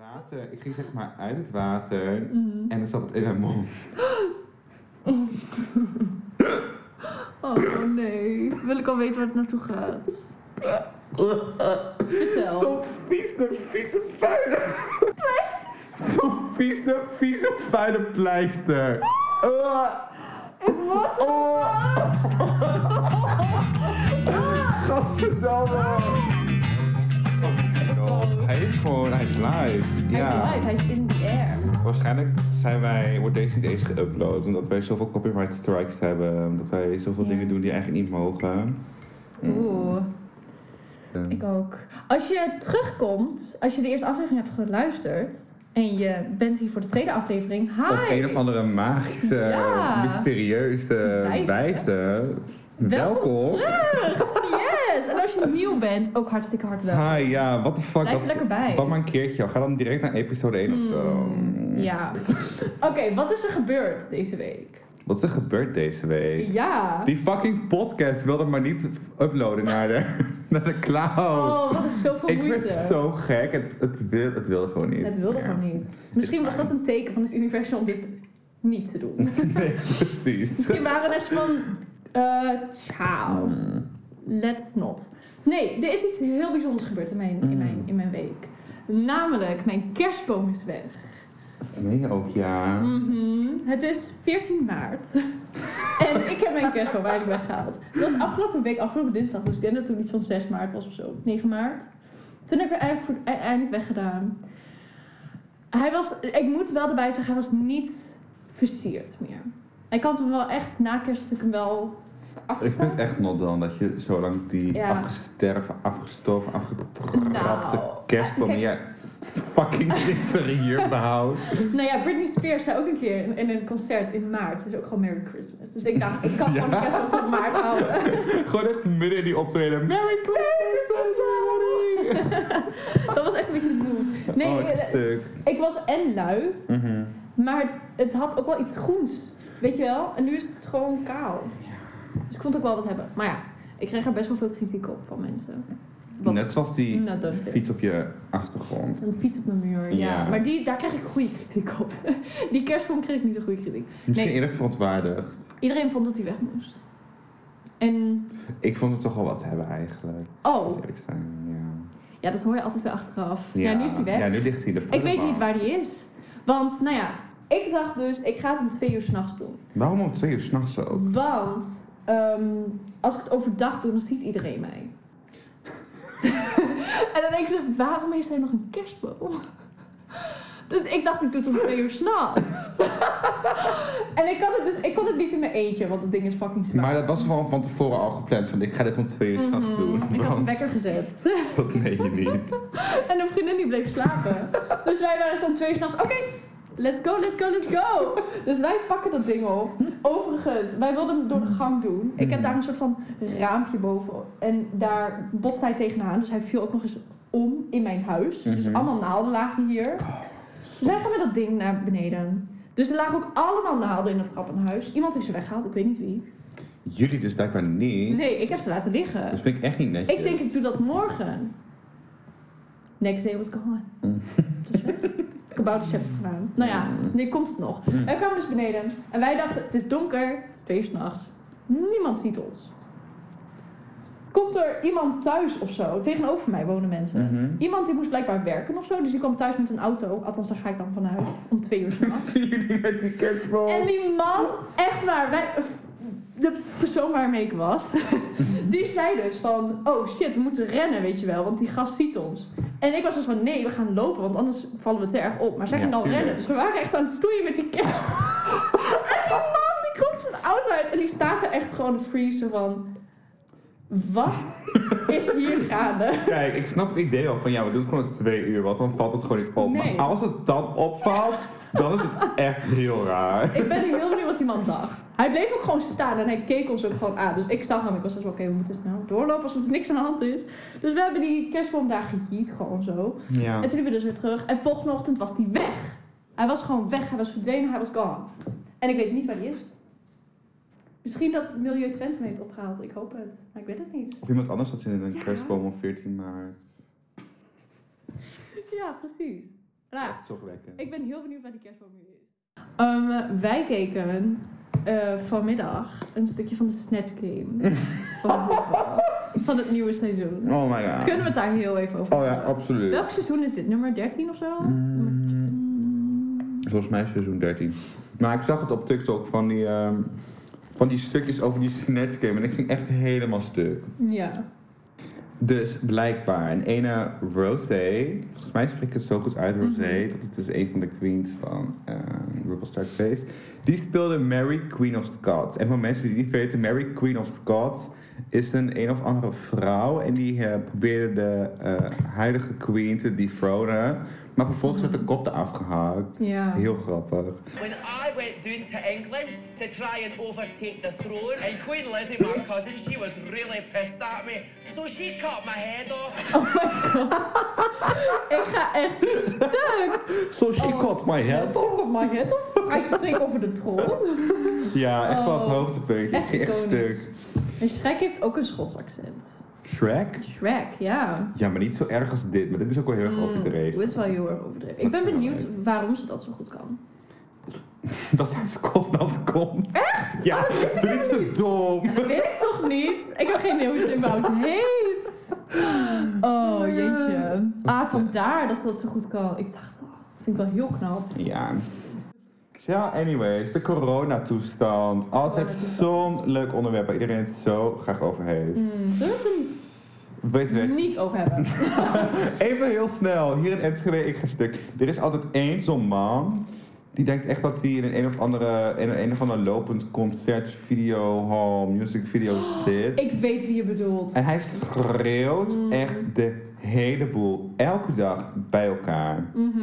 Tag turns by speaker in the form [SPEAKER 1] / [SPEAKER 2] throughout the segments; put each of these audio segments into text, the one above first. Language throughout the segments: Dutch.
[SPEAKER 1] Water. Ik ging zeg maar uit het water
[SPEAKER 2] Mhm.
[SPEAKER 1] en dan zat het in mijn mond.
[SPEAKER 2] Oh nee, wil ik al weten waar het naartoe gaat. Vertel.
[SPEAKER 1] Zo'n vies, naar vieze, vuile... Zo'n vies, naar vieze, vuile pleister. Ah,
[SPEAKER 2] Ik was
[SPEAKER 1] ah.
[SPEAKER 2] Ah.
[SPEAKER 1] Gadverdamme. Hij is gewoon, hij is live.
[SPEAKER 2] Hij is
[SPEAKER 1] Ja.
[SPEAKER 2] live, hij is in the air.
[SPEAKER 1] Waarschijnlijk zijn wij, wordt deze niet eens geüpload, omdat wij zoveel copyright strikes hebben, omdat wij zoveel
[SPEAKER 2] Ja.
[SPEAKER 1] dingen doen die eigenlijk niet mogen.
[SPEAKER 2] Oeh,
[SPEAKER 1] Ja.
[SPEAKER 2] ik ook. Als je terugkomt, als je de eerste aflevering hebt geluisterd en je bent hier voor de tweede aflevering, hi!
[SPEAKER 1] Op een of andere magische,
[SPEAKER 2] Ja.
[SPEAKER 1] mysterieuze
[SPEAKER 2] Wijze.
[SPEAKER 1] wijze.
[SPEAKER 2] Welkom
[SPEAKER 1] Welkom.
[SPEAKER 2] terug! Yes! En als je nieuw bent, ook hartstikke hard welkom.
[SPEAKER 1] Hi, ja, what the fuck.
[SPEAKER 2] Blijf er
[SPEAKER 1] dat-
[SPEAKER 2] lekker bij. Hmm.
[SPEAKER 1] Wat maar een keertje. al. Ga dan direct naar episode 1 of zo.
[SPEAKER 2] Ja. Oké, wat is er gebeurd deze week?
[SPEAKER 1] Wat is er gebeurd deze week?
[SPEAKER 2] Ja.
[SPEAKER 1] Die fucking podcast wilde maar niet uploaden naar de, naar de cloud.
[SPEAKER 2] Oh, wat is zoveel
[SPEAKER 1] ik
[SPEAKER 2] moeite.
[SPEAKER 1] werd zo gek. Het, het, wil, het wilde gewoon niet.
[SPEAKER 2] Het wilde
[SPEAKER 1] Ja.
[SPEAKER 2] gewoon niet. Misschien was
[SPEAKER 1] fine.
[SPEAKER 2] dat een teken van het universum om dit niet te doen.
[SPEAKER 1] Nee, precies.
[SPEAKER 2] Misschien waren er van... eh ciao.
[SPEAKER 1] Hmm.
[SPEAKER 2] Let's not. Nee, er is iets heel bijzonders gebeurd in mijn, in mijn, in mijn week. Namelijk, mijn kerstboom is weg.
[SPEAKER 1] Nee, ook ja.
[SPEAKER 2] Mhm. Het is 14 maart. en ik heb mijn kerstboom eigenlijk weggehaald. Dat was afgelopen week, afgelopen dinsdag. Dus ik denk dat toen iets van 6 maart was of zo. 9 maart. Toen heb ik hem eigenlijk voor, e- eindelijk weggedaan. Hij was, ik moet wel erbij zeggen, hij was niet versierd meer. Ik had hem wel echt na kerst natuurlijk hem wel
[SPEAKER 1] Ik
[SPEAKER 2] afgetaald.
[SPEAKER 1] vind het echt not dan dat je zo lang die
[SPEAKER 2] Ja.
[SPEAKER 1] afgesterven, afgestorven, afgetrapte
[SPEAKER 2] Nou,
[SPEAKER 1] kerstboom
[SPEAKER 2] kijk.
[SPEAKER 1] ja, fucking interieur behoudt.
[SPEAKER 2] Nou ja, Britney Spears zei ook een keer in, in een concert in maart. Ze is ook gewoon Merry Christmas. Dus ik dacht, ik kan gewoon de
[SPEAKER 1] Ja.
[SPEAKER 2] kerstboom tot maart houden.
[SPEAKER 1] Gewoon echt midden in die optreden. Merry Christmas, everybody!
[SPEAKER 2] Dat was echt een beetje de moed. Nee,
[SPEAKER 1] oh, het
[SPEAKER 2] eh,
[SPEAKER 1] stuk.
[SPEAKER 2] ik was en lui,
[SPEAKER 1] Mhm.
[SPEAKER 2] maar het, het had ook wel iets groens. Weet je wel? En nu is het gewoon kaal. Dus ik vond het ook wel wat hebben. Maar ja, ik kreeg er best wel veel kritiek op van mensen. Wat-
[SPEAKER 1] Net zoals die
[SPEAKER 2] Nou, dat
[SPEAKER 1] fiets op je achtergrond.
[SPEAKER 2] Een fiets op mijn muur, ja.
[SPEAKER 1] Ja.
[SPEAKER 2] Maar die, daar kreeg ik goede kritiek op. Die kerstboom kreeg ik niet een goede kritiek.
[SPEAKER 1] Misschien
[SPEAKER 2] Nee.
[SPEAKER 1] eerder verontwaardigd.
[SPEAKER 2] Iedereen vond dat hij weg moest. En,
[SPEAKER 1] Ik vond het toch wel wat hebben eigenlijk. Zal
[SPEAKER 2] oh,
[SPEAKER 1] ik eerlijk zijn, ja.
[SPEAKER 2] ja, dat hoor je altijd weer achteraf. Ja, nu is hij weg.
[SPEAKER 1] Ja, nu ligt hij de
[SPEAKER 2] ik weet
[SPEAKER 1] prullenbak.
[SPEAKER 2] niet waar die is. Want, nou ja, ik dacht dus, ik ga het om twee uur s'nachts doen.
[SPEAKER 1] Waarom om twee uur s'nachts ook?
[SPEAKER 2] Want ehm, als ik het overdag doe, dan ziet iedereen mij. en dan denk ik zo, waarom heeft hij nog een kerstboom? Dus ik dacht, ik doe het om twee uur s'nachts. en ik kon, het dus, ik kon het niet in mijn eentje, want het ding is fucking zwaar.
[SPEAKER 1] Maar dat was gewoon van tevoren al gepland. Van ik ga dit om twee uur s'nachts
[SPEAKER 2] Mhm.
[SPEAKER 1] doen.
[SPEAKER 2] Ik had een
[SPEAKER 1] want
[SPEAKER 2] wekker gezet.
[SPEAKER 1] Dat meen je niet.
[SPEAKER 2] En een vriendin die bleef slapen. Dus wij waren zo'n twee uur s'nachts. Oké, let's go, let's go, let's go. Dus wij pakken dat ding op. Overigens, wij wilden hem door de gang doen. Ik
[SPEAKER 1] Hmm.
[SPEAKER 2] heb daar een soort van raampje boven. En daar botste hij tegenaan. Dus hij viel ook nog eens om in mijn huis. Dus
[SPEAKER 1] Mhm.
[SPEAKER 2] allemaal naalden lagen hier. Dus wij gaan met dat ding naar beneden. Dus er lagen ook allemaal naalden in het trappenhuis. Iemand heeft ze weggehaald, ik weet niet wie.
[SPEAKER 1] Jullie dus blijkbaar niet.
[SPEAKER 2] Nee, ik heb ze laten liggen.
[SPEAKER 1] Dat vind ik echt niet netjes.
[SPEAKER 2] Ik denk, ik doe dat morgen. Next day was gone.
[SPEAKER 1] Mm.
[SPEAKER 2] Dus weg. Kabouters hebben het gedaan. Nou ja,
[SPEAKER 1] Mm.
[SPEAKER 2] nu komt het nog.
[SPEAKER 1] Mm.
[SPEAKER 2] Wij kwamen dus beneden en wij dachten, het is donker, het is twee uur s'nachts. Niemand ziet ons. Komt er iemand thuis of zo? Tegenover mij wonen mensen.
[SPEAKER 1] Mhm.
[SPEAKER 2] Iemand die moest blijkbaar werken of zo, dus die kwam thuis met een auto. Althans, daar ga ik dan van huis om twee uur s'nachts.
[SPEAKER 1] Zien jullie met die kerstboom?
[SPEAKER 2] En die man, echt waar, wij, de persoon waarmee ik was, die zei dus van, oh shit, we moeten rennen, weet je wel, want die gast ziet ons. En ik was dus van, nee, we gaan lopen, want anders vallen we te erg op. Maar zij
[SPEAKER 1] Ja,
[SPEAKER 2] ging al
[SPEAKER 1] tuurlijk.
[SPEAKER 2] rennen, dus we waren echt zo aan het stoeien met die kerst. en die man, die komt zijn auto uit en die staat er echt gewoon te freezen van, wat is hier gaande?
[SPEAKER 1] Kijk, ik snap het idee al van ja, we doen het gewoon twee uur, want dan valt het gewoon niet op.
[SPEAKER 2] Nee.
[SPEAKER 1] Maar als het dan opvalt, dan is het echt heel raar.
[SPEAKER 2] Ik ben nu heel benieuwd wat die man dacht. Hij bleef ook gewoon staan en hij keek ons ook gewoon aan. Dus ik zag hem. Ik was zo van, oké, we moeten snel doorlopen alsof er niks aan de hand is. Dus we hebben die kerstboom daar gejiet, gewoon zo.
[SPEAKER 1] Ja.
[SPEAKER 2] En toen liepen we dus weer terug. En volgende ochtend was die weg. Hij was gewoon weg. Hij was verdwenen. Hij was gone. En ik weet niet waar die is. Misschien dat Milieu Twente hem heeft opgehaald. Ik hoop het. Maar ik weet het niet.
[SPEAKER 1] Of iemand anders had zin in een
[SPEAKER 2] Ja.
[SPEAKER 1] kerstboom op 14 maart.
[SPEAKER 2] Ja, precies.
[SPEAKER 1] Ja.
[SPEAKER 2] Ja.
[SPEAKER 1] Echt zorgwekkend.
[SPEAKER 2] Ik ben heel benieuwd waar die kerstboom nu is. Ehm, wij keken eh, vanmiddag een stukje van de Snatch Game van, voetbal. van het nieuwe seizoen.
[SPEAKER 1] Oh my god.
[SPEAKER 2] Kunnen we het daar heel even over
[SPEAKER 1] Oh ja,
[SPEAKER 2] hebben?
[SPEAKER 1] absoluut.
[SPEAKER 2] Welk seizoen is dit? Nummer 13 of zo? Mm. Nummer
[SPEAKER 1] Mm,
[SPEAKER 2] 10?
[SPEAKER 1] Volgens mij seizoen 13. Maar ik zag het op TikTok van die, ehm, van die stukjes over die Snatch Game. En ik ging echt helemaal stuk.
[SPEAKER 2] Ja.
[SPEAKER 1] Dus blijkbaar, een ene Rosé, volgens mij spreek ik het zo goed uit, Rosé,
[SPEAKER 2] Mhm.
[SPEAKER 1] dat is dus een van de queens van ehm RuPaul's Drag Race, die speelde Mary Queen of Scots. En voor mensen die niet weten, Mary Queen of Scots is een een of andere vrouw en die eh, probeerde de eh, huidige queen te dethronen, maar vervolgens werd de kop eraf gehakt.
[SPEAKER 2] Ja.
[SPEAKER 1] Heel grappig.
[SPEAKER 3] When I went down to England to try and overtake the throne, and Queen Lizzie, my cousin, she was really pissed at me, so she cut my head off.
[SPEAKER 2] Ik ga echt stuk.
[SPEAKER 1] So she
[SPEAKER 2] Oh.
[SPEAKER 1] caught my head.
[SPEAKER 2] Trok op my head op. Uit de trek over de troon.
[SPEAKER 1] Ja, echt wel het
[SPEAKER 2] Oh.
[SPEAKER 1] hoogtepuntje. Echt
[SPEAKER 2] Echt iconisch.
[SPEAKER 1] stuk.
[SPEAKER 2] En Shrek heeft ook een Schots accent.
[SPEAKER 1] Shrek?
[SPEAKER 2] Shrek, ja.
[SPEAKER 1] Ja, maar niet zo erg als dit. Maar dit is ook wel heel erg overdreven.
[SPEAKER 2] Dit is wel heel erg overdreven.
[SPEAKER 1] Dat
[SPEAKER 2] Ik
[SPEAKER 1] is
[SPEAKER 2] ben
[SPEAKER 1] wel
[SPEAKER 2] benieuwd waarom ze dat zo goed kan.
[SPEAKER 1] Dat hij zijn kop nat komt. Echt? Ja,
[SPEAKER 2] Oh, dat wist ik
[SPEAKER 1] doe niet zo dom.
[SPEAKER 2] Dat weet ik toch niet? Ik heb geen idee hoe ze überhaupt heet. Oh, jeetje. Ah, vandaar dat ze dat zo goed kan. Ik dacht, oh, vind ik wel heel knap.
[SPEAKER 1] Ja. Ja, anyways, de coronatoestand. Altijd
[SPEAKER 2] Coronatoestand.
[SPEAKER 1] zo'n leuk onderwerp waar iedereen het zo graag over heeft.
[SPEAKER 2] Zullen we
[SPEAKER 1] Weet
[SPEAKER 2] het er
[SPEAKER 1] je,
[SPEAKER 2] niet over hebben?
[SPEAKER 1] even heel snel. Hier in Enschede, ik ga stuk. Er is altijd één zo'n man. Die denkt echt dat hij in een, een of andere, in een, een of ander lopend concert, video, hall, music video zit.
[SPEAKER 2] Oh, Ik Mm. weet wie je bedoelt.
[SPEAKER 1] En hij schreeuwt echt de hele boel. Elke dag bij elkaar.
[SPEAKER 2] Mhm.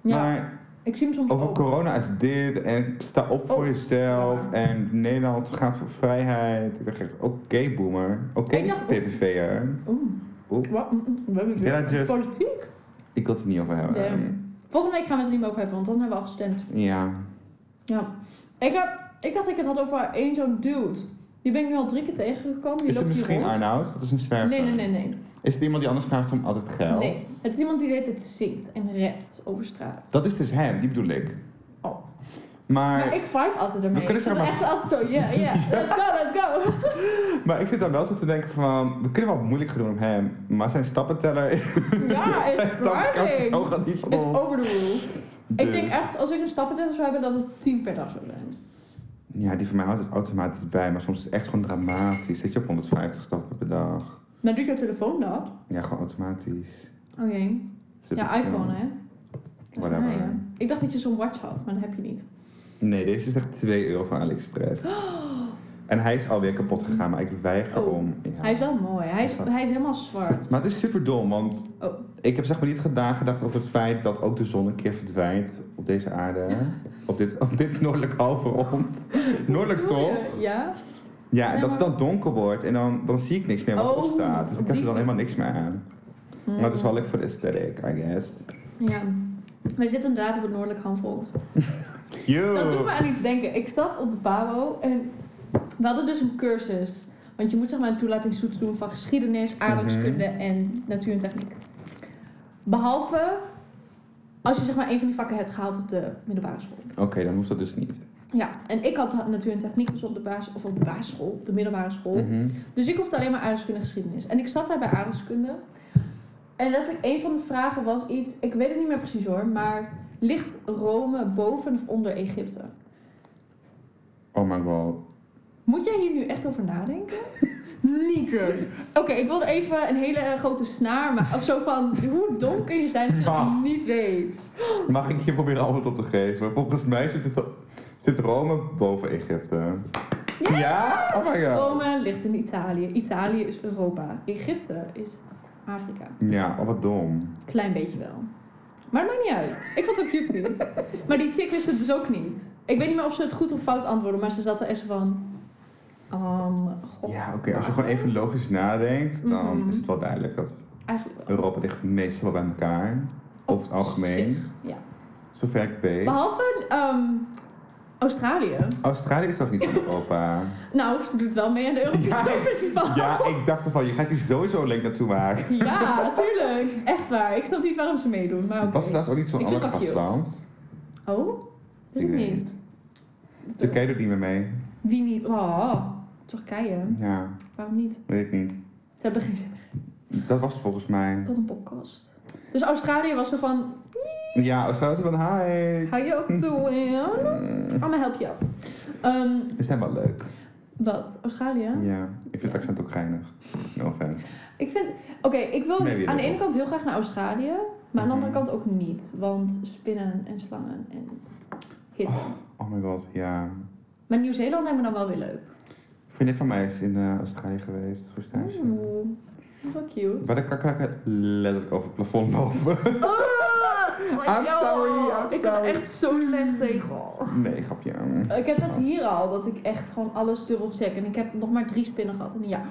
[SPEAKER 2] Ja,
[SPEAKER 1] Maar
[SPEAKER 2] ik zie hem soms
[SPEAKER 1] Over
[SPEAKER 2] ook.
[SPEAKER 1] corona is dit en sta op voor
[SPEAKER 2] Oh,
[SPEAKER 1] jezelf
[SPEAKER 2] ja.
[SPEAKER 1] en Nederland gaat voor vrijheid. Ik dacht echt, oké boomer, oké
[SPEAKER 2] Ik dacht-
[SPEAKER 1] PVV'er.
[SPEAKER 2] Oeh.
[SPEAKER 1] Oeh.
[SPEAKER 2] Wat? Mm, mm, We hebben het
[SPEAKER 1] Did I
[SPEAKER 2] weer
[SPEAKER 1] just-
[SPEAKER 2] over politiek.
[SPEAKER 1] Ik wil het er niet over hebben.
[SPEAKER 2] Damn. Volgende week gaan we het er niet meer over hebben, want dan hebben we al gestemd.
[SPEAKER 1] Ja.
[SPEAKER 2] Ja. Ik, heb, ik dacht dat ik het had over één zo'n dude. Die ben ik nu al drie keer tegengekomen. Die
[SPEAKER 1] Is het
[SPEAKER 2] loopt hier
[SPEAKER 1] misschien
[SPEAKER 2] rond.
[SPEAKER 1] Arnoud? Dat is een zwerver.
[SPEAKER 2] Nee, nee, nee, nee.
[SPEAKER 1] Is het iemand die anders vraagt om altijd geld?
[SPEAKER 2] Nee, het is iemand die de hele tijd zingt en rapt over straat.
[SPEAKER 1] Dat is dus hem, die bedoel ik.
[SPEAKER 2] Oh.
[SPEAKER 1] Maar,
[SPEAKER 2] Maar Nou, ik vibe altijd ermee.
[SPEAKER 1] We kunnen
[SPEAKER 2] Ik
[SPEAKER 1] zeg
[SPEAKER 2] ben
[SPEAKER 1] maar-
[SPEAKER 2] echt altijd zo, yeah, yeah, let's go, let's go.
[SPEAKER 1] maar ik zit dan wel zo te denken van, we kunnen wel moeilijk gaan doen om hem, maar zijn stappenteller
[SPEAKER 2] Ja, is
[SPEAKER 1] zijn stappenteller zo
[SPEAKER 2] driving.
[SPEAKER 1] gaat niet van
[SPEAKER 2] Is
[SPEAKER 1] ons.
[SPEAKER 2] over the roof. Ik
[SPEAKER 1] Dus-
[SPEAKER 2] denk echt, als ik een stappenteller zou hebben, dat het tien per dag zou zijn.
[SPEAKER 1] Ja, die van mij houdt het automatisch bij, maar soms is het echt gewoon dramatisch. Zit je op 150 stappen per dag?
[SPEAKER 2] Maar doet jouw telefoon dat?
[SPEAKER 1] Ja, gewoon automatisch.
[SPEAKER 2] Oké.
[SPEAKER 1] Zit
[SPEAKER 2] Ja,
[SPEAKER 1] ik, eh,
[SPEAKER 2] iPhone, hè? Dat is
[SPEAKER 1] Whatever.
[SPEAKER 2] mij, hè. Ik dacht dat je zo'n watch had, maar dat heb je niet.
[SPEAKER 1] Nee, deze is echt 2 euro van AliExpress. En hij is alweer kapot gegaan, maar ik weiger
[SPEAKER 2] Oh,
[SPEAKER 1] om. Ja.
[SPEAKER 2] Hij is wel mooi. Hij is,
[SPEAKER 1] Dat is wel-
[SPEAKER 2] hij is helemaal zwart.
[SPEAKER 1] Maar het is super dom, want
[SPEAKER 2] Oh.
[SPEAKER 1] ik heb zeg maar niet gedaan gedacht over het feit dat ook de zon een keer verdwijnt op deze aarde. op, dit, op dit noordelijk halve rond. noordelijk
[SPEAKER 2] Bedoel
[SPEAKER 1] toch?
[SPEAKER 2] je? Ja?
[SPEAKER 1] Ja,
[SPEAKER 2] Nee,
[SPEAKER 1] dat
[SPEAKER 2] maar-
[SPEAKER 1] het dan donker wordt en dan, dan zie ik niks meer wat
[SPEAKER 2] Oh,
[SPEAKER 1] opstaat. Dus ik
[SPEAKER 2] op
[SPEAKER 1] heb er
[SPEAKER 2] die-
[SPEAKER 1] dan helemaal niks meer aan. Maar het is wel leuk voor de aesthetic, I guess.
[SPEAKER 2] Ja. Wij zitten inderdaad op het noordelijk handfront.
[SPEAKER 1] Cute!
[SPEAKER 2] Dat doet me aan iets denken. Ik zat op de PABO en we hadden dus een cursus. Want je moet zeg maar een toelatingstoets doen van geschiedenis, aardrijkskunde en natuur en techniek. Behalve als je zeg maar een van die vakken hebt gehaald op de middelbare school.
[SPEAKER 1] Oké, dan hoeft dat dus niet.
[SPEAKER 2] Ja, en ik had natuur en techniek dus op de, basis, of op de basisschool, op de middelbare school.
[SPEAKER 1] Mhm.
[SPEAKER 2] Dus ik hoefde alleen maar aardrijkskunde en geschiedenis. En ik zat daar bij aardrijkskunde. En dat ik een van de vragen was iets, ik weet het niet meer precies hoor, maar ligt Rome boven of onder Egypte?
[SPEAKER 1] Oh my god.
[SPEAKER 2] Moet jij hier nu echt over nadenken? Niet dus. Oké, ik wilde even een hele eh, grote snaar maken. Of zo van, hoe dom kun je zijn als je
[SPEAKER 1] Ah.
[SPEAKER 2] dat niet weet?
[SPEAKER 1] Mag ik hier proberen antwoord op te geven? Volgens mij zit, het, zit Rome boven Egypte. Ja? Oh my god.
[SPEAKER 2] Rome ligt in Italië. Italië is Europa. Egypte is Afrika.
[SPEAKER 1] Ja, oh wat dom.
[SPEAKER 2] Klein beetje wel. Maar het maakt niet uit. Ik vond het ook cute. maar die chick wist het dus ook niet. Ik weet niet meer of ze het goed of fout antwoordde, maar ze zat er echt zo van... ehm, god,
[SPEAKER 1] Ja, oké. Als je gewoon even logisch nadenkt, dan
[SPEAKER 2] Mhm.
[SPEAKER 1] is het wel duidelijk dat
[SPEAKER 2] eigenlijk wel.
[SPEAKER 1] Europa ligt meestal wel bij
[SPEAKER 2] Oh,
[SPEAKER 1] elkaar. Over het algemeen.
[SPEAKER 2] Ja.
[SPEAKER 1] Zover ik weet.
[SPEAKER 2] Behalve ehm, Australië.
[SPEAKER 1] Australië is toch niet van Europa?
[SPEAKER 2] Nou, ze doet wel mee aan de Europese
[SPEAKER 1] Ja,
[SPEAKER 2] Songfestival.
[SPEAKER 1] ja, ik dacht ervan, je gaat die sowieso een link naartoe maken.
[SPEAKER 2] Ja, tuurlijk. Echt waar. Ik snap niet waarom ze meedoen, maar Ah, oké.
[SPEAKER 1] Was het laatst ook niet zo'n
[SPEAKER 2] Ik vind
[SPEAKER 1] ander
[SPEAKER 2] het wel cute.
[SPEAKER 1] gastland?
[SPEAKER 2] Oh? Weet
[SPEAKER 1] Ik
[SPEAKER 2] ik
[SPEAKER 1] weet
[SPEAKER 2] niet.
[SPEAKER 1] Turkije doet niet meer mee.
[SPEAKER 2] Wie niet? Oh, Turkije.
[SPEAKER 1] Ja,
[SPEAKER 2] Waarom niet?
[SPEAKER 1] weet ik niet.
[SPEAKER 2] Ze hebben geen zin.
[SPEAKER 1] Dat was het volgens mij.
[SPEAKER 2] Wat een podcast. Dus Australië was zo van...
[SPEAKER 1] Ja, Australië van hi.
[SPEAKER 2] How you eh, doing?
[SPEAKER 1] Mm,
[SPEAKER 2] Allemaal help je up. Ehm,
[SPEAKER 1] Ze zijn wel leuk.
[SPEAKER 2] wat? Australië?
[SPEAKER 1] Ja, ik vind het accent ook geinig. No offense.
[SPEAKER 2] Ik vind... Oké, ik wil
[SPEAKER 1] Nee, wie
[SPEAKER 2] aan de
[SPEAKER 1] wil.
[SPEAKER 2] ene kant heel graag naar Australië. Maar aan de
[SPEAKER 1] Mhm.
[SPEAKER 2] andere kant ook niet. Want spinnen en slangen en hitte.
[SPEAKER 1] Oh my god, ja.
[SPEAKER 2] Maar Nieuw-Zeeland lijkt me dan wel weer leuk.
[SPEAKER 1] Een vriendin van mij is in eh, Australië geweest voor stage.
[SPEAKER 2] Oeh, dat is wel cute.
[SPEAKER 1] Waar de kakkerlakken letterlijk over het plafond lopen.
[SPEAKER 2] Oh,
[SPEAKER 1] I'm sorry, I'm
[SPEAKER 2] ik kan
[SPEAKER 1] sorry.
[SPEAKER 2] echt zo slecht tegen.
[SPEAKER 1] Nee, grapje.
[SPEAKER 2] Oh.
[SPEAKER 1] Mm,
[SPEAKER 2] Ik heb dat hier al, dat ik echt gewoon alles dubbel check. En ik heb nog maar drie spinnen gehad in een jaar.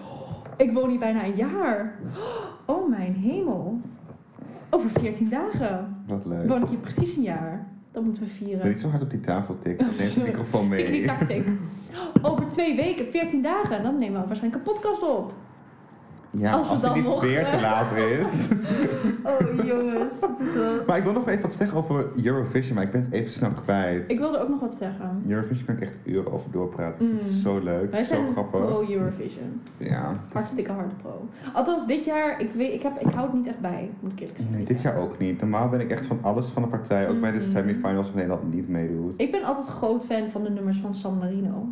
[SPEAKER 2] Ik woon hier bijna een jaar. Oh mijn hemel. Over 14 dagen
[SPEAKER 1] Wat leuk.
[SPEAKER 2] woon ik hier precies een jaar. Dat moeten we
[SPEAKER 1] Ik ben
[SPEAKER 2] vieren.
[SPEAKER 1] niet zo hard op die tafel tikken. Dan neemt de
[SPEAKER 2] Sorry.
[SPEAKER 1] microfoon
[SPEAKER 2] Tikkie
[SPEAKER 1] mee.
[SPEAKER 2] tak tik. Over twee weken, 14 dagen. Dan nemen we waarschijnlijk een podcast op.
[SPEAKER 1] Ja,
[SPEAKER 2] Als we
[SPEAKER 1] als
[SPEAKER 2] dan
[SPEAKER 1] het iets
[SPEAKER 2] mogen.
[SPEAKER 1] weer te laat is.
[SPEAKER 2] Oh jongens, het is wel-
[SPEAKER 1] Maar ik wil nog even wat zeggen over Eurovision, maar ik ben het even snel kwijt.
[SPEAKER 2] Ik wilde ook nog wat zeggen.
[SPEAKER 1] Eurovision kan ik echt uren over doorpraten. Ik vind het
[SPEAKER 2] Mm.
[SPEAKER 1] zo leuk,
[SPEAKER 2] Wij
[SPEAKER 1] zo
[SPEAKER 2] zijn
[SPEAKER 1] grappig.
[SPEAKER 2] pro Eurovision.
[SPEAKER 1] Ja.
[SPEAKER 2] Hartstikke hard pro. Althans, dit jaar, ik, weet, ik, heb, ik hou het niet echt bij, moet ik eerlijk zeggen.
[SPEAKER 1] Nee, dit jaar ook niet. Normaal ben ik echt van alles van de partij. Ook bij de
[SPEAKER 2] Mm.
[SPEAKER 1] semifinals van Nederland niet meedoet.
[SPEAKER 2] Ik ben altijd groot fan van de nummers van San Marino.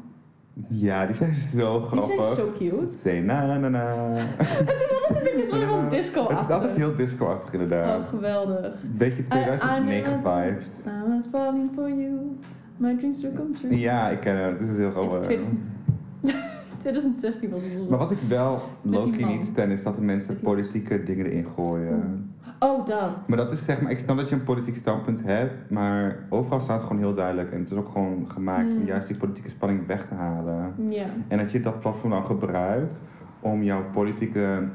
[SPEAKER 1] Ja, die zijn zo
[SPEAKER 2] Die
[SPEAKER 1] grappig.
[SPEAKER 2] zijn zo cute.
[SPEAKER 1] Say na na na.
[SPEAKER 2] Het is altijd een beetje
[SPEAKER 1] Ja.
[SPEAKER 2] zo'n disco
[SPEAKER 1] Het is altijd heel disco-achtig
[SPEAKER 2] Oh,
[SPEAKER 1] inderdaad.
[SPEAKER 2] geweldig.
[SPEAKER 1] Beetje 2009
[SPEAKER 2] I- I never-
[SPEAKER 1] vibes.
[SPEAKER 2] I'm not falling for you. My dreams will come true.
[SPEAKER 1] Ja, ik ken het. Het is heel
[SPEAKER 2] Het is
[SPEAKER 1] grappig.
[SPEAKER 2] 2000 2016 was het.
[SPEAKER 1] Maar wat ik wel
[SPEAKER 2] Met die
[SPEAKER 1] Loki
[SPEAKER 2] man.
[SPEAKER 1] niet stem is dat de mensen
[SPEAKER 2] Met die-
[SPEAKER 1] politieke dingen erin gooien.
[SPEAKER 2] Oh, dat.
[SPEAKER 1] Maar dat is zeg maar, ik snap dat je een politiek standpunt hebt, maar overal staat het gewoon heel duidelijk. En het is ook gewoon gemaakt om
[SPEAKER 2] Mm.
[SPEAKER 1] juist die politieke spanning weg te halen.
[SPEAKER 2] Ja.
[SPEAKER 1] En dat je dat platform dan gebruikt om jouw politieke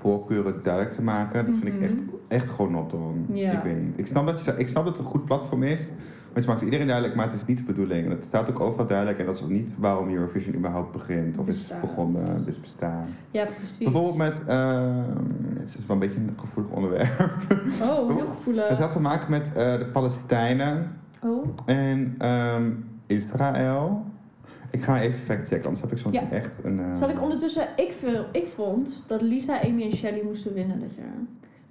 [SPEAKER 1] voorkeuren duidelijk te maken, dat vind
[SPEAKER 2] Mhm.
[SPEAKER 1] ik echt, echt gewoon not doen.
[SPEAKER 2] Ja.
[SPEAKER 1] Ik weet niet. Ik snap, dat je, ik snap dat het een goed platform is, want je maakt het iedereen duidelijk, maar het is niet de bedoeling. En dat staat ook overal duidelijk en dat is ook niet waarom Eurovision überhaupt begint of
[SPEAKER 2] Bestaat.
[SPEAKER 1] is begonnen, dus bestaan.
[SPEAKER 2] Ja, precies.
[SPEAKER 1] Bijvoorbeeld met, ehm, het is wel een beetje een gevoelig onderwerp.
[SPEAKER 2] Oh, heel
[SPEAKER 1] Het
[SPEAKER 2] gevoelig.
[SPEAKER 1] had te maken met eh, de Palestijnen
[SPEAKER 2] Oh,
[SPEAKER 1] en ehm, Israël. Ik ga even factchecken, anders heb ik soms
[SPEAKER 2] Ja.
[SPEAKER 1] echt een... eh,
[SPEAKER 2] zal ik ondertussen... Ik, veel, ik vond dat Lisa, Amy en Shelley moesten winnen dat jaar.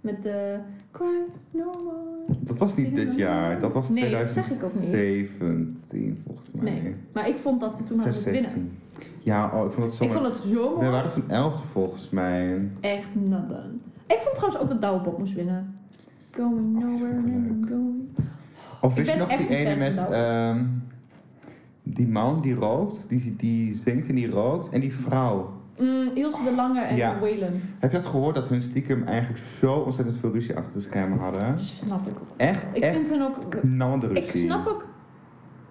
[SPEAKER 2] Met de... Cry no more.
[SPEAKER 1] Dat was niet dit jaar, dat was
[SPEAKER 2] Nee, dat zeg ik ook niet.
[SPEAKER 1] 2017 volgens mij.
[SPEAKER 2] Nee. Maar ik vond dat we toen hadden moeten winnen.
[SPEAKER 1] 2017. Ja, oh, ik vond het zo...
[SPEAKER 2] Ik vond het zo
[SPEAKER 1] We
[SPEAKER 2] mooi.
[SPEAKER 1] waren zo'n elfde volgens mij.
[SPEAKER 2] Echt nada. Ik vond trouwens ook dat Douwebop moest winnen. Going
[SPEAKER 1] Oh, die vond ik
[SPEAKER 2] nowhere and
[SPEAKER 1] wel
[SPEAKER 2] I'm
[SPEAKER 1] leuk.
[SPEAKER 2] going...
[SPEAKER 1] Of
[SPEAKER 2] Ik
[SPEAKER 1] wist je
[SPEAKER 2] ben
[SPEAKER 1] nog die
[SPEAKER 2] echt een
[SPEAKER 1] ene
[SPEAKER 2] fan
[SPEAKER 1] met
[SPEAKER 2] van
[SPEAKER 1] ehm, die man die rookt, die, die zingt en die rookt, en die vrouw.
[SPEAKER 2] Mm, Ilse de Lange en
[SPEAKER 1] Ja.
[SPEAKER 2] Waylon.
[SPEAKER 1] Heb je dat gehoord dat hun stiekem eigenlijk zo ontzettend veel ruzie achter de schermen hadden?
[SPEAKER 2] Snap ik ook.
[SPEAKER 1] Echt,
[SPEAKER 2] Ik
[SPEAKER 1] echt
[SPEAKER 2] vind hun ook...
[SPEAKER 1] knallende
[SPEAKER 2] Ik
[SPEAKER 1] ruzie.
[SPEAKER 2] snap ook...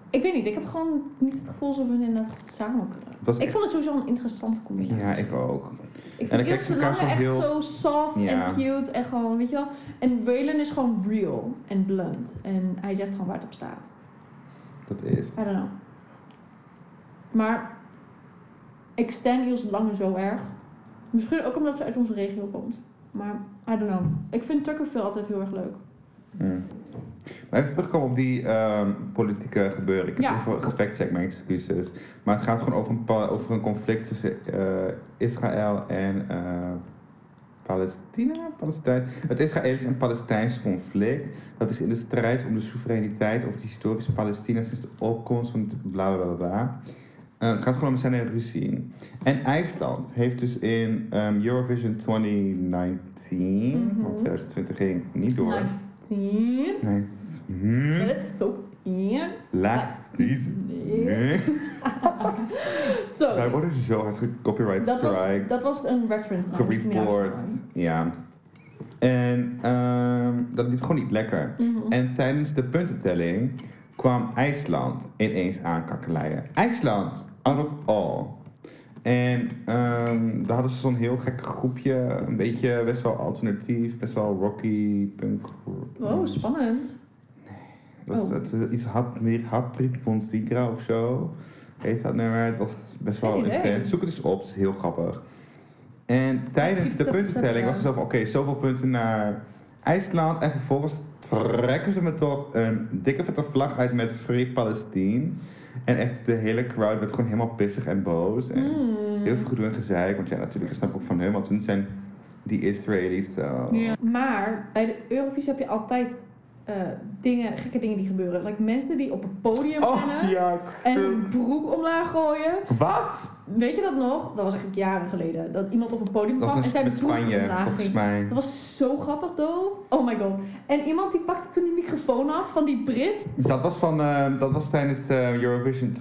[SPEAKER 2] Ik weet niet, ik heb gewoon niet het gevoel alsof we inderdaad goed samen kunnen.
[SPEAKER 1] Het was
[SPEAKER 2] Ik
[SPEAKER 1] echt-
[SPEAKER 2] vond het sowieso een interessante combinatie.
[SPEAKER 1] Ja, ik ook.
[SPEAKER 2] Ik
[SPEAKER 1] dan
[SPEAKER 2] vind
[SPEAKER 1] kijken ze
[SPEAKER 2] Ilse de
[SPEAKER 1] elkaar
[SPEAKER 2] Lange
[SPEAKER 1] zo
[SPEAKER 2] echt
[SPEAKER 1] heel-
[SPEAKER 2] zo soft
[SPEAKER 1] Ja.
[SPEAKER 2] en cute en gewoon, weet je wel. En Waylon is gewoon real en blunt. En hij zegt gewoon waar het op staat.
[SPEAKER 1] Dat is.
[SPEAKER 2] I don't know. Maar ik stan Ilse Lange zo erg. Misschien ook omdat ze uit onze regio komt. Maar I don't know. Ik vind Tuckerville altijd heel erg leuk.
[SPEAKER 1] Mm. Maar even terugkomen op die ehm, politieke gebeuren. Ik heb
[SPEAKER 2] Ja.
[SPEAKER 1] even gefactcheckt, mijn excuses. Maar het gaat gewoon over een, pa- over een conflict tussen eh, Israël en eh, Palestina? Palestijn. Het Israëlisch en Palestijns conflict. Dat is in de strijd om de soevereiniteit over het historische Palestina sinds de opkomst van het bla bla bla. bla. Eh, het gaat gewoon om zijn en ruzie. En IJsland heeft dus in ehm, Eurovision 2019,
[SPEAKER 2] Mhm.
[SPEAKER 1] want 2020 ging niet door.
[SPEAKER 2] Nou, zie
[SPEAKER 1] Nee.
[SPEAKER 2] je?
[SPEAKER 1] Hm.
[SPEAKER 2] Dat is ook hier.
[SPEAKER 1] Laat niet. Nee. Wij
[SPEAKER 2] Zo.
[SPEAKER 1] worden zo hard gecopyright
[SPEAKER 2] Dat was,
[SPEAKER 1] strike.
[SPEAKER 2] dat was een reference. naar Mickey Mouse
[SPEAKER 1] Gereport.
[SPEAKER 2] Mouse.
[SPEAKER 1] Ja. En ehm, dat liep gewoon niet lekker.
[SPEAKER 2] Mhm.
[SPEAKER 1] En tijdens de puntentelling kwam IJsland ineens aankakkeleien. IJsland, out of all. En ehm, daar hadden ze zo'n heel gek groepje. Een beetje best wel alternatief, best wel rocky, punk.
[SPEAKER 2] Wow, spannend.
[SPEAKER 1] was
[SPEAKER 2] Oh.
[SPEAKER 1] het, eh, iets had meer Hatrit Ponsigra of zo. Heet dat nummer. Het was best wel
[SPEAKER 2] Geen idee.
[SPEAKER 1] intens. Zoek het eens op, het is heel grappig. En tijdens
[SPEAKER 2] ziet
[SPEAKER 1] de
[SPEAKER 2] er
[SPEAKER 1] puntentelling
[SPEAKER 2] toch,
[SPEAKER 1] was het zo van, oké, zoveel punten naar IJsland. En vervolgens trekken ze me toch een dikke vette vlag uit met Free Palestine. En echt de hele crowd werd gewoon helemaal pissig en boos. En
[SPEAKER 2] Hmm.
[SPEAKER 1] heel veel gedoe en gezeik. Want ja, natuurlijk, dat snap ik ook van hun. Want hun zijn die Israëli's. zo.
[SPEAKER 2] Ja. Maar bij de Eurovisie heb je altijd eh, dingen, gekke dingen die gebeuren. Like mensen die op een podium
[SPEAKER 1] Oh
[SPEAKER 2] rennen
[SPEAKER 1] ja,
[SPEAKER 2] en
[SPEAKER 1] film.
[SPEAKER 2] hun broek omlaag gooien.
[SPEAKER 1] Wat?
[SPEAKER 2] Weet je dat nog? Dat was echt jaren geleden. Dat iemand op een podium
[SPEAKER 1] Dat
[SPEAKER 2] kwam en
[SPEAKER 1] was
[SPEAKER 2] zijn
[SPEAKER 1] met
[SPEAKER 2] broek
[SPEAKER 1] Spanje,
[SPEAKER 2] omlaag
[SPEAKER 1] volgens
[SPEAKER 2] ging.
[SPEAKER 1] mij.
[SPEAKER 2] Dat was zo grappig, though. Oh my god. En iemand die pakte toen die microfoon af van die Brit.
[SPEAKER 1] Dat was, van, eh, dat was tijdens eh, Eurovision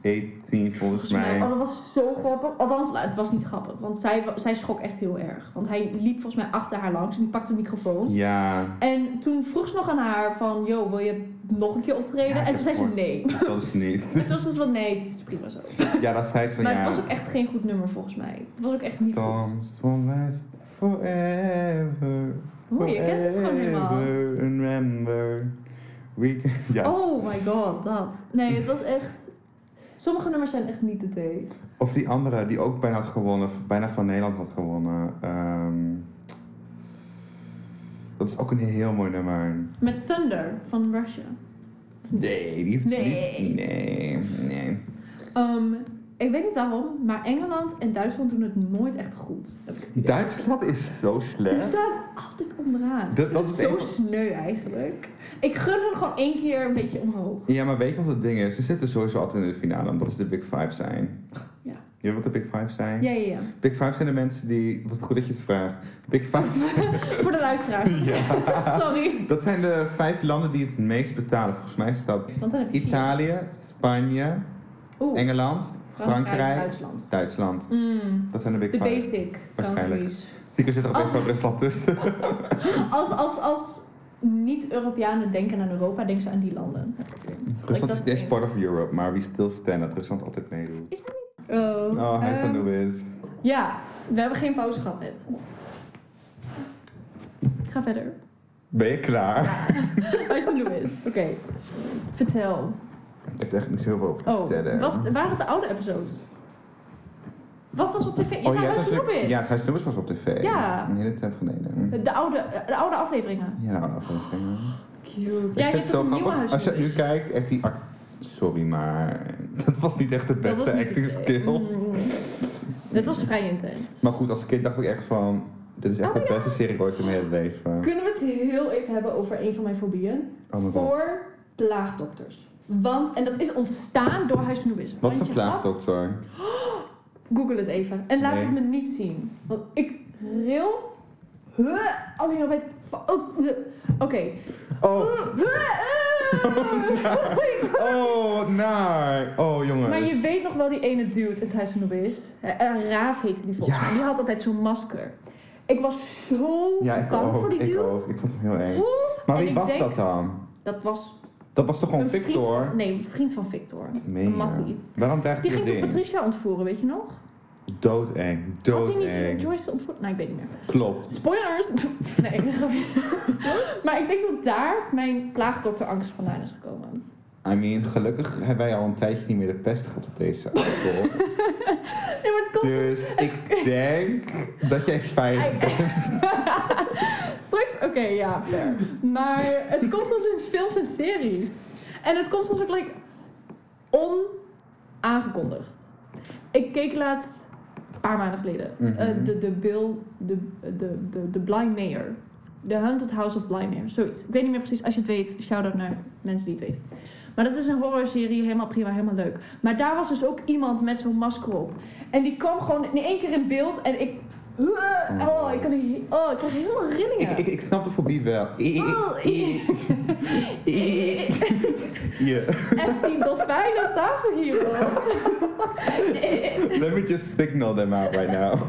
[SPEAKER 1] 2018, volgens
[SPEAKER 2] Volgens mij,
[SPEAKER 1] mij.
[SPEAKER 2] oh, dat was zo grappig. Althans, nou, het was niet grappig, want zij, wa- zij schrok echt heel erg. Want hij liep volgens mij achter haar langs en die pakte de microfoon.
[SPEAKER 1] Ja.
[SPEAKER 2] En toen vroeg ze nog aan haar van, yo, wil je nog een keer optreden?
[SPEAKER 1] Ja, ik
[SPEAKER 2] en toen
[SPEAKER 1] heb
[SPEAKER 2] zei ze
[SPEAKER 1] het
[SPEAKER 2] nee.
[SPEAKER 1] gehoord. Dat is niet.
[SPEAKER 2] Het was het van nee, het is prima zo.
[SPEAKER 1] Ja, dat zei ze van
[SPEAKER 2] Maar
[SPEAKER 1] ja.
[SPEAKER 2] het was ook echt geen goed nummer volgens mij. Het was ook echt niet goed.
[SPEAKER 1] Storms will last forever.
[SPEAKER 2] Oeh, je kent het gewoon helemaal.
[SPEAKER 1] forever, Remember. We can- ja.
[SPEAKER 2] Oh my god, dat. Nee, het was echt... Sommige nummers zijn echt niet de thee.
[SPEAKER 1] Of die andere die ook bijna had gewonnen, of bijna van Nederland had gewonnen. ehm, dat is ook een heel mooi nummer.
[SPEAKER 2] Met Thunder van Russia.
[SPEAKER 1] Nee, niet.
[SPEAKER 2] Nee.
[SPEAKER 1] niet- nee, nee.
[SPEAKER 2] Ehm, ik weet niet waarom, maar Engeland en Duitsland doen het nooit echt goed. Heb ik het idee.
[SPEAKER 1] Duitsland is zo
[SPEAKER 2] Die
[SPEAKER 1] slecht.
[SPEAKER 2] staan altijd onderaan.
[SPEAKER 1] Dat, dat is
[SPEAKER 2] Zo
[SPEAKER 1] echt...
[SPEAKER 2] sneu eigenlijk. Ik gun hun gewoon één keer een beetje omhoog.
[SPEAKER 1] Ja, maar weet je wat het ding is? Ze zitten sowieso altijd in de finale omdat ze de Big Five zijn.
[SPEAKER 2] Ja.
[SPEAKER 1] Je weet wat de Big Five zijn?
[SPEAKER 2] Ja, ja, ja.
[SPEAKER 1] Big Five zijn de mensen die... Wat goed dat je het vraagt. Big Five zijn...
[SPEAKER 2] Voor de luisteraars.
[SPEAKER 1] Ja.
[SPEAKER 2] Sorry.
[SPEAKER 1] Dat zijn de vijf landen die het meest betalen. Volgens mij staat
[SPEAKER 2] Want dan heb je vier.
[SPEAKER 1] Italië, Spanje,
[SPEAKER 2] Oeh,
[SPEAKER 1] Engeland, Frankrijk,
[SPEAKER 2] Duitsland.
[SPEAKER 1] Duitsland.
[SPEAKER 2] Mm,
[SPEAKER 1] Dat zijn de Oh. Big
[SPEAKER 2] De
[SPEAKER 1] Five.
[SPEAKER 2] basic
[SPEAKER 1] Waarschijnlijk.
[SPEAKER 2] countries.
[SPEAKER 1] Stiekem zit er ook best wel Rusland tussen.
[SPEAKER 2] Als, als, als niet-Europeanen denken aan Europa, denken ze aan die landen. Heb ik het idee.
[SPEAKER 1] Rusland
[SPEAKER 2] dat
[SPEAKER 1] Oh, is this
[SPEAKER 2] ding.
[SPEAKER 1] part of Europe, maar we still stand dat Rusland altijd meedoet.
[SPEAKER 2] Oh,
[SPEAKER 1] Oh, hij is aan de
[SPEAKER 2] ehm,
[SPEAKER 1] whiz.
[SPEAKER 2] Ja, we hebben geen pauze gehad net. Ik ga verder.
[SPEAKER 1] Ben je klaar?
[SPEAKER 2] Hij is aan de wind. Oké. Vertel.
[SPEAKER 1] Ik heb er echt niet zoveel over te
[SPEAKER 2] Oh,
[SPEAKER 1] vertellen.
[SPEAKER 2] was, waren het de oude episodes? Wat was op tv? Je zei Huis
[SPEAKER 1] natuurlijk-
[SPEAKER 2] Snoepis.
[SPEAKER 1] Oh, Ja, Huis Snoepis was op tv.
[SPEAKER 2] Ja.
[SPEAKER 1] Een hele tijd geleden.
[SPEAKER 2] De oude, de oude afleveringen.
[SPEAKER 1] Ja, nou, dat was
[SPEAKER 2] Cute.
[SPEAKER 1] Ik
[SPEAKER 2] Ja, je
[SPEAKER 1] vind
[SPEAKER 2] hebt
[SPEAKER 1] het zo
[SPEAKER 2] ook een nieuwe
[SPEAKER 1] grappig.
[SPEAKER 2] Huis
[SPEAKER 1] Als je nu
[SPEAKER 2] Snoepis.
[SPEAKER 1] kijkt, echt die... act- Sorry, maar dat was niet echt de
[SPEAKER 2] Dat was
[SPEAKER 1] beste
[SPEAKER 2] niet
[SPEAKER 1] acting
[SPEAKER 2] het idee.
[SPEAKER 1] skills.
[SPEAKER 2] Mm. Het was vrij intens.
[SPEAKER 1] Maar goed, als kind dacht ik echt van... Dit is echt
[SPEAKER 2] Oh
[SPEAKER 1] de beste serie ooit in mijn hele leven.
[SPEAKER 2] Kunnen we het heel even hebben over een van mijn fobieën?
[SPEAKER 1] Oh my god.
[SPEAKER 2] Voor plaagdokters. Want, en dat is ontstaan door Huis Snoepis.
[SPEAKER 1] Wat is een
[SPEAKER 2] Want je had-
[SPEAKER 1] plaagdokter?
[SPEAKER 2] Google het even. En laat
[SPEAKER 1] Nee.
[SPEAKER 2] het me niet zien. Want ik ril. Huh, als ik nog weet. van- oh, huh. Oké.
[SPEAKER 1] Oh,
[SPEAKER 2] Huh, huh.
[SPEAKER 1] oh, wat naar. Oh, jongens.
[SPEAKER 2] Maar je weet nog wel die ene dude in Thuis van is. Raaf heette die volgens
[SPEAKER 1] Ja.
[SPEAKER 2] mij. Die had altijd zo'n masker. Ik was zo
[SPEAKER 1] Ja, ik
[SPEAKER 2] bang
[SPEAKER 1] ook,
[SPEAKER 2] voor die
[SPEAKER 1] ik
[SPEAKER 2] dude.
[SPEAKER 1] ook. Ik vond hem heel eng.
[SPEAKER 2] Hoe?
[SPEAKER 1] Maar
[SPEAKER 2] En
[SPEAKER 1] wie
[SPEAKER 2] ik
[SPEAKER 1] was
[SPEAKER 2] denk-
[SPEAKER 1] dat dan?
[SPEAKER 2] Dat was
[SPEAKER 1] Dat was toch gewoon
[SPEAKER 2] een vriend
[SPEAKER 1] Victor?
[SPEAKER 2] van, nee, een vriend van Victor.
[SPEAKER 1] Meen
[SPEAKER 2] Een
[SPEAKER 1] je?
[SPEAKER 2] Mattie.
[SPEAKER 1] Waarom dreigt
[SPEAKER 2] Die
[SPEAKER 1] hij
[SPEAKER 2] ging
[SPEAKER 1] dat
[SPEAKER 2] toch
[SPEAKER 1] ding?
[SPEAKER 2] Patricia ontvoeren, weet je nog?
[SPEAKER 1] Doodeng,
[SPEAKER 2] Had hij niet
[SPEAKER 1] doodeng.
[SPEAKER 2] Joyce ontvoerd? Nou, ik weet niet meer.
[SPEAKER 1] Klopt.
[SPEAKER 2] Spoilers! Nee, ik grapje. Maar ik denk dat daar mijn plaagdokterangst vandaan is gekomen.
[SPEAKER 1] I mean, gelukkig hebben wij al een tijdje niet meer de pest gehad op deze auto.
[SPEAKER 2] Nee, maar het komt...
[SPEAKER 1] dus ik denk dat jij veilig bent.
[SPEAKER 2] Straks... Oké, ja, fair. Maar het komt soms in films en series. En het komt soms ook, like, onaangekondigd. Ik keek laatst, een paar maanden geleden,
[SPEAKER 1] Mhm.
[SPEAKER 2] eh, de, de Bill, de, de, de, de Blind Mayor. The Haunted House of Blind Mayor, zoiets. Ik weet niet meer precies, als je het weet, shout-out naar mensen die het weten. Maar dat is een horrorserie, helemaal prima, helemaal leuk. Maar daar was dus ook iemand met zo'n masker op. En die kwam gewoon in één keer in beeld en ik... Oh, ik, kan, niet- oh, ik kreeg helemaal rillingen.
[SPEAKER 1] Ik, ik, ik snap de fobie wel.
[SPEAKER 2] Oh, i-
[SPEAKER 1] Yeah.
[SPEAKER 2] Echt die dolfijn op tafel hierop.
[SPEAKER 1] Let me just signal them out right now.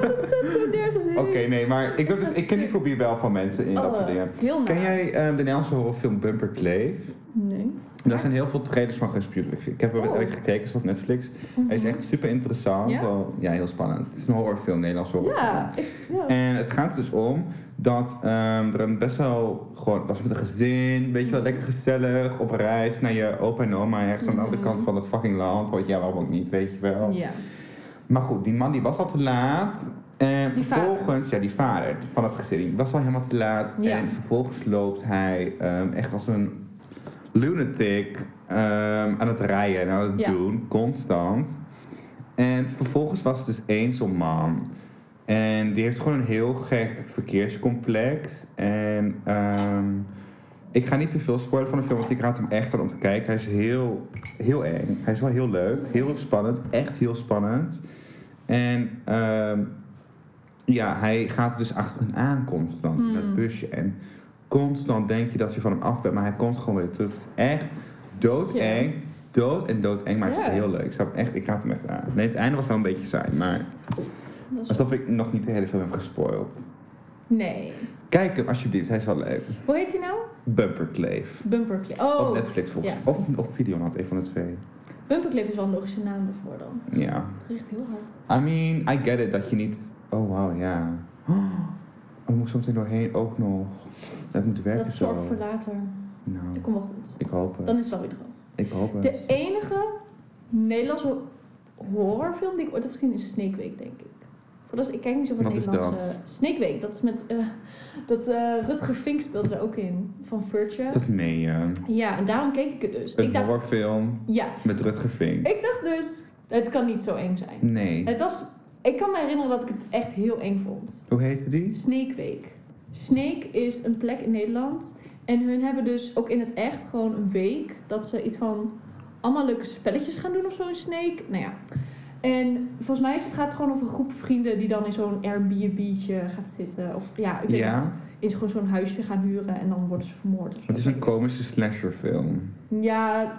[SPEAKER 2] Het gaat zo nergens heen.
[SPEAKER 1] Oké, nee, maar ik, ben dus, ik ken die fobie wel van mensen in dat
[SPEAKER 2] Oh,
[SPEAKER 1] soort dingen.
[SPEAKER 2] heel
[SPEAKER 1] Ken
[SPEAKER 2] naar.
[SPEAKER 1] jij eh, de Nederlandse horrorfilm Bumper Cleave?
[SPEAKER 2] Nee.
[SPEAKER 1] Daar zijn heel veel trailers van gepubliceerd. Ik heb er
[SPEAKER 2] Oh. Mhm.
[SPEAKER 1] uiteindelijk gekeken, is op Netflix. Hij is echt super interessant.
[SPEAKER 2] Ja?
[SPEAKER 1] Wel, ja, heel spannend. Het is een horrorfilm, Nederlandse horrorfilm.
[SPEAKER 2] Ja, ik, ja.
[SPEAKER 1] En het gaat dus om dat ehm, er een best wel gewoon, het was met een gezin, weet je wel, lekker gezellig, op reis naar je opa en oma ergens aan de andere kant van het fucking land. Want ja, waarom ook niet, weet je wel.
[SPEAKER 2] Mhm. ja.
[SPEAKER 1] Maar goed, die man die was al te laat. En
[SPEAKER 2] Die
[SPEAKER 1] vervolgens, ja, die vader van het gezin, die was al helemaal te laat.
[SPEAKER 2] Ja.
[SPEAKER 1] En vervolgens loopt hij ehm, echt als een lunatic ehm, aan het rijden en aan het
[SPEAKER 2] Ja.
[SPEAKER 1] doen, constant. En vervolgens was het dus eens zo'n man. En die heeft gewoon een heel gek verkeerscomplex. En ehm, ik ga niet te veel spoilen van de film, want ik raad hem echt aan om te kijken. Hij is heel, heel eng. Hij is wel heel leuk, heel spannend, echt heel spannend. En ehm, ja, hij gaat dus achter hem aan constant in dat busje. En constant denk je dat je van hem af bent, maar hij komt gewoon weer terug. Het is Echt doodeng, dood en doodeng, maar het
[SPEAKER 2] Ja.
[SPEAKER 1] is heel leuk. Ik, zou hem echt, ik raad hem echt aan. Nee, het einde was wel een beetje saai, maar
[SPEAKER 2] Dat is-
[SPEAKER 1] alsof ik nog niet de hele film heb gespoild.
[SPEAKER 2] Nee.
[SPEAKER 1] Kijk hem alsjeblieft, hij is wel leuk.
[SPEAKER 2] Hoe heet die nou?
[SPEAKER 1] Bumperclave.
[SPEAKER 2] Bumperclip. Oh,
[SPEAKER 1] Op Netflix volgens
[SPEAKER 2] ja.
[SPEAKER 1] mij. Of op Videoland, een van de twee.
[SPEAKER 2] Bumperclip is wel een logische naam ervoor dan.
[SPEAKER 1] Ja.
[SPEAKER 2] Het richt heel hard.
[SPEAKER 1] I mean, I get it dat je niet. Oh wow, ja. Oh, ik moet soms doorheen ook nog. Dat moet werken
[SPEAKER 2] Dat is
[SPEAKER 1] zo.
[SPEAKER 2] zorg voor later.
[SPEAKER 1] Nou,
[SPEAKER 2] Dat komt wel goed.
[SPEAKER 1] ik hoop het.
[SPEAKER 2] Dan is het wel weer droog.
[SPEAKER 1] Ik hoop het.
[SPEAKER 2] De enige Nederlandse horrorfilm die ik ooit heb gezien is Snake Week, denk ik. Voor dat is- ik kijk niet zoveel
[SPEAKER 1] Wat is
[SPEAKER 2] Nederlandse...
[SPEAKER 1] dat?
[SPEAKER 2] Snake Week, dat is met... eh, dat eh, Rutger Fink speelde er ook in, van Virtue.
[SPEAKER 1] Ah. Dat meen je.
[SPEAKER 2] Ja, en daarom keek ik het dus.
[SPEAKER 1] Een
[SPEAKER 2] ik dacht,
[SPEAKER 1] horrorfilm
[SPEAKER 2] ja,
[SPEAKER 1] met Rutger Vink.
[SPEAKER 2] ik dacht dus, het kan niet zo eng zijn.
[SPEAKER 1] Nee.
[SPEAKER 2] Het was, ik kan me herinneren dat ik het echt heel eng vond.
[SPEAKER 1] Hoe heette die?
[SPEAKER 2] Snake Week. Snake is een plek in Nederland. En hun hebben dus ook in het echt gewoon een week dat ze iets van allemaal leuke spelletjes gaan doen of zo in Snake. Nou ja. En volgens mij is het, gaat het gewoon over een groep vrienden die dan in zo'n Airbnb'tje gaat zitten. Of ja, ik weet niet.
[SPEAKER 1] Ja,
[SPEAKER 2] Is gewoon zo'n huisje gaan huren en dan worden ze vermoord. Of zo.
[SPEAKER 1] het is een komische slasherfilm.
[SPEAKER 2] Ja,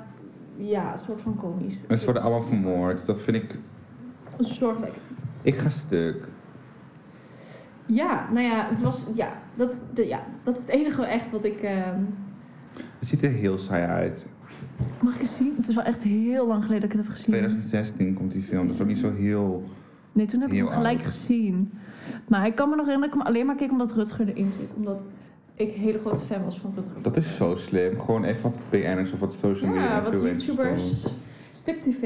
[SPEAKER 2] ja, een soort van komisch.
[SPEAKER 1] En ze worden allemaal vermoord. Dat vind ik...
[SPEAKER 2] Zorgwekkend.
[SPEAKER 1] Ik ga stuk.
[SPEAKER 2] Ja, nou ja, het was, ja, dat, de, ja, dat is het enige echt wat ik... ehm,
[SPEAKER 1] Het ziet er heel saai uit.
[SPEAKER 2] Mhm. Mag ik eens zien? Het is wel echt heel lang geleden dat ik het heb gezien.
[SPEAKER 1] 2016 komt die film, dat is ook niet zo heel...
[SPEAKER 2] Nee, toen heb ik
[SPEAKER 1] Heel
[SPEAKER 2] hem gelijk
[SPEAKER 1] oud.
[SPEAKER 2] gezien. Maar ik kan me nog herinneren dat ik hem alleen maar keek omdat Rutger erin zit. Omdat ik een hele grote fan was van Rutger.
[SPEAKER 1] Dat is zo slim. Gewoon even wat BN'ers of wat social media
[SPEAKER 2] ja, wat
[SPEAKER 1] influencers
[SPEAKER 2] YouTubers.
[SPEAKER 1] doen.
[SPEAKER 2] Stuk TV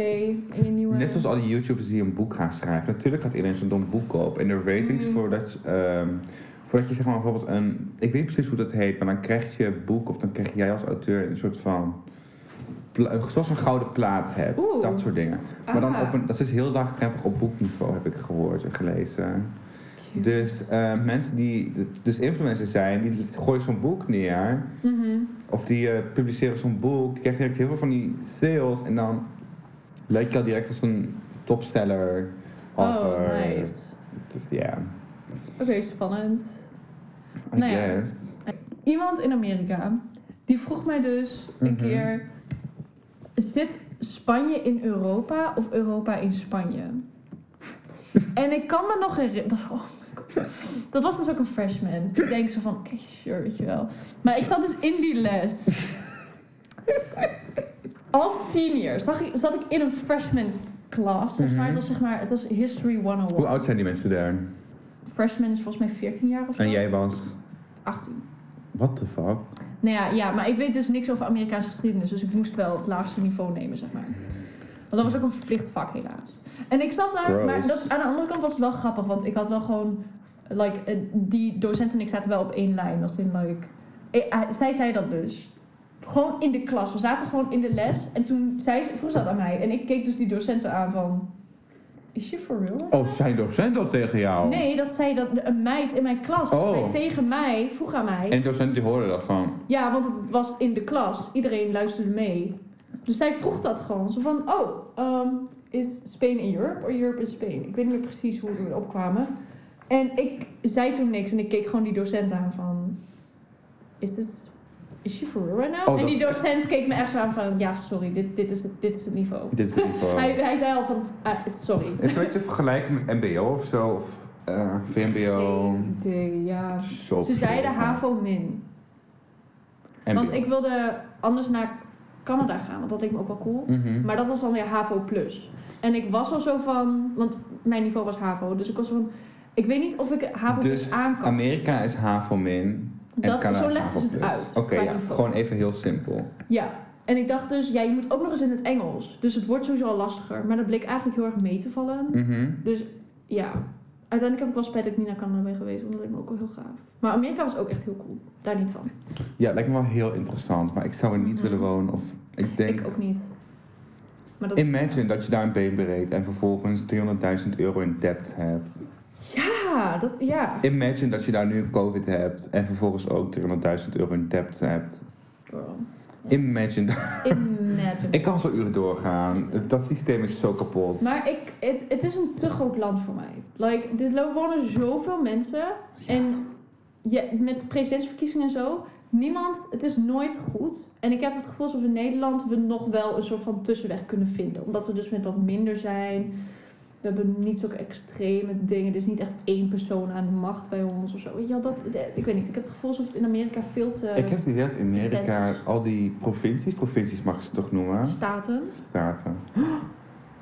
[SPEAKER 2] en je nieuwe...
[SPEAKER 1] Net zoals al die YouTubers die een boek gaan schrijven. Natuurlijk gaat iedereen zo'n dom boek kopen. En de ratings
[SPEAKER 2] Mm.
[SPEAKER 1] voordat, ehm, voordat je zeg maar bijvoorbeeld een... Ik weet niet precies hoe dat heet, maar dan krijg je een boek of dan krijg jij als auteur een soort van... pla- Zoals een gouden plaat hebt,
[SPEAKER 2] Oeh.
[SPEAKER 1] dat soort dingen. Maar dan
[SPEAKER 2] Ah,
[SPEAKER 1] op een, dat is heel laagdrempelig op boekniveau, heb ik gehoord en gelezen.
[SPEAKER 2] cute.
[SPEAKER 1] Dus eh, mensen die dus influencers zijn, die gooien zo'n boek neer.
[SPEAKER 2] Mhm.
[SPEAKER 1] Of die eh, publiceren zo'n boek, die krijgt direct heel veel van die sales. En dan lijkt je al direct als een topseller.
[SPEAKER 2] Oh,
[SPEAKER 1] author.
[SPEAKER 2] nice.
[SPEAKER 1] Dus ja,
[SPEAKER 2] Oké, spannend.
[SPEAKER 1] I
[SPEAKER 2] Nou ja.
[SPEAKER 1] guess.
[SPEAKER 2] Iemand in Amerika, die vroeg mij dus een
[SPEAKER 1] Mhm.
[SPEAKER 2] keer... Zit Spanje in Europa of Europa in Spanje? en ik kan me nog herinneren... Oh my God. dat was dus ook een freshman. Ik denk zo van, oké, sure, weet je wel. Maar ik zat dus in die les. Als senior zag ik, zat ik in een freshman class. zeg maar.
[SPEAKER 1] Mhm.
[SPEAKER 2] Het was zeg maar, het was History
[SPEAKER 1] Hoe
[SPEAKER 2] 101.
[SPEAKER 1] oud zijn die mensen daar?
[SPEAKER 2] Freshman is volgens mij 14 jaar of zo.
[SPEAKER 1] En jij was,
[SPEAKER 2] 18.
[SPEAKER 1] what the fuck?
[SPEAKER 2] Nou ja, ja, maar ik weet dus niks over Amerikaanse geschiedenis. Dus ik moest wel het laagste niveau nemen, zeg maar. Want dat was ook een verplicht vak, helaas. En ik zat daar,
[SPEAKER 1] Gross.
[SPEAKER 2] maar dat, aan de andere kant was het wel grappig. Want ik had wel gewoon... Like, eh, die docent en ik zaten wel op één lijn. Dat vind ik leuk. eh, ah, zij zei dat dus. Gewoon in de klas. We zaten gewoon in de les. En toen zei ze, vroeg ze dat aan mij. En ik keek dus die docenten aan van... Is she for real?
[SPEAKER 1] Oh, zijn docent al tegen jou?
[SPEAKER 2] Nee, dat zei dat een meid in mijn klas
[SPEAKER 1] Oh.
[SPEAKER 2] zei tegen mij, vroeg aan mij...
[SPEAKER 1] En die docent die hoorde dat van.
[SPEAKER 2] Ja, want het was in de klas. Iedereen luisterde mee. Dus zij vroeg dat gewoon. Zo van, oh, ehm, is Spain in Europe of Europe in Spain? Ik weet niet meer precies hoe we erop kwamen. En ik zei toen niks en ik keek gewoon die docent aan van... Is dit... Is she for real right now?
[SPEAKER 1] Oh,
[SPEAKER 2] en
[SPEAKER 1] dat
[SPEAKER 2] die
[SPEAKER 1] is echt-
[SPEAKER 2] docent keek me echt zo aan van... Ja, sorry, dit, dit, is, het, dit is het niveau.
[SPEAKER 1] Oh. Dit is in ieder geval.
[SPEAKER 2] Hij, hij zei al van... ah, sorry.
[SPEAKER 1] Is zoiets te vergelijken met MBO of zo? Of eh, VMBO,
[SPEAKER 2] Eén ding, ja.
[SPEAKER 1] shop.
[SPEAKER 2] Ze zeiden HAVO-min.
[SPEAKER 1] MBO.
[SPEAKER 2] Want ik wilde anders naar Canada gaan, want dat leek me ook wel cool.
[SPEAKER 1] Mhm.
[SPEAKER 2] Maar dat was dan weer HAVO plus. En ik was al zo van, want mijn niveau was HAVO, dus ik was van, ik weet niet of ik HAVO
[SPEAKER 1] Dus
[SPEAKER 2] plus aan kan.
[SPEAKER 1] Amerika is HAVO min. En
[SPEAKER 2] Dat-
[SPEAKER 1] Canada
[SPEAKER 2] zo
[SPEAKER 1] is
[SPEAKER 2] legden ze het
[SPEAKER 1] HAVO+.
[SPEAKER 2] uit,
[SPEAKER 1] Oké,
[SPEAKER 2] qua
[SPEAKER 1] ja,
[SPEAKER 2] niveau.
[SPEAKER 1] gewoon even heel simpel.
[SPEAKER 2] Ja. En ik dacht dus, ja, je moet ook nog eens in het Engels. Dus het wordt sowieso al lastiger. Maar dat bleek eigenlijk heel erg mee te vallen.
[SPEAKER 1] Mhm.
[SPEAKER 2] Dus ja, uiteindelijk heb ik wel spijt dat ik niet naar Canada ben geweest, omdat ik me ook wel heel gaaf. Maar Amerika was ook echt heel cool. Daar niet van.
[SPEAKER 1] Ja, het lijkt me wel heel interessant, maar ik zou er niet
[SPEAKER 2] Mhm.
[SPEAKER 1] willen wonen. Of ik denk,
[SPEAKER 2] Ik ook niet. Maar dat,
[SPEAKER 1] imagine dat je daar een been breekt en vervolgens 300.000 euro in debt hebt.
[SPEAKER 2] ja, Ah, dat, ja.
[SPEAKER 1] Imagine dat je daar nu COVID hebt en vervolgens ook 300.000 euro in debt hebt.
[SPEAKER 2] Girl.
[SPEAKER 1] Imagine dat.
[SPEAKER 2] Imagine.
[SPEAKER 1] Ik kan zo uren doorgaan. Dat systeem is zo kapot.
[SPEAKER 2] Maar ik, het, het is een te groot land voor mij. Like, dit lo- wonen zoveel mensen. En je, met presidentsverkiezingen en zo. Niemand, het is nooit goed. En ik heb het gevoel alsof in Nederland we nog wel een soort van tussenweg kunnen vinden. Omdat we dus met wat minder zijn. We hebben niet zulke extreme dingen. Er is niet echt één persoon aan de macht bij ons of zo. Weet je wel, dat, eh, ik weet niet. Ik heb het gevoel alsof het in Amerika veel te...
[SPEAKER 1] ik heb het idee dat in Amerika
[SPEAKER 2] Intensies.
[SPEAKER 1] al die provincies, provincies mag je ze toch noemen?
[SPEAKER 2] Staten.
[SPEAKER 1] Staten.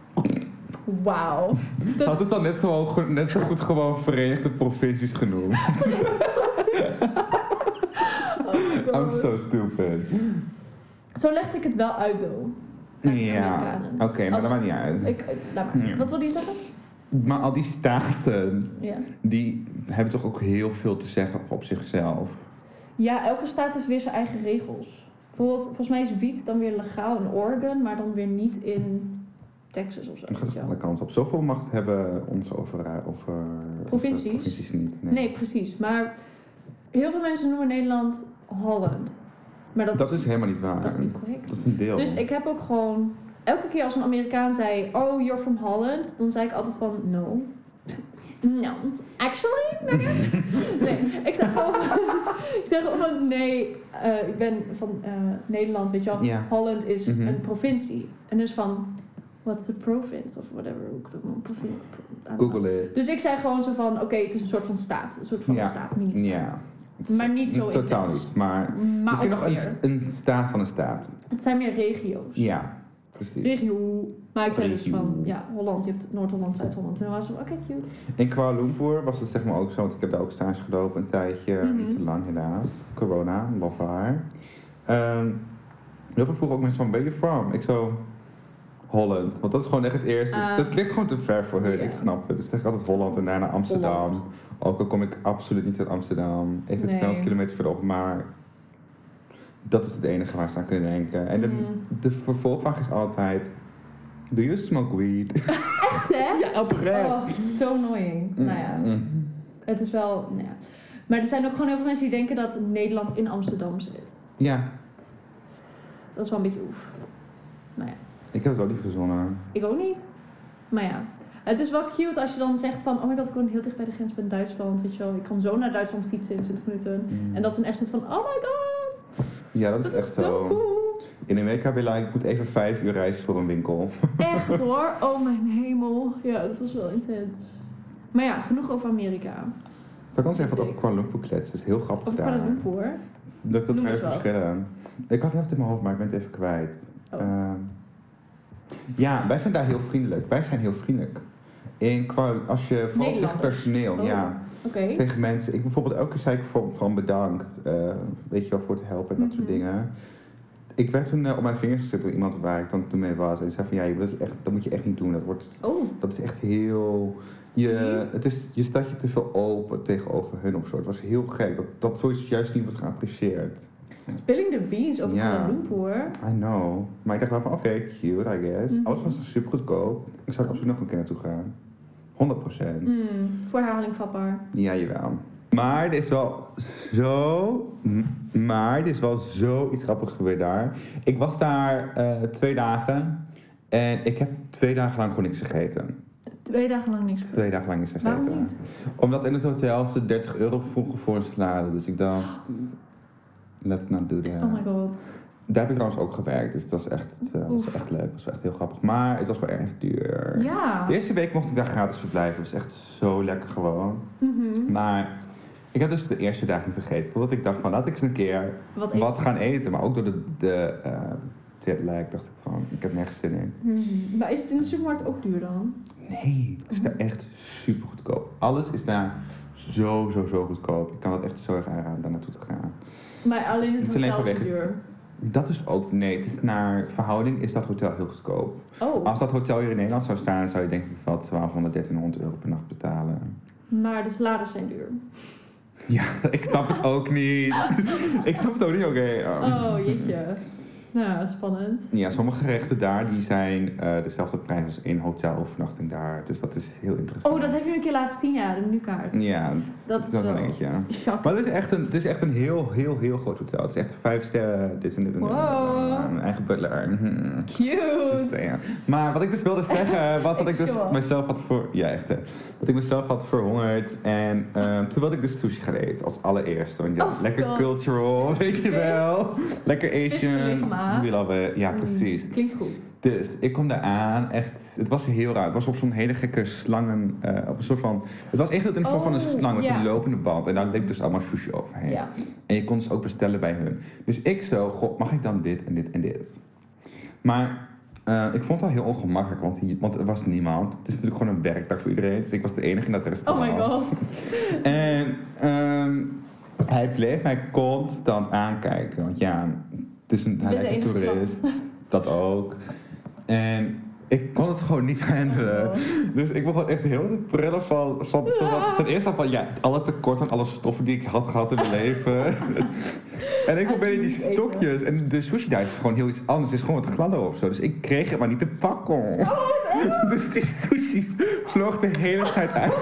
[SPEAKER 2] Wauw. Dat-
[SPEAKER 1] Had het dan net, gewoon, go- net zo goed gewoon Verenigde Provincies genoemd?
[SPEAKER 2] Oh my god.
[SPEAKER 1] I'm so stupid.
[SPEAKER 2] Zo legde ik het wel uit, though. Aan de
[SPEAKER 1] Ja,
[SPEAKER 2] Amerikanen.
[SPEAKER 1] oké, maar
[SPEAKER 2] Als-
[SPEAKER 1] dat maakt niet uit.
[SPEAKER 2] Ik, eh, laat maar.
[SPEAKER 1] Ja.
[SPEAKER 2] Wat wil die zeggen?
[SPEAKER 1] Maar al die staten,
[SPEAKER 2] Ja.
[SPEAKER 1] die hebben toch ook heel veel te zeggen op zichzelf.
[SPEAKER 2] ja, elke staat heeft weer zijn eigen regels. Bijvoorbeeld, volgens mij is wiet dan weer legaal in Oregon, maar dan weer niet in Texas of zo.
[SPEAKER 1] Dan gaat
[SPEAKER 2] weet
[SPEAKER 1] het
[SPEAKER 2] je
[SPEAKER 1] alle
[SPEAKER 2] wel.
[SPEAKER 1] kanten op. Zoveel macht hebben onze over, eh, over
[SPEAKER 2] Provincies?
[SPEAKER 1] onze provincies niet. Nee,
[SPEAKER 2] Nee, precies. Maar heel veel mensen noemen Nederland Holland. Maar dat,
[SPEAKER 1] dat, is helemaal niet waar.
[SPEAKER 2] dat is niet correct.
[SPEAKER 1] Dat is een deel.
[SPEAKER 2] Dus ik heb ook gewoon... Elke keer als een Amerikaan zei... Oh, you're from Holland. Dan zei ik altijd van... No. No. Actually? Nee. nee. Ik zeg gewoon... van- ik zeg gewoon van... Nee. eh, ik ben van eh, Nederland, weet je wel.
[SPEAKER 1] Ja.
[SPEAKER 2] Holland is
[SPEAKER 1] Mhm.
[SPEAKER 2] een provincie. En dus van... What's the province? Of whatever. Hoe ik dat noem. Provin- pro- I don't know.
[SPEAKER 1] Google it.
[SPEAKER 2] Dus ik zei gewoon zo van... Oké, het is een soort van staat. Een soort van
[SPEAKER 1] Ja.
[SPEAKER 2] staat. Dus Niet
[SPEAKER 1] Ja.
[SPEAKER 2] Maar niet zo
[SPEAKER 1] Totaal
[SPEAKER 2] intens.
[SPEAKER 1] niet. Maar,
[SPEAKER 2] Maar
[SPEAKER 1] misschien nog een,
[SPEAKER 2] ongeveer.
[SPEAKER 1] een staat van een staat.
[SPEAKER 2] Het zijn meer regio's.
[SPEAKER 1] Ja, precies.
[SPEAKER 2] Regio. Maar ik zei dus
[SPEAKER 1] Regio.
[SPEAKER 2] van, ja, Holland. Je hebt Noord-Holland, Zuid-Holland. En dan was het van, oké, cute.
[SPEAKER 1] In Kuala Lumpur was het zeg maar ook zo, want ik heb daar ook stage gelopen een tijdje.
[SPEAKER 2] Mhm.
[SPEAKER 1] Niet te lang helaas. Corona, love haar. Ehm, heel veel vroegen ook mensen van, where you from? Ik zo, Holland. Want dat is gewoon echt het eerste.
[SPEAKER 2] Ah.
[SPEAKER 1] dat ligt gewoon te ver voor hun,
[SPEAKER 2] Ja.
[SPEAKER 1] ik snap het. Dus ik zeg altijd Holland en daarna Amsterdam.
[SPEAKER 2] Holland.
[SPEAKER 1] Ook al kom ik absoluut niet uit Amsterdam. Even
[SPEAKER 2] Nee.
[SPEAKER 1] 200 kilometer verderop, maar... Dat is het enige waar ze aan kunnen denken. En de,
[SPEAKER 2] Mhm.
[SPEAKER 1] de vervolgvraag is altijd... Do you smoke weed?
[SPEAKER 2] Echt, hè?
[SPEAKER 1] Ja, oprecht.
[SPEAKER 2] Oh, zo annoying. Nou ja,
[SPEAKER 1] Mm.
[SPEAKER 2] het is wel, nou ja. Maar er zijn ook gewoon heel veel mensen die denken dat Nederland in Amsterdam zit.
[SPEAKER 1] Ja,
[SPEAKER 2] Dat is wel een beetje oef.
[SPEAKER 1] Ik heb het ook niet verzonnen.
[SPEAKER 2] Ik ook niet. Maar ja, het is wel cute als je dan zegt van, oh my god, ik woon heel dicht bij de grens met Duitsland, weet je wel. Ik kan zo naar Duitsland fietsen in 20 minuten. En dat dan echt zo van, oh my god,
[SPEAKER 1] ja, dat is
[SPEAKER 2] dat
[SPEAKER 1] echt
[SPEAKER 2] is zo
[SPEAKER 1] zo.
[SPEAKER 2] cool.
[SPEAKER 1] In Amerika ben je like, ik moet even vijf uur reizen voor een winkel.
[SPEAKER 2] Echt hoor, oh mijn hemel. Ja, dat was wel intens. Maar ja, genoeg over Amerika.
[SPEAKER 1] Zal ik ons even wat over Kuala Lumpur kletsen? Dat is heel grappig
[SPEAKER 2] Of
[SPEAKER 1] daar.
[SPEAKER 2] Kuala Lumpur.
[SPEAKER 1] De
[SPEAKER 2] Noem eens
[SPEAKER 1] culturele
[SPEAKER 2] wat.
[SPEAKER 1] verschillen. Ik had het net in mijn hoofd, maar ik ben het even kwijt.
[SPEAKER 2] Oh.
[SPEAKER 1] Ehm, ja, wij zijn daar heel vriendelijk. Wij zijn heel vriendelijk. In Kuala- als je vooral tegen
[SPEAKER 2] Nederlanders.
[SPEAKER 1] personeel,
[SPEAKER 2] Oh.
[SPEAKER 1] ja.
[SPEAKER 2] Oké.
[SPEAKER 1] tegen mensen. Ik bijvoorbeeld elke keer zei ik van, van bedankt, eh, weet je wel, voor het helpen en dat soort
[SPEAKER 2] Mhm.
[SPEAKER 1] dingen. Ik werd toen eh, op mijn vingers gezet door iemand waar ik dan toen mee was. En die zei van, ja, je- dat, is echt, dat moet je echt niet doen. Dat, wordt,
[SPEAKER 2] Oh,
[SPEAKER 1] dat is echt heel... Je, het is, je staat je te veel open tegenover hun of zo. Het was heel gek. Dat, dat zoiets juist niet wordt geapprecieerd.
[SPEAKER 2] Spilling the beans over
[SPEAKER 1] Ja.
[SPEAKER 2] Kuala Lumpur.
[SPEAKER 1] I know. Maar ik dacht wel van, oké, cute, I guess.
[SPEAKER 2] Mhm.
[SPEAKER 1] Alles was dan super goedkoop. Ik zou er absoluut nog een keer naartoe gaan. 100 procent.
[SPEAKER 2] Mm, voor herhaling vatbaar.
[SPEAKER 1] Ja, jawel. Maar er is wel zo... m- Maar er is wel zoiets grappigs gebeurd daar. Ik was daar eh, twee dagen. En ik heb twee dagen lang gewoon niks gegeten.
[SPEAKER 2] Twee dagen lang niks.
[SPEAKER 1] Twee dagen lang niks gegeten.
[SPEAKER 2] Waarom niet?
[SPEAKER 1] Omdat in het hotel ze 30 euro vroegen voor een salade. Dus ik dacht... Let's not do that.
[SPEAKER 2] Oh my god.
[SPEAKER 1] Daar heb ik trouwens ook gewerkt. Dus het was echt, het, eh, was
[SPEAKER 2] Oef.
[SPEAKER 1] echt leuk. Het was echt heel grappig. Maar het was wel erg duur.
[SPEAKER 2] Ja.
[SPEAKER 1] De eerste week mocht ik daar gratis verblijven. Het was echt zo lekker gewoon.
[SPEAKER 2] Mhm.
[SPEAKER 1] Maar ik heb dus de eerste dag niet gegeten. Totdat ik dacht van laat ik eens een keer
[SPEAKER 2] Wat,
[SPEAKER 1] wat gaan eten. Maar ook door de, de eh, jetlag dacht ik van ik heb nergens zin in.
[SPEAKER 2] Mhm. Maar is het in de supermarkt ook duur dan?
[SPEAKER 1] Nee, het is daar echt super goedkoop. Alles is daar zo, zo, zo goedkoop. Ik kan het echt zo erg aanraden daar naartoe te gaan.
[SPEAKER 2] Maar alleen het,
[SPEAKER 1] Het is alleen
[SPEAKER 2] hotel is
[SPEAKER 1] vanwege-
[SPEAKER 2] duur.
[SPEAKER 1] Dat is ook, nee, het is naar verhouding is dat hotel heel goedkoop.
[SPEAKER 2] Oh,
[SPEAKER 1] Als dat hotel hier in Nederland zou staan, zou je denk ik wel 1200, 1300 euro per nacht betalen.
[SPEAKER 2] maar de salades zijn duur.
[SPEAKER 1] ik snap het ook niet. ik snap het ook niet, oké. ja.
[SPEAKER 2] Oh, jeetje. Nou, spannend.
[SPEAKER 1] Ja, sommige gerechten daar die zijn eh, dezelfde prijs als in hotelovernachting daar. Dus dat is heel interessant.
[SPEAKER 2] Oh, dat heb je een keer laten zien, ja, de menukaart.
[SPEAKER 1] Ja,
[SPEAKER 2] dat
[SPEAKER 1] dat
[SPEAKER 2] is
[SPEAKER 1] is wel
[SPEAKER 2] wel
[SPEAKER 1] een dingetje. ja.
[SPEAKER 2] shock.
[SPEAKER 1] Maar het is, echt een, het is echt een heel, heel, heel groot hotel. Het is echt vijf sterren, dit en dit en dit.
[SPEAKER 2] Wow.
[SPEAKER 1] Een eigen butler. Mhm.
[SPEAKER 2] Cute.
[SPEAKER 1] Dus, ja. Maar wat ik dus wilde zeggen was dat ik dus
[SPEAKER 2] Sure.
[SPEAKER 1] mezelf had voor. Ja, echt hè. Dat ik mezelf had verhongerd. En ehm, toen wilde ik dus sushi gaan eten als allereerste. Want ja,
[SPEAKER 2] Oh,
[SPEAKER 1] lekker
[SPEAKER 2] God.
[SPEAKER 1] cultural, weet je
[SPEAKER 2] Vis.
[SPEAKER 1] wel. Lekker
[SPEAKER 2] Vis met
[SPEAKER 1] Asian.
[SPEAKER 2] regelmaat.
[SPEAKER 1] We love it. Ja, precies.
[SPEAKER 2] Mm, Klinkt goed.
[SPEAKER 1] Dus ik kom daar aan. Echt, het was heel raar. Het was op zo'n hele gekke slangen. eh, op een soort van. Het was echt in de vorm van een
[SPEAKER 2] Oh,
[SPEAKER 1] slang met
[SPEAKER 2] ja.
[SPEAKER 1] een lopende band. En daar liep dus allemaal sushi overheen.
[SPEAKER 2] Ja.
[SPEAKER 1] En je kon dus ook bestellen bij hun. Dus ik zo, god, mag ik dan dit en dit en dit? Maar eh, ik vond het al heel ongemakkelijk, want, hier, want er was niemand. Het is natuurlijk gewoon een werkdag voor iedereen. Dus ik was de enige in dat
[SPEAKER 2] Oh
[SPEAKER 1] restaurant.
[SPEAKER 2] my god.
[SPEAKER 1] En ehm, hij bleef mij constant aankijken. Want ja, het is een, hij
[SPEAKER 2] Je bent
[SPEAKER 1] lijkt een
[SPEAKER 2] de enige
[SPEAKER 1] toerist. Dat ook. En ik kon het gewoon niet handelen.
[SPEAKER 2] Oh.
[SPEAKER 1] Dus ik begon echt heel te trillen van... van, zo van-
[SPEAKER 2] Ja.
[SPEAKER 1] ten eerste al van, ja, alle tekorten aan alle stoffen die ik had gehad in mijn leven. en ik probeerde die
[SPEAKER 2] Ah, Eten.
[SPEAKER 1] stokjes. En de sushi daar is gewoon heel iets anders. Het is gewoon wat gladder of zo. Dus ik kreeg het maar niet te pakken.
[SPEAKER 2] Oh,
[SPEAKER 1] dus die sushi vloog de hele tijd uit,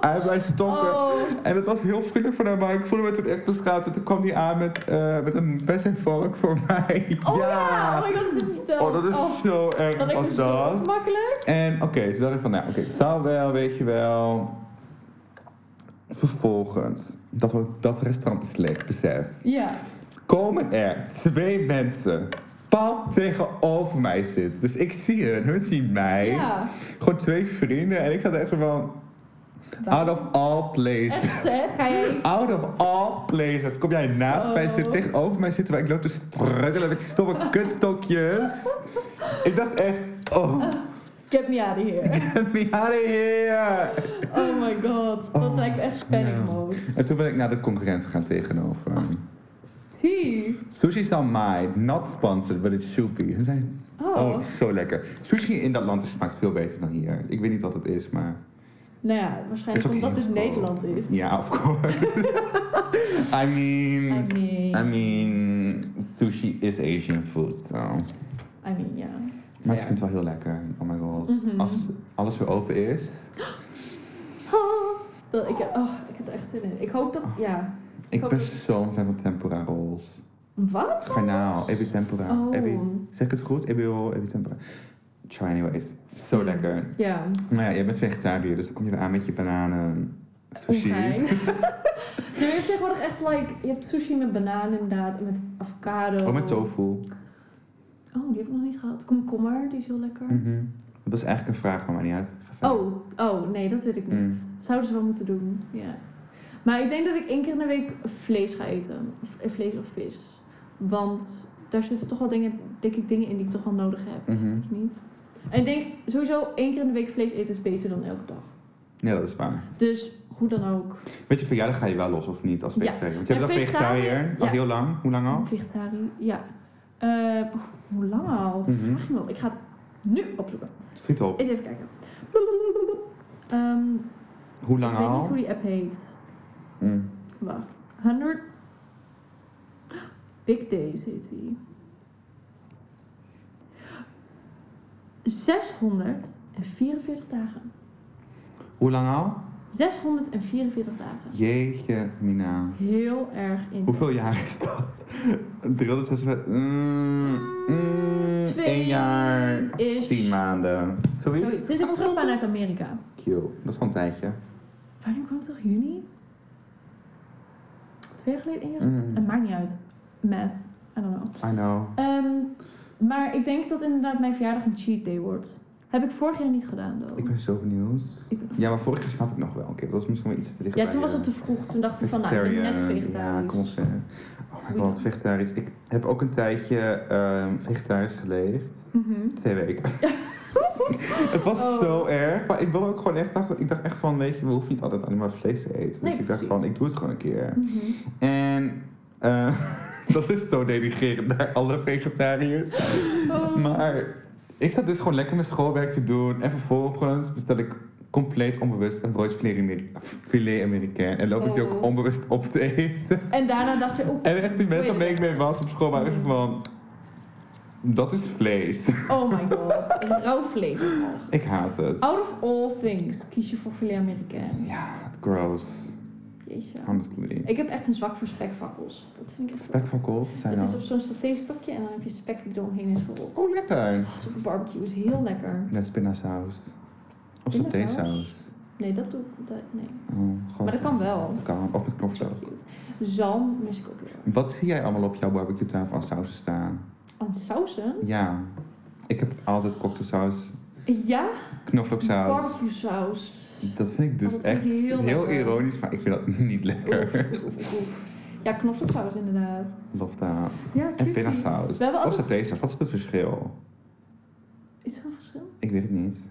[SPEAKER 1] uit mijn stokken.
[SPEAKER 2] Oh,
[SPEAKER 1] En het was heel vriendelijk van haar, maar ik voelde me toen echt beschaamd. En toen kwam die aan met, eh, met een mes en vork voor mij.
[SPEAKER 2] oh ja. Oh my god, dat heb je verteld.
[SPEAKER 1] Oh, dat is zo
[SPEAKER 2] dat
[SPEAKER 1] erg
[SPEAKER 2] lijkt me
[SPEAKER 1] als
[SPEAKER 2] zo
[SPEAKER 1] dat.
[SPEAKER 2] makkelijk.
[SPEAKER 1] En oké, toen dacht ik van, nou oké, het zal wel, weet je wel. Vervolgens, dat, ho- dat restaurant is leeg, besef.
[SPEAKER 2] Ja.
[SPEAKER 1] Komen er twee mensen pal tegenover mij zitten. Dus ik zie hun, hun zien mij.
[SPEAKER 2] Ja.
[SPEAKER 1] Gewoon twee vrienden. En ik zat echt zo van, out of all places.
[SPEAKER 2] Echt, hè? Ga jij...
[SPEAKER 1] Out of all places. Kom jij naast mij
[SPEAKER 2] Oh.
[SPEAKER 1] zitten, tegenover mij zitten, waar ik loop te struggelen met die stomme kutstokjes. Ik dacht echt, oh,
[SPEAKER 2] Get me out of here.
[SPEAKER 1] get me out of here.
[SPEAKER 2] Oh my god. Dat
[SPEAKER 1] Oh,
[SPEAKER 2] lijkt me echt panic
[SPEAKER 1] ja.
[SPEAKER 2] mode.
[SPEAKER 1] En toen ben ik naar de concurrent gegaan tegenover.
[SPEAKER 2] Zie.
[SPEAKER 1] Sushi San Mai, not sponsored, but it's soupy. Ze zijn-
[SPEAKER 2] Oh.
[SPEAKER 1] Oh, zo lekker. Sushi in dat land is, smaakt veel beter dan hier. Ik weet niet wat het is, maar...
[SPEAKER 2] Nou ja, waarschijnlijk
[SPEAKER 1] ook
[SPEAKER 2] omdat
[SPEAKER 1] heel
[SPEAKER 2] het
[SPEAKER 1] goedkoop.
[SPEAKER 2] Nederland is.
[SPEAKER 1] Ja, of course. I mean...
[SPEAKER 2] I mean...
[SPEAKER 1] I mean... Sushi is Asian food, so...
[SPEAKER 2] I mean, ja.
[SPEAKER 1] Maar het
[SPEAKER 2] Ja.
[SPEAKER 1] vindt wel heel lekker. Oh my god.
[SPEAKER 2] Mhm.
[SPEAKER 1] Als alles weer open is.
[SPEAKER 2] Ah, dat- ik, heb- oh, ik heb er echt zin in. Ik hoop
[SPEAKER 1] Oh.
[SPEAKER 2] dat... Ja.
[SPEAKER 1] Ik
[SPEAKER 2] hoop
[SPEAKER 1] ben
[SPEAKER 2] dat-
[SPEAKER 1] zo'n fan van tempura rolls.
[SPEAKER 2] Wat?
[SPEAKER 1] Garnaal, ebi tempura.
[SPEAKER 2] Oh.
[SPEAKER 1] Ebi, zeg ik het goed? Ebi roll, ebi tempura. Try anyways. Zo lekker.
[SPEAKER 2] Ja.
[SPEAKER 1] Nou ja, jij bent vegetariër, dus dan kom je weer aan met je bananen.
[SPEAKER 2] Ongein.
[SPEAKER 1] Precies.
[SPEAKER 2] Nee, je hebt tegenwoordig echt like... Je hebt sushi met banaan inderdaad. En met avocado.
[SPEAKER 1] Oh, met tofu.
[SPEAKER 2] Oh, die heb ik nog niet gehad. Komkommer, die is heel lekker.
[SPEAKER 1] Mhm. Dat was eigenlijk een vraag, maar maakt niet uit. Ga verder.
[SPEAKER 2] Oh, oh, nee, dat weet ik niet. Zouden ze wel moeten doen, ja. Maar ik denk dat ik één keer in de week vlees ga eten. Of- eh, Vlees of vis. Want daar zitten toch wel dingen, denk ik, dingen in die ik toch wel nodig heb.
[SPEAKER 1] Mhm.
[SPEAKER 2] Of niet? En ik denk sowieso één keer in de week vlees eten is beter dan elke dag.
[SPEAKER 1] Ja, dat is waar.
[SPEAKER 2] Dus hoe dan ook.
[SPEAKER 1] Met je verjaardag ga je wel los, of niet, als
[SPEAKER 2] Ja.
[SPEAKER 1] vegetariër? Want je
[SPEAKER 2] Ja,
[SPEAKER 1] bent al
[SPEAKER 2] vegetariër,
[SPEAKER 1] vegetariër, al
[SPEAKER 2] ja.
[SPEAKER 1] heel lang. Hoe lang al?
[SPEAKER 2] Vegetariër, ja. Eh, oeh, hoe lang al?
[SPEAKER 1] Mhm.
[SPEAKER 2] Vraag je me wat? Ik ga het nu opzoeken.
[SPEAKER 1] Schiet op.
[SPEAKER 2] Eens even kijken. Ehm,
[SPEAKER 1] Hoe lang
[SPEAKER 2] ik weet niet
[SPEAKER 1] al?
[SPEAKER 2] hoe die app heet.
[SPEAKER 1] Mm.
[SPEAKER 2] Wacht. 100. Big Days heet die. 644 dagen.
[SPEAKER 1] Hoe lang al?
[SPEAKER 2] 644 dagen.
[SPEAKER 1] Jeetje, Mina.
[SPEAKER 2] Heel erg in.
[SPEAKER 1] Hoeveel jaar is dat? 365. Mm, mm,
[SPEAKER 2] Twee
[SPEAKER 1] één jaar.
[SPEAKER 2] Is.
[SPEAKER 1] Tien maanden.
[SPEAKER 2] Zoiets.
[SPEAKER 1] Zoiets.
[SPEAKER 2] Dus ik terug ben uit Amerika.
[SPEAKER 1] Yo, dat is al een tijdje.
[SPEAKER 2] Wanneer kwam het toch? Juni? Twee jaar geleden? één jaar?
[SPEAKER 1] Mm.
[SPEAKER 2] Het maakt niet uit. Math. I I don't know.
[SPEAKER 1] I know.
[SPEAKER 2] Ehm, maar ik denk dat inderdaad mijn verjaardag een cheat day wordt. Heb ik vorig jaar niet gedaan, though.
[SPEAKER 1] Ik ben zo benieuwd.
[SPEAKER 2] Ik-
[SPEAKER 1] Ja, maar vorige keer snap ik nog wel. Oké, dat was misschien wel iets te dicht
[SPEAKER 2] ja,
[SPEAKER 1] bij,
[SPEAKER 2] toen was
[SPEAKER 1] eh,
[SPEAKER 2] het te vroeg. Toen dacht ik van, nou, ik ben net
[SPEAKER 1] vegetarian, Ja,
[SPEAKER 2] vegetarisch.
[SPEAKER 1] kom op zeg. Oh
[SPEAKER 2] Oei.
[SPEAKER 1] mijn god, vegetarisch. Ik heb ook een tijdje ehm, vegetarisch geleefd.
[SPEAKER 2] Mhm.
[SPEAKER 1] Twee weken. het was
[SPEAKER 2] Oh.
[SPEAKER 1] zo erg. Maar ik wilde ook gewoon echt... Dacht, ik dacht echt van, weet je, we hoeven niet altijd alleen maar vlees te eten. Dus
[SPEAKER 2] Nee,
[SPEAKER 1] ik dacht
[SPEAKER 2] precies.
[SPEAKER 1] van, ik doe het gewoon een keer.
[SPEAKER 2] Mhm.
[SPEAKER 1] En eh, dat is zo denigrerend naar alle vegetariërs.
[SPEAKER 2] Oh.
[SPEAKER 1] Maar ik zat dus gewoon lekker mijn schoolwerk te doen. En vervolgens bestel ik compleet onbewust een broodje filet Ameri- filet americain. En loop ik die ook
[SPEAKER 2] Oh.
[SPEAKER 1] onbewust op te eten.
[SPEAKER 2] En daarna dacht je oh, ook,
[SPEAKER 1] En echt die mensen waarmee ik mee was op school waren
[SPEAKER 2] Mm.
[SPEAKER 1] echt van... Dat is vlees.
[SPEAKER 2] oh my god, een rauw vlees.
[SPEAKER 1] Ik haat het.
[SPEAKER 2] Out of all things kies je voor filet americain.
[SPEAKER 1] Ja, gross.
[SPEAKER 2] Jeetje.
[SPEAKER 1] Honestly.
[SPEAKER 2] Ik heb echt een zwak voor spekvakkels. Dat vind ik echt...
[SPEAKER 1] Spek van kool, zijn
[SPEAKER 2] Het is op
[SPEAKER 1] dat?
[SPEAKER 2] zo'n satéstokje en dan heb je spek die eromheen is verrot.
[SPEAKER 1] Oh, lekker.
[SPEAKER 2] Zo'n barbecue is heel lekker.
[SPEAKER 1] Met spinasaus. Of
[SPEAKER 2] Spinasaus?
[SPEAKER 1] satésaus.
[SPEAKER 2] Nee, dat doe ik... dat- Nee.
[SPEAKER 1] Oh, gewoon
[SPEAKER 2] Maar dat
[SPEAKER 1] zo.
[SPEAKER 2] kan wel.
[SPEAKER 1] Dat kan. Of met
[SPEAKER 2] Dat is wel
[SPEAKER 1] knoflook.
[SPEAKER 2] cute. Zalm mis ik ook heel erg.
[SPEAKER 1] Wat zie jij allemaal op jouw barbecue tafel aan sausen staan?
[SPEAKER 2] En sausen?
[SPEAKER 1] Ja, ik heb altijd cocktailsaus,
[SPEAKER 2] Ja,
[SPEAKER 1] knoflooksaus.
[SPEAKER 2] barbecue saus.
[SPEAKER 1] Dat vind ik dus
[SPEAKER 2] Oh, dat
[SPEAKER 1] echt
[SPEAKER 2] vind ik heel
[SPEAKER 1] heel,
[SPEAKER 2] lekker.
[SPEAKER 1] ironisch, maar ik vind dat niet lekker.
[SPEAKER 2] Ja, knoflooksaus inderdaad.
[SPEAKER 1] Love that.
[SPEAKER 2] Ja,
[SPEAKER 1] En
[SPEAKER 2] cutie.
[SPEAKER 1] pindasaus.
[SPEAKER 2] We hebben
[SPEAKER 1] Of
[SPEAKER 2] altijd-
[SPEAKER 1] satésaus, wat is het verschil?
[SPEAKER 2] Is er een verschil?
[SPEAKER 1] Ik weet het niet.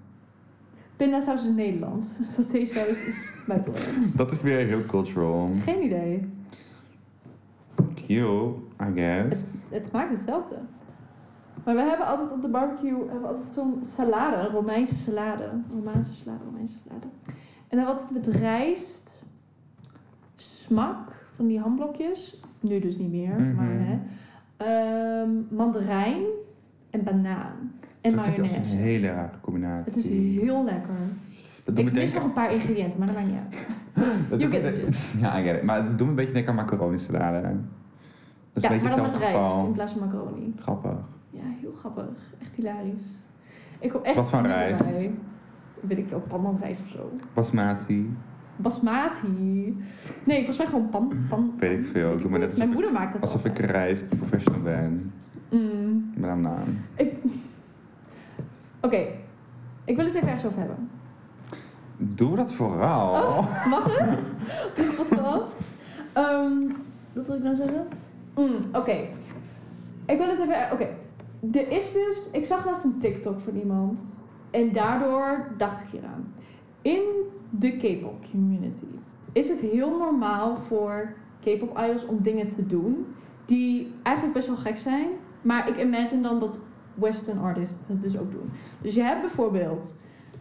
[SPEAKER 2] Pindasaus is Nederlands. Satésaus is buitenlands.
[SPEAKER 1] Dat is weer heel cultural.
[SPEAKER 2] Geen idee.
[SPEAKER 1] Cute, I guess.
[SPEAKER 2] Het smaakt hetzelfde. Maar we hebben altijd op de barbecue hebben we altijd zo'n salade, een Romeinse salade. Romaanse salade, Romeinse salade. En dan altijd met rijst, smak van die hamblokjes. Nu dus niet meer,
[SPEAKER 1] Mhm.
[SPEAKER 2] maar hè. Ehm, mandarijn en banaan. En
[SPEAKER 1] dat vind ik echt
[SPEAKER 2] mayonaise.
[SPEAKER 1] een hele rare
[SPEAKER 2] Het is
[SPEAKER 1] combinatie.
[SPEAKER 2] heel lekker.
[SPEAKER 1] Dat doet me
[SPEAKER 2] Ik mis
[SPEAKER 1] denken
[SPEAKER 2] nog een paar ingrediënten, maar dat maakt niet uit.
[SPEAKER 1] Dat
[SPEAKER 2] You
[SPEAKER 1] doet
[SPEAKER 2] get
[SPEAKER 1] me-
[SPEAKER 2] it.
[SPEAKER 1] Ja, I get it. Maar het doet me een beetje denken aan macaroni salade. Dat is
[SPEAKER 2] ja,
[SPEAKER 1] een beetje
[SPEAKER 2] maar dan
[SPEAKER 1] hetzelfde
[SPEAKER 2] met rijst in
[SPEAKER 1] geval.
[SPEAKER 2] plaats van macaroni.
[SPEAKER 1] Grappig.
[SPEAKER 2] Ja, heel grappig. Echt hilarisch. Ik kom echt
[SPEAKER 1] Wat voor
[SPEAKER 2] niet
[SPEAKER 1] rijst?
[SPEAKER 2] bij. Weet ik veel, pandanrijst of zo.
[SPEAKER 1] Basmati.
[SPEAKER 2] Basmati. Nee, volgens mij gewoon pan. pan
[SPEAKER 1] Weet ik veel. Ik doe maar net alsof
[SPEAKER 2] Mijn
[SPEAKER 1] ik-
[SPEAKER 2] moeder maakt dat
[SPEAKER 1] Alsof ik
[SPEAKER 2] altijd.
[SPEAKER 1] reist professional ben.
[SPEAKER 2] Mm.
[SPEAKER 1] Met haar naam.
[SPEAKER 2] Oké, ik wil het even ergens over hebben.
[SPEAKER 1] Doe dat vooral.
[SPEAKER 2] Oh, Mag het? Op deze podcast? Ehm, wat wil ik nou zeggen? Mm, Oké. Ik wil het even... eh, Oké. Er is dus... Ik zag laatst een TikTok van iemand. En daardoor dacht ik hieraan. In de K-pop community is het heel normaal voor K-pop idols om dingen te doen die eigenlijk best wel gek zijn. Maar ik imagine dan dat Western artists het dus ook doen. Dus je hebt bijvoorbeeld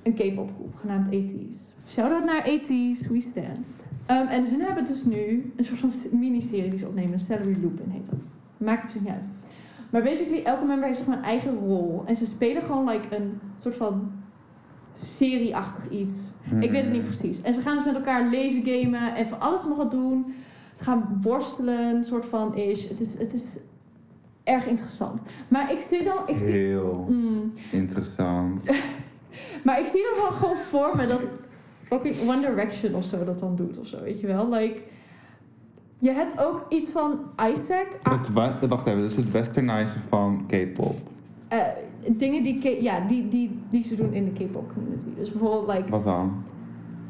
[SPEAKER 2] een K-pop groep genaamd 80s. Shout-out naar 80s, we stand. Ehm, en hun hebben dus nu een soort van miniserie die ze opnemen. Salary Lupin heet dat. Maakt precies niet uit. Maar basically, elke member heeft zeg maar een eigen rol. En ze spelen gewoon like een soort van serieachtig iets. Ik weet het niet
[SPEAKER 1] Mm.
[SPEAKER 2] precies. En ze gaan dus met elkaar lezen, gamen en van alles en nog wat doen. Ze gaan worstelen, soort van is. Het is, het is erg interessant. Maar ik zie dan... Ik zie,
[SPEAKER 1] Heel
[SPEAKER 2] Mm.
[SPEAKER 1] interessant.
[SPEAKER 2] Maar ik zie dat wel gewoon voor me dat fucking One Direction of zo dat dan doet of zo, weet je wel? Like, je hebt ook iets van Isaac. ah,
[SPEAKER 1] Het wa- wacht even, dat is het westernizen van K-pop.
[SPEAKER 2] eh, dingen die, K- ja, die, die, die ze doen in de K-pop community. Dus bijvoorbeeld, like,
[SPEAKER 1] Wat Oh. dan?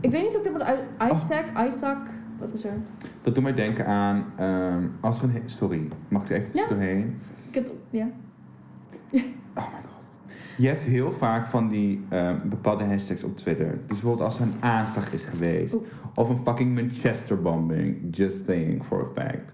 [SPEAKER 2] ik weet niet of ik dat moet uit. Isaac, Isaac, wat is er?
[SPEAKER 1] Dat doet mij denken aan... ehm, als er een he- Sorry, mag ik er even
[SPEAKER 2] Ja.
[SPEAKER 1] doorheen?
[SPEAKER 2] Ik heb het- ja.
[SPEAKER 1] Oh my god. Je hebt heel vaak van die ehm, bepaalde hashtags op Twitter. Dus bijvoorbeeld als er een aanslag is geweest.
[SPEAKER 2] Oeh.
[SPEAKER 1] Of een fucking Manchester bombing. Just saying for a fact.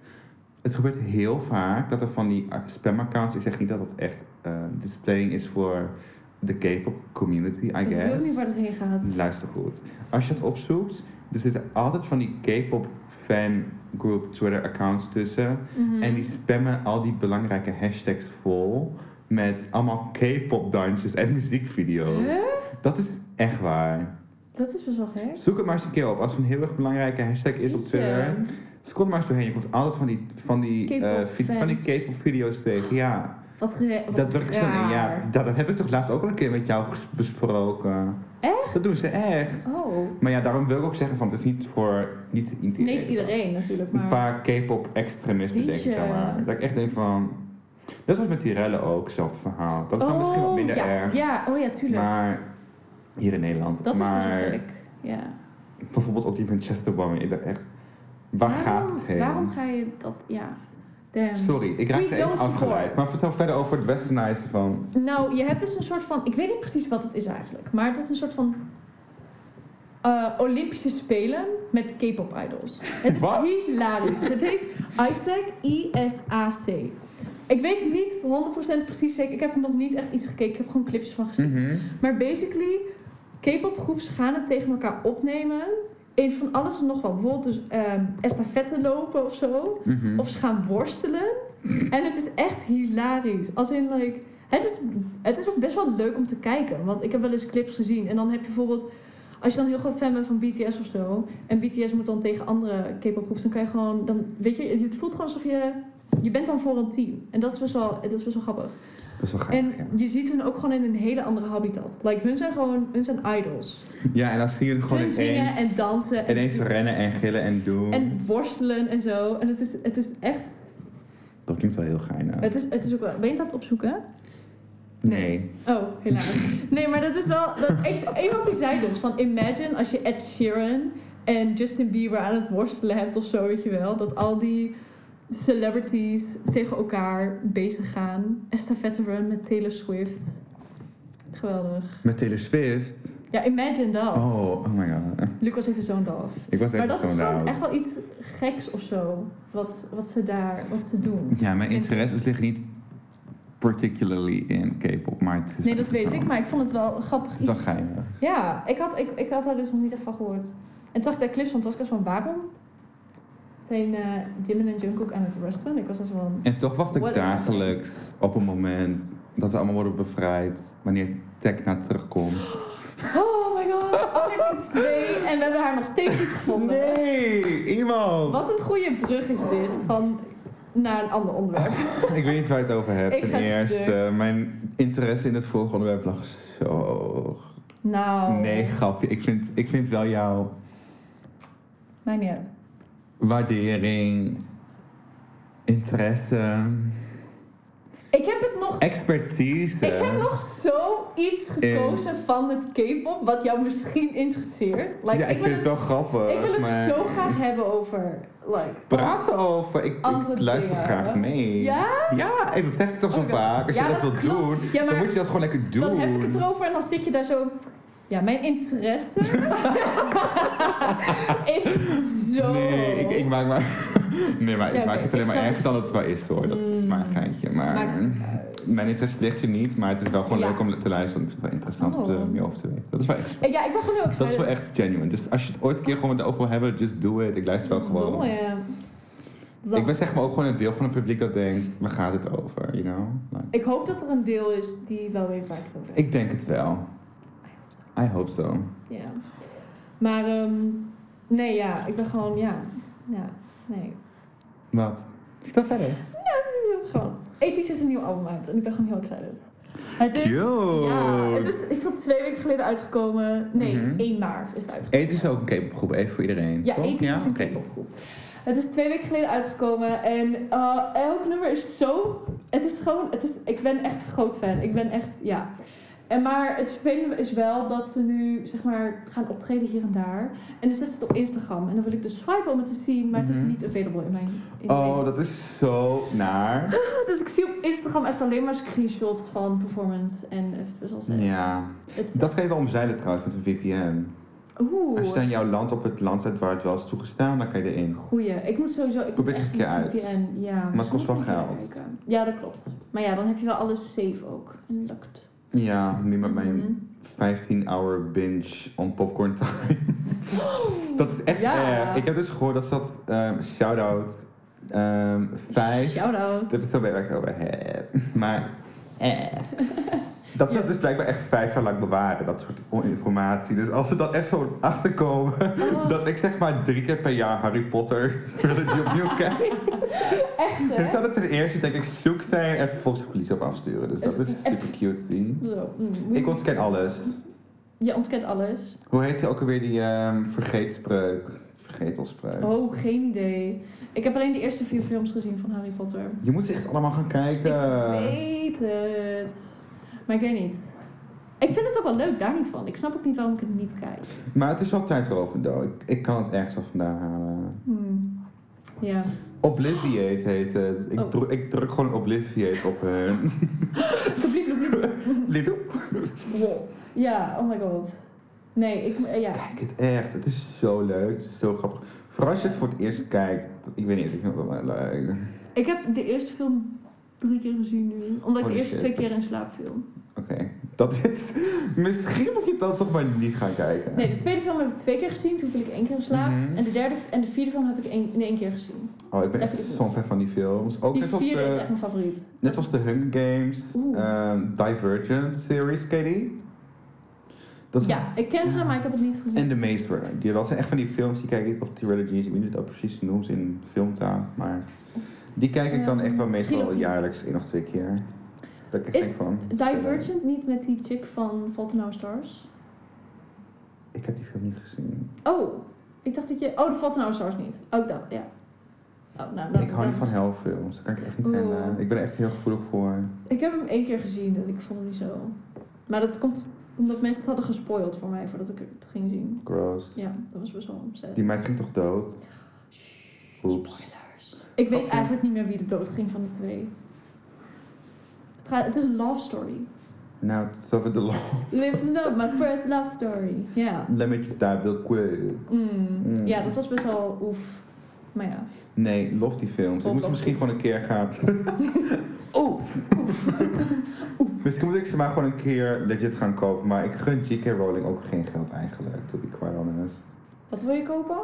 [SPEAKER 1] Het gebeurt heel vaak dat er van die spamaccounts... Ik zeg niet dat dat echt eh, displaying is voor de K-pop community, I guess.
[SPEAKER 2] Ik weet niet waar het heen gaat.
[SPEAKER 1] Luister goed. Als je het opzoekt, er zitten altijd van die K-pop fangroup Twitter accounts tussen.
[SPEAKER 2] Mhm.
[SPEAKER 1] En die spammen al die belangrijke hashtags vol met allemaal K-pop dansjes en muziekvideo's.
[SPEAKER 2] Huh?
[SPEAKER 1] Dat is echt waar.
[SPEAKER 2] Dat is best wel gek.
[SPEAKER 1] Zoek het maar eens een keer op. Als er een heel erg belangrijke hashtag is op Twitter,
[SPEAKER 2] Ja.
[SPEAKER 1] scroll maar eens doorheen. Je komt altijd van die, van die,
[SPEAKER 2] K-pop
[SPEAKER 1] eh, vi- van die
[SPEAKER 2] fans.
[SPEAKER 1] K-pop video's tegen. Ja,
[SPEAKER 2] Wat, ge- wat
[SPEAKER 1] dat drukken ze in. Ja,
[SPEAKER 2] raar.
[SPEAKER 1] dat, dat heb ik toch laatst ook al een keer met jou ges- besproken.
[SPEAKER 2] Echt?
[SPEAKER 1] Dat doen ze echt.
[SPEAKER 2] Oh,
[SPEAKER 1] Maar ja, daarom wil ik ook zeggen van het is niet voor niet iedereen.
[SPEAKER 2] niet iedereen natuurlijk,
[SPEAKER 1] Een
[SPEAKER 2] maar.
[SPEAKER 1] paar K-pop extremisten denk ik
[SPEAKER 2] Jeetje.
[SPEAKER 1] dan maar. Dat ik echt denk van Dat was met die rellen ook, hetzelfde verhaal. Dat is dan misschien wat minder
[SPEAKER 2] Oh, ja,
[SPEAKER 1] erg.
[SPEAKER 2] Ja, oh ja, tuurlijk.
[SPEAKER 1] Maar hier in Nederland.
[SPEAKER 2] dat is
[SPEAKER 1] maar
[SPEAKER 2] verschrikkelijk. Ja.
[SPEAKER 1] bijvoorbeeld op die Manchester-bombing, ik dacht echt, waar gaat het heen?
[SPEAKER 2] Waarom ga je dat... Ja. Damn.
[SPEAKER 1] Sorry, ik
[SPEAKER 2] We
[SPEAKER 1] raakte even
[SPEAKER 2] don't support.
[SPEAKER 1] afgeleid. Maar vertel verder over het westernizen van...
[SPEAKER 2] Nou, je hebt dus een soort van. Ik weet niet precies wat het is eigenlijk. Maar het is een soort van. eh, Olympische Spelen met K-pop idols. Het is
[SPEAKER 1] Wat?
[SPEAKER 2] hilarisch. Het heet E ISAC, I-S-A-C. Ik weet niet 100% precies zeker. Ik heb nog niet echt iets gekeken. Ik heb gewoon clips van gezien.
[SPEAKER 1] Mhm.
[SPEAKER 2] Maar basically, K-pop groeps gaan het tegen elkaar opnemen. In van alles en nog wat. Bijvoorbeeld dus ehm estafetten lopen of zo.
[SPEAKER 1] mhm.
[SPEAKER 2] Of ze gaan worstelen. En het is echt hilarisch. Als in, like, het, is, het is ook best wel leuk om te kijken. Want ik heb wel eens clips gezien. En dan heb je bijvoorbeeld... Als je dan heel groot fan bent van BTS of zo... En BTS moet dan tegen andere K-pop groeps... Dan kan je gewoon... Dan, weet je, het voelt gewoon alsof je... Je bent dan voor een team. En dat is best wel, dat is best wel grappig.
[SPEAKER 1] Dat is wel
[SPEAKER 2] en
[SPEAKER 1] gaaf. ja.
[SPEAKER 2] je ziet hun ook gewoon in een hele andere habitat. Like, hun zijn gewoon... Hun zijn idols.
[SPEAKER 1] Ja, en dan zie je het gewoon
[SPEAKER 2] hun
[SPEAKER 1] ineens,
[SPEAKER 2] zingen en dansen. En,
[SPEAKER 1] ineens rennen en gillen en doen.
[SPEAKER 2] en worstelen en zo. En het is, het is echt...
[SPEAKER 1] Dat klinkt wel heel geinig.
[SPEAKER 2] Het is, het is ook wel... Ben je dat aan het opzoeken?
[SPEAKER 1] Nee.
[SPEAKER 2] Oh, helaas. Nee, maar dat is wel. Dat, ik, iemand die zei dus van imagine als je Ed Sheeran en Justin Bieber aan het worstelen hebt of zo, weet je wel. Dat al die celebrities tegen elkaar bezig gaan. Estafette run met Taylor Swift. Geweldig.
[SPEAKER 1] Met Taylor Swift.
[SPEAKER 2] Ja, imagine dat.
[SPEAKER 1] Oh, oh my god.
[SPEAKER 2] Lucas even zo'n dag.
[SPEAKER 1] Ik was
[SPEAKER 2] Maar
[SPEAKER 1] echt
[SPEAKER 2] dat is
[SPEAKER 1] zo'n
[SPEAKER 2] gewoon
[SPEAKER 1] out.
[SPEAKER 2] echt wel iets geks of zo. Wat, wat ze daar, wat ze doen.
[SPEAKER 1] Ja, mijn
[SPEAKER 2] Vind-
[SPEAKER 1] interesses liggen niet particularly in K-pop, maar het is
[SPEAKER 2] Nee, dat weet ik, maar ik
[SPEAKER 1] interessant.
[SPEAKER 2] vond het wel grappig
[SPEAKER 1] Dat
[SPEAKER 2] iets.
[SPEAKER 1] ga je.
[SPEAKER 2] Ja, ik had, ik, ik had daar dus nog niet echt van gehoord. En toen zag ik bij clips van Toskas van waarom zijn eh Jimin en Jungkook aan het rusten? Ik was als van...
[SPEAKER 1] En toch wacht ik
[SPEAKER 2] What is
[SPEAKER 1] dagelijks op een moment dat ze allemaal worden bevrijd wanneer Tekna terugkomt.
[SPEAKER 2] Oh my god, aflevering 2 en we hebben haar nog steeds niet gevonden.
[SPEAKER 1] Nee, iemand!
[SPEAKER 2] Wat een goede brug is dit van naar een ander onderwerp.
[SPEAKER 1] Ik weet niet waar je het over hebt.
[SPEAKER 2] Ik ga
[SPEAKER 1] Ten eerste,
[SPEAKER 2] stuk.
[SPEAKER 1] mijn interesse in het vorige onderwerp lag zo hoog.
[SPEAKER 2] Nou,
[SPEAKER 1] Nee, grapje. Ik vind, ik vind wel jouw
[SPEAKER 2] mij niet uit.
[SPEAKER 1] waardering, interesse,
[SPEAKER 2] Ik heb het nog...
[SPEAKER 1] expertise.
[SPEAKER 2] Ik heb nog zoiets gekozen van het K-pop wat jou misschien interesseert. Like,
[SPEAKER 1] ja, ik, vind het wel grappig.
[SPEAKER 2] ik wil het
[SPEAKER 1] maar...
[SPEAKER 2] zo graag hebben over... Like,
[SPEAKER 1] Praat over. Ik, ik
[SPEAKER 2] Andere
[SPEAKER 1] luister
[SPEAKER 2] dingen.
[SPEAKER 1] graag mee.
[SPEAKER 2] Ja?
[SPEAKER 1] Ja, en dat zeg ik toch zo
[SPEAKER 2] Oké.
[SPEAKER 1] vaak. Als
[SPEAKER 2] Ja,
[SPEAKER 1] je dat,
[SPEAKER 2] dat
[SPEAKER 1] wilt
[SPEAKER 2] klopt.
[SPEAKER 1] doen,
[SPEAKER 2] Ja,
[SPEAKER 1] dan
[SPEAKER 2] maar
[SPEAKER 1] moet je dat gewoon lekker doen.
[SPEAKER 2] Dan heb ik het erover en dan zit je daar zo. Ja, mijn interesse is zo.
[SPEAKER 1] Nee, ik, ik maak maar. Nee, maar ik
[SPEAKER 2] Ja, oké,
[SPEAKER 1] maak het alleen
[SPEAKER 2] ik
[SPEAKER 1] maar
[SPEAKER 2] snap Mm.
[SPEAKER 1] erger dan het wel is hoor. Dat is maar een geintje. Maar
[SPEAKER 2] Maakt het uit.
[SPEAKER 1] mijn interesse ligt er niet, maar het is wel gewoon
[SPEAKER 2] Ja.
[SPEAKER 1] leuk om te luisteren. Want ik vind het wel interessant om
[SPEAKER 2] Oh.
[SPEAKER 1] er meer over te weten. Dat is wel echt.
[SPEAKER 2] Eh, Ja, ik ben gewoon heel
[SPEAKER 1] Dat is
[SPEAKER 2] excited.
[SPEAKER 1] wel echt genuine. Dus als je het ooit een keer gewoon over wil hebben, just do it. Ik luister wel
[SPEAKER 2] Verdomme,
[SPEAKER 1] gewoon.
[SPEAKER 2] ja. Dat-
[SPEAKER 1] Ik ben zeg maar ook gewoon een deel van het publiek dat denkt, waar gaat het over? You know? Like,
[SPEAKER 2] ik hoop dat er een deel is die wel weet waar ik het over heb.
[SPEAKER 1] ik denk het wel. I hope so.
[SPEAKER 2] Ja. Maar, ehm, nee, ja, ik ben gewoon, ja. Ja, nee.
[SPEAKER 1] Wat? Vertel verder.
[SPEAKER 2] Ja, dit is ook gewoon. Ethisch is een nieuw album uit en ik ben gewoon heel excited. Het is,
[SPEAKER 1] Cute.
[SPEAKER 2] ja, het is, is nog twee weken geleden uitgekomen. Nee,
[SPEAKER 1] Mhm.
[SPEAKER 2] 1 maart is het uitgekomen.
[SPEAKER 1] Eten is ook een K-popgroep, even voor iedereen.
[SPEAKER 2] Ja,
[SPEAKER 1] toch?
[SPEAKER 2] Ethisch is dus een
[SPEAKER 1] oké.
[SPEAKER 2] K-popgroep. Het is twee weken geleden uitgekomen en eh, elk nummer is zo... Het is gewoon... Het is, ik ben echt groot fan. Ik ben echt... Ja. En maar het vervelende is wel dat ze nu zeg maar gaan optreden hier en daar. En dan zet ze het op Instagram. En dan wil ik dus swipen om het te zien, maar het
[SPEAKER 1] Mhm.
[SPEAKER 2] is niet available in mijn... In mijn-
[SPEAKER 1] Oh, dat is zo naar.
[SPEAKER 2] Dus ik zie op Instagram echt alleen maar screenshots van performance. En het is best wel sad.
[SPEAKER 1] Ja.
[SPEAKER 2] Het is-
[SPEAKER 1] Dat kan je wel omzeilen trouwens met een VPN.
[SPEAKER 2] Oeh.
[SPEAKER 1] Als je dan jouw land op het land zet waar het wel is toegestaan, dan kan je erin.
[SPEAKER 2] Goeie. Ik moet sowieso. Ik
[SPEAKER 1] Probeer
[SPEAKER 2] moet
[SPEAKER 1] het
[SPEAKER 2] echt
[SPEAKER 1] een keer
[SPEAKER 2] een
[SPEAKER 1] uit.
[SPEAKER 2] VPN, Ja,
[SPEAKER 1] het
[SPEAKER 2] misschien
[SPEAKER 1] kost wel
[SPEAKER 2] moet ik even
[SPEAKER 1] geld.
[SPEAKER 2] kijken. Ja, dat klopt. Maar ja, dan heb je wel alles safe ook. En dat klopt.
[SPEAKER 1] Ja, nu met mijn
[SPEAKER 2] Mhm.
[SPEAKER 1] 15-hour binge on popcorn time. dat is echt
[SPEAKER 2] Mhm. Ja.
[SPEAKER 1] erg. Ik heb dus gehoord dat dat ehm shout-out ehm vijf...
[SPEAKER 2] Shout-out.
[SPEAKER 1] Dat is zo waar ik het over heb. Maar... Eh. Dat ze dat dus blijkbaar echt vijf jaar lang bewaren, dat soort informatie. Dus als ze dan echt zo achterkomen
[SPEAKER 2] Oh,
[SPEAKER 1] dat ik zeg maar drie keer per jaar Harry Potter trilogy opnieuw kijk...
[SPEAKER 2] echt,
[SPEAKER 1] Dit
[SPEAKER 2] hè?
[SPEAKER 1] zou het ten eerste denk ik zoek zijn en vervolgens de politie op afsturen. Dus dat is super cute. die.
[SPEAKER 2] Zo. mm, moet je-
[SPEAKER 1] Ik ontken alles.
[SPEAKER 2] Je ontkent alles.
[SPEAKER 1] Hoe heet ook alweer die ehm vergeetspreuk? Getelspruit.
[SPEAKER 2] Oh, geen idee. Ik heb alleen de eerste vier films gezien van Harry Potter.
[SPEAKER 1] Je moet ze echt allemaal gaan kijken.
[SPEAKER 2] Ik weet het. Maar ik weet niet. Ik vind het ook wel leuk, daar niet van. Ik snap ook niet waarom ik het niet kijk.
[SPEAKER 1] Maar het is wel tijdrovend, though. Ik, ik kan het ergens wel vandaan halen.
[SPEAKER 2] Hmm. Ja.
[SPEAKER 1] Obliviate heet het. Ik,
[SPEAKER 2] Oh.
[SPEAKER 1] dru- ik druk gewoon Obliviate op hun. Lidl.
[SPEAKER 2] Wow. Ja, oh my god. Nee, ik, eh, ja.
[SPEAKER 1] Kijk het echt. Het is zo leuk. Het is zo grappig. Vooral als je het voor het eerst kijkt. Ik weet niet, ik vind het wel leuk.
[SPEAKER 2] ik heb de eerste film drie keer gezien nu. Omdat ik
[SPEAKER 1] Holy
[SPEAKER 2] de eerste
[SPEAKER 1] shit.
[SPEAKER 2] twee keer in slaap viel.
[SPEAKER 1] Oké, dat is... Misschien moet je dat toch maar niet gaan kijken.
[SPEAKER 2] Nee, de tweede film heb ik twee keer gezien. Toen viel ik één keer in slaap.
[SPEAKER 1] Mhm.
[SPEAKER 2] En de derde en de vierde film heb ik één- in één keer gezien.
[SPEAKER 1] Oh, ik ben
[SPEAKER 2] Dat
[SPEAKER 1] echt
[SPEAKER 2] vind ik
[SPEAKER 1] zo'n
[SPEAKER 2] niet.
[SPEAKER 1] fan van die films. Ook
[SPEAKER 2] Die
[SPEAKER 1] net als,
[SPEAKER 2] vierde is
[SPEAKER 1] de,
[SPEAKER 2] echt mijn favoriet.
[SPEAKER 1] net als de Hunger Games,
[SPEAKER 2] Oeh.
[SPEAKER 1] ehm, Divergent series, ken je die? Dat is-
[SPEAKER 2] Ja, ik ken ze, maar ik heb het niet gezien.
[SPEAKER 1] En The Maze Runner. Die, dat zijn echt van die films, die kijk ik op trilogies. Ik weet niet of dat precies noemt in filmtaal, maar... Die kijk ik dan echt wel
[SPEAKER 2] Ehm,
[SPEAKER 1] meestal
[SPEAKER 2] trilogie.
[SPEAKER 1] jaarlijks één of twee keer. Dat ik echt
[SPEAKER 2] Is
[SPEAKER 1] denk van...
[SPEAKER 2] Divergent niet met die chick van Fault in Our Stars?
[SPEAKER 1] Ik heb die film niet gezien.
[SPEAKER 2] Oh, ik dacht dat je... Oh, de Fault in Our Stars niet. Ook dat, ja. Oh, nou, dat,
[SPEAKER 1] ik hou niet
[SPEAKER 2] dat-
[SPEAKER 1] van helfilms, dat kan ik echt niet
[SPEAKER 2] Oeh.
[SPEAKER 1] handelen. Ik ben er echt heel gevoelig voor.
[SPEAKER 2] Ik heb hem één keer gezien en ik vond hem niet zo... Maar dat komt omdat mensen het hadden gespoild voor mij voordat ik het ging zien.
[SPEAKER 1] Gross.
[SPEAKER 2] Ja, dat was best wel ontzettend.
[SPEAKER 1] Die meid ging toch dood? Oeps.
[SPEAKER 2] Spoilers. Ik weet
[SPEAKER 1] Oké.
[SPEAKER 2] eigenlijk niet meer wie de dood ging van de twee. Het, gaat- het is een love story.
[SPEAKER 1] Nou, zover de love.
[SPEAKER 2] Lives and up, my first love story. Ja.
[SPEAKER 1] Lemmetjes daar wil quick.
[SPEAKER 2] Mm.
[SPEAKER 1] Mm.
[SPEAKER 2] Ja, dat was best wel oef. Maar ja.
[SPEAKER 1] Nee, lof die films. Ik
[SPEAKER 2] Oh,
[SPEAKER 1] moet ze
[SPEAKER 2] dat
[SPEAKER 1] misschien
[SPEAKER 2] is-
[SPEAKER 1] gewoon een keer gaan. Oeh! Misschien moet ik ze maar gewoon een keer legit gaan kopen. Maar ik gun J.K. Rowling ook geen geld eigenlijk, to be quite honest.
[SPEAKER 2] Wat wil je kopen?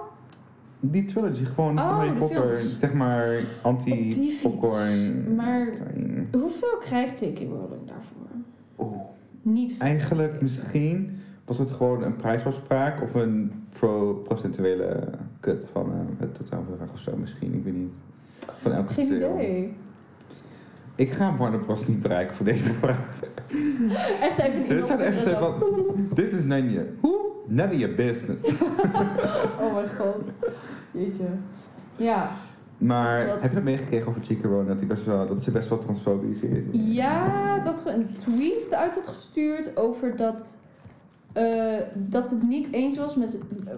[SPEAKER 1] Die trilogy, gewoon
[SPEAKER 2] Oh,
[SPEAKER 1] van Harry
[SPEAKER 2] de
[SPEAKER 1] Potter.
[SPEAKER 2] films.
[SPEAKER 1] Zeg maar
[SPEAKER 2] Op die fiets.
[SPEAKER 1] anti-popcorn.
[SPEAKER 2] Maar- Hoeveel krijgt J.K. Rowling daarvoor?
[SPEAKER 1] Oeh.
[SPEAKER 2] Niet veel.
[SPEAKER 1] Eigenlijk misschien was het gewoon een prijsafspraak of een pro procentuele kut van eh, het totaalbedrag of zo misschien, ik weet niet. Van elke
[SPEAKER 2] Geen
[SPEAKER 1] sale.
[SPEAKER 2] idee.
[SPEAKER 1] Ik ga Warner Bros. niet bereiken voor deze vraag.
[SPEAKER 2] Echt even een
[SPEAKER 1] Dit zijn echt
[SPEAKER 2] inbox-
[SPEAKER 1] van, this is none of your, who? None of your business.
[SPEAKER 2] Oh mijn god. Jeetje. Ja.
[SPEAKER 1] Maar
[SPEAKER 2] Wat-
[SPEAKER 1] heb je dat meegekregen over Chica Rowan, dat, die best wel- dat ze best wel transfobisch is?
[SPEAKER 2] Ja, dat we een tweet uit had gestuurd over dat... eh, dat het niet eens was met, eh,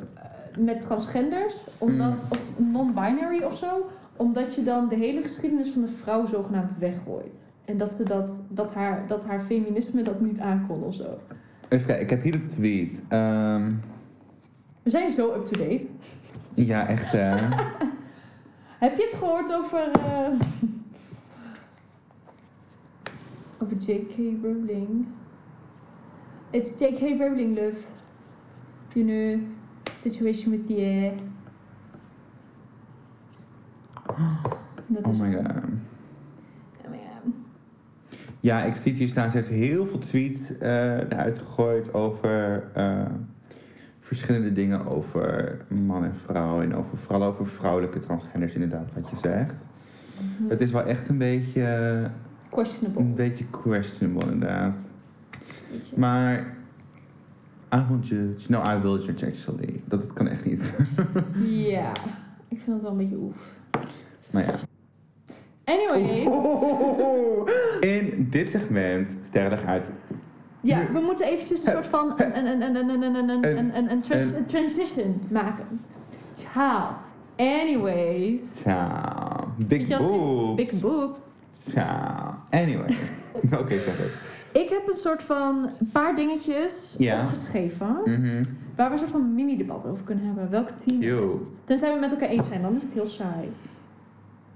[SPEAKER 2] met transgenders. Omdat,
[SPEAKER 1] Mm.
[SPEAKER 2] Of non-binary of zo. Omdat je dan de hele geschiedenis van de vrouw zogenaamd weggooit. En dat, ze dat, dat, haar, dat haar feminisme dat niet aankon of zo.
[SPEAKER 1] Even kijken, ik heb hier de tweet. Ehm,
[SPEAKER 2] We zijn zo up-to-date.
[SPEAKER 1] ja, echt hè.
[SPEAKER 2] Heb je het gehoord over. eh, over J.K. Rowling? It's J.K. Rowling, love. You know, situation with the air. Dat is.
[SPEAKER 1] oh my god.
[SPEAKER 2] Oh my god.
[SPEAKER 1] Ja, ik zie het hier staan. Ze heeft heel veel tweets eh eruit gegooid over eh, verschillende dingen over man en vrouw. En over, vooral over vrouwelijke transgenders, inderdaad, wat je zegt. Het is wel echt een beetje,
[SPEAKER 2] Questionable.
[SPEAKER 1] een beetje questionable, inderdaad.
[SPEAKER 2] weet je.
[SPEAKER 1] Maar I won't judge. No, I will judge, actually. Dat, dat kan echt niet.
[SPEAKER 2] Ja, ik vind het wel een beetje oef.
[SPEAKER 1] Maar ja. Oh,
[SPEAKER 2] Anyways.
[SPEAKER 1] In dit segment, sterrendag uit.
[SPEAKER 2] Ja,
[SPEAKER 1] Nu-
[SPEAKER 2] we moeten eventjes een soort van een, een, een, een, een, een, een,
[SPEAKER 1] Een-
[SPEAKER 2] een, een, een, trans- een transition maken. Ciao. Anyways.
[SPEAKER 1] Ja,
[SPEAKER 2] Weet
[SPEAKER 1] big
[SPEAKER 2] je wat-
[SPEAKER 1] boobs.
[SPEAKER 2] Big boob.
[SPEAKER 1] Ja, anyway. Oké, zeg het.
[SPEAKER 2] Ik heb een soort van een paar dingetjes
[SPEAKER 1] Ja.
[SPEAKER 2] opgeschreven.
[SPEAKER 1] Mhm.
[SPEAKER 2] Waar we een soort van mini-debat over kunnen hebben. Welk team het
[SPEAKER 1] Yo.
[SPEAKER 2] is. Tenzij we het met elkaar eens zijn, dan is het heel saai.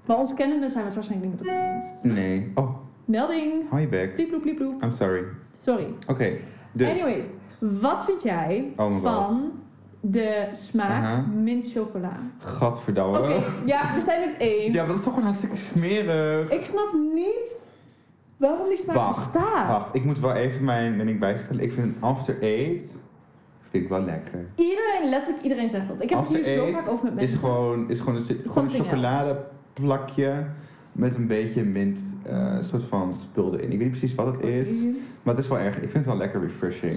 [SPEAKER 2] Maar ons kennende zijn we het waarschijnlijk niet met elkaar eens.
[SPEAKER 1] Nee. Oh,
[SPEAKER 2] Melding.
[SPEAKER 1] hi back.
[SPEAKER 2] Pliep, ploep, pliep, ploep.
[SPEAKER 1] I'm sorry.
[SPEAKER 2] Sorry.
[SPEAKER 1] Oké, dus.
[SPEAKER 2] Anyways, wat vind jij
[SPEAKER 1] Oh my god.
[SPEAKER 2] van de smaak
[SPEAKER 1] Aha.
[SPEAKER 2] mint chocola?
[SPEAKER 1] Gadverdamme.
[SPEAKER 2] Oké, ja, we zijn het eens.
[SPEAKER 1] Ja, maar dat is toch gewoon hartstikke smerig.
[SPEAKER 2] Ik snap niet waarom die smaak
[SPEAKER 1] Wacht,
[SPEAKER 2] bestaat.
[SPEAKER 1] wacht. Ik moet wel even mijn mening bijstellen. Ik vind After Eight vind ik wel lekker.
[SPEAKER 2] Iedereen, letterlijk iedereen zegt dat. Ik heb het
[SPEAKER 1] After
[SPEAKER 2] hier zo
[SPEAKER 1] Eight
[SPEAKER 2] vaak over met
[SPEAKER 1] is
[SPEAKER 2] mensen.
[SPEAKER 1] gewoon, is gewoon een, si- gewoon een
[SPEAKER 2] Something else.
[SPEAKER 1] chocoladeplakje met een beetje mint eh, soort van spul erin. Ik weet niet precies wat het is, maar het is wel erg. Ik vind het wel lekker refreshing.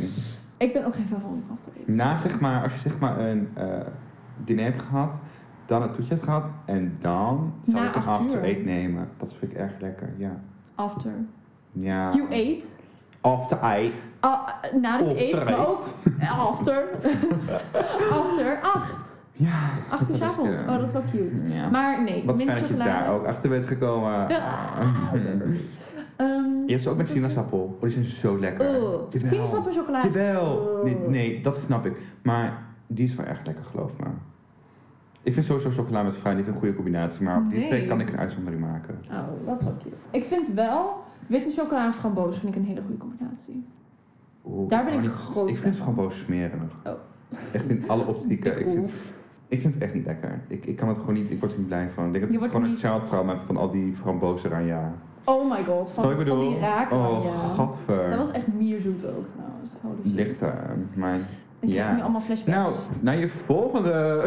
[SPEAKER 2] Ik ben ook geen fan van After Eight.
[SPEAKER 1] Na zeg maar, als je zeg maar een eh diner heb gehad, dan het toetje heb gehad en dan zou
[SPEAKER 2] Na
[SPEAKER 1] ik een
[SPEAKER 2] acht
[SPEAKER 1] after
[SPEAKER 2] uur.
[SPEAKER 1] eat nemen. Dat vind ik erg lekker, ja.
[SPEAKER 2] After.
[SPEAKER 1] Ja.
[SPEAKER 2] You ate.
[SPEAKER 1] After I.
[SPEAKER 2] Ah, nadat je eet,
[SPEAKER 1] After
[SPEAKER 2] maar
[SPEAKER 1] eight.
[SPEAKER 2] ook after. after acht.
[SPEAKER 1] Ja.
[SPEAKER 2] Acht uur
[SPEAKER 1] Dat is
[SPEAKER 2] 's avonds.
[SPEAKER 1] kunnen.
[SPEAKER 2] Oh, dat is wel cute.
[SPEAKER 1] ja.
[SPEAKER 2] Maar nee,
[SPEAKER 1] Wat
[SPEAKER 2] minder
[SPEAKER 1] fijn dat je
[SPEAKER 2] chocolade.
[SPEAKER 1] daar ook achter bent gekomen. Mhm.
[SPEAKER 2] Ja, zeker. Ehm,
[SPEAKER 1] Je hebt ze ook met sinaasappel. Oh, die zijn zo lekker.
[SPEAKER 2] oh,
[SPEAKER 1] Jawel.
[SPEAKER 2] sinaasappel chocolade.
[SPEAKER 1] Jawel.
[SPEAKER 2] Oh.
[SPEAKER 1] Nee, nee, dat snap ik. Maar die is wel echt lekker, geloof me. Ik vind sowieso chocola met fruit niet een goede combinatie. Maar op die
[SPEAKER 2] Nee.
[SPEAKER 1] twee kan ik een uitzondering maken.
[SPEAKER 2] Oh, dat is wel cute. Ik vind wel witte chocola en framboos vind ik een hele goede combinatie.
[SPEAKER 1] Oeh,
[SPEAKER 2] Daar ben ik
[SPEAKER 1] niet-
[SPEAKER 2] groot
[SPEAKER 1] Ik
[SPEAKER 2] fan
[SPEAKER 1] vind het gewoon boos smerig.
[SPEAKER 2] Oh.
[SPEAKER 1] Echt in alle optieken.
[SPEAKER 2] Dik
[SPEAKER 1] Ik vind,
[SPEAKER 2] oef.
[SPEAKER 1] ik vind het echt niet lekker. Ik, ik kan het gewoon niet, ik word er niet blij van. Ik denk dat
[SPEAKER 2] Je
[SPEAKER 1] ik
[SPEAKER 2] wordt
[SPEAKER 1] gewoon een
[SPEAKER 2] niet-
[SPEAKER 1] child trauma heb van al die frambozen aan ja.
[SPEAKER 2] Oh my god, van,
[SPEAKER 1] Zo, ik
[SPEAKER 2] van
[SPEAKER 1] bedoel,
[SPEAKER 2] die raak.
[SPEAKER 1] oh,
[SPEAKER 2] ja.
[SPEAKER 1] gadver.
[SPEAKER 2] Dat was echt mierzoet ook trouwens. Holy shit.
[SPEAKER 1] Ligt daar, maar...
[SPEAKER 2] Ik
[SPEAKER 1] ja.
[SPEAKER 2] krijg nu allemaal flashbacks.
[SPEAKER 1] Nou, naar je volgende.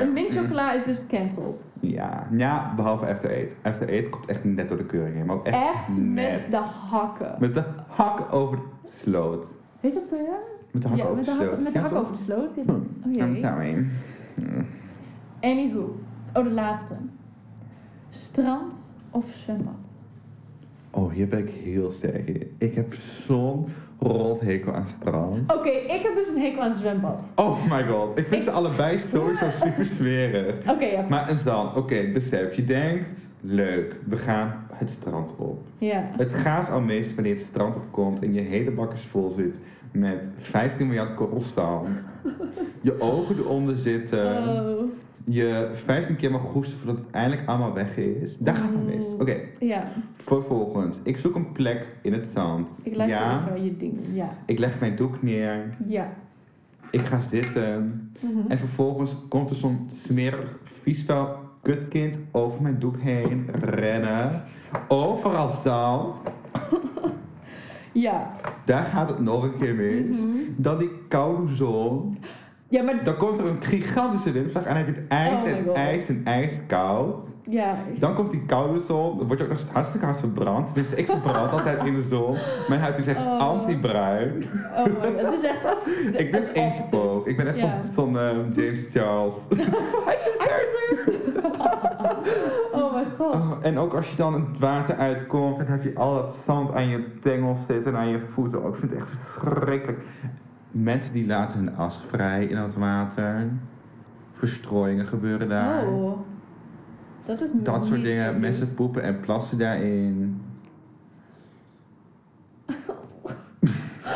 [SPEAKER 2] Een mint chocola is dus gecanceld.
[SPEAKER 1] Ja, ja, behalve After Eight. After Eight komt echt net door de keuring heen. Maar ook echt,
[SPEAKER 2] Echt
[SPEAKER 1] net.
[SPEAKER 2] met de hakken.
[SPEAKER 1] Met de hak over de sloot.
[SPEAKER 2] Weet dat wel? ja?
[SPEAKER 1] Met de hak
[SPEAKER 2] Ja,
[SPEAKER 1] over
[SPEAKER 2] met
[SPEAKER 1] de
[SPEAKER 2] de hak,
[SPEAKER 1] sloot.
[SPEAKER 2] met de
[SPEAKER 1] Ja,
[SPEAKER 2] hak
[SPEAKER 1] toch?
[SPEAKER 2] over de sloot. Is...
[SPEAKER 1] Hm.
[SPEAKER 2] Oh,
[SPEAKER 1] Ja,
[SPEAKER 2] jee.
[SPEAKER 1] met jou heen. Hm.
[SPEAKER 2] Anywho. Oh, de laatste. Strand of zwembad?
[SPEAKER 1] Oh, hier ben ik heel sterk in. Ik heb zo'n rot hekel aan strand.
[SPEAKER 2] Oké, ik heb dus een hekel aan het zwembad.
[SPEAKER 1] Oh my god, ik vind ze allebei sowieso super smerig.
[SPEAKER 2] Oké, ja.
[SPEAKER 1] Maar en dan, oké, besef, je denkt, leuk, we gaan het strand op.
[SPEAKER 2] ja.
[SPEAKER 1] Het gaat al mis wanneer het strand opkomt en je hele bak is vol zit met 15 miljard korrelstand. Je ogen eronder zitten.
[SPEAKER 2] Oh,
[SPEAKER 1] Je 15 keer mag hoesten voordat het eindelijk allemaal weg is. Daar gaat het mis.
[SPEAKER 2] Oeh.
[SPEAKER 1] Oké,
[SPEAKER 2] ja.
[SPEAKER 1] vervolgens. Ik zoek een plek in het zand.
[SPEAKER 2] Ik leg
[SPEAKER 1] ja,
[SPEAKER 2] je even je ding. Ja.
[SPEAKER 1] ik leg mijn doek neer.
[SPEAKER 2] Ja.
[SPEAKER 1] Ik ga zitten. En vervolgens komt er zo'n smerig, vies vuil kutkind over mijn doek heen rennen. Overal zand.
[SPEAKER 2] Ja.
[SPEAKER 1] Daar gaat het nog een keer mis.
[SPEAKER 2] Mhm.
[SPEAKER 1] Dan die koude zon.
[SPEAKER 2] Ja, maar...
[SPEAKER 1] Dan komt er een gigantische windvlaag en dan heb je het ijs
[SPEAKER 2] Oh my
[SPEAKER 1] en
[SPEAKER 2] God.
[SPEAKER 1] ijs en ijs koud.
[SPEAKER 2] Ja.
[SPEAKER 1] Dan komt die koude zon. Dan word je ook nog eens hartstikke hard verbrand. Dus ik verbrand altijd in de zon. Mijn huid is echt
[SPEAKER 2] Oh.
[SPEAKER 1] anti-bruin.
[SPEAKER 2] Oh my god. Het is echt...
[SPEAKER 1] Ik ben echt één spook. Ik ben echt
[SPEAKER 2] Ja.
[SPEAKER 1] zo'n, zo'n ehm, James Charles. Hij is een ster.
[SPEAKER 2] Oh mijn god.
[SPEAKER 1] Oh, en ook als je dan het water uitkomt, dan heb je al dat zand aan je tengels zitten en aan je voeten. Oh, ik vind het echt verschrikkelijk. Mensen die laten hun as vrij in dat water. Verstrooiingen gebeuren daar.
[SPEAKER 2] Oh. Dat is
[SPEAKER 1] Dat soort
[SPEAKER 2] niet zo
[SPEAKER 1] dingen.
[SPEAKER 2] goed.
[SPEAKER 1] Mensen poepen en plassen daarin.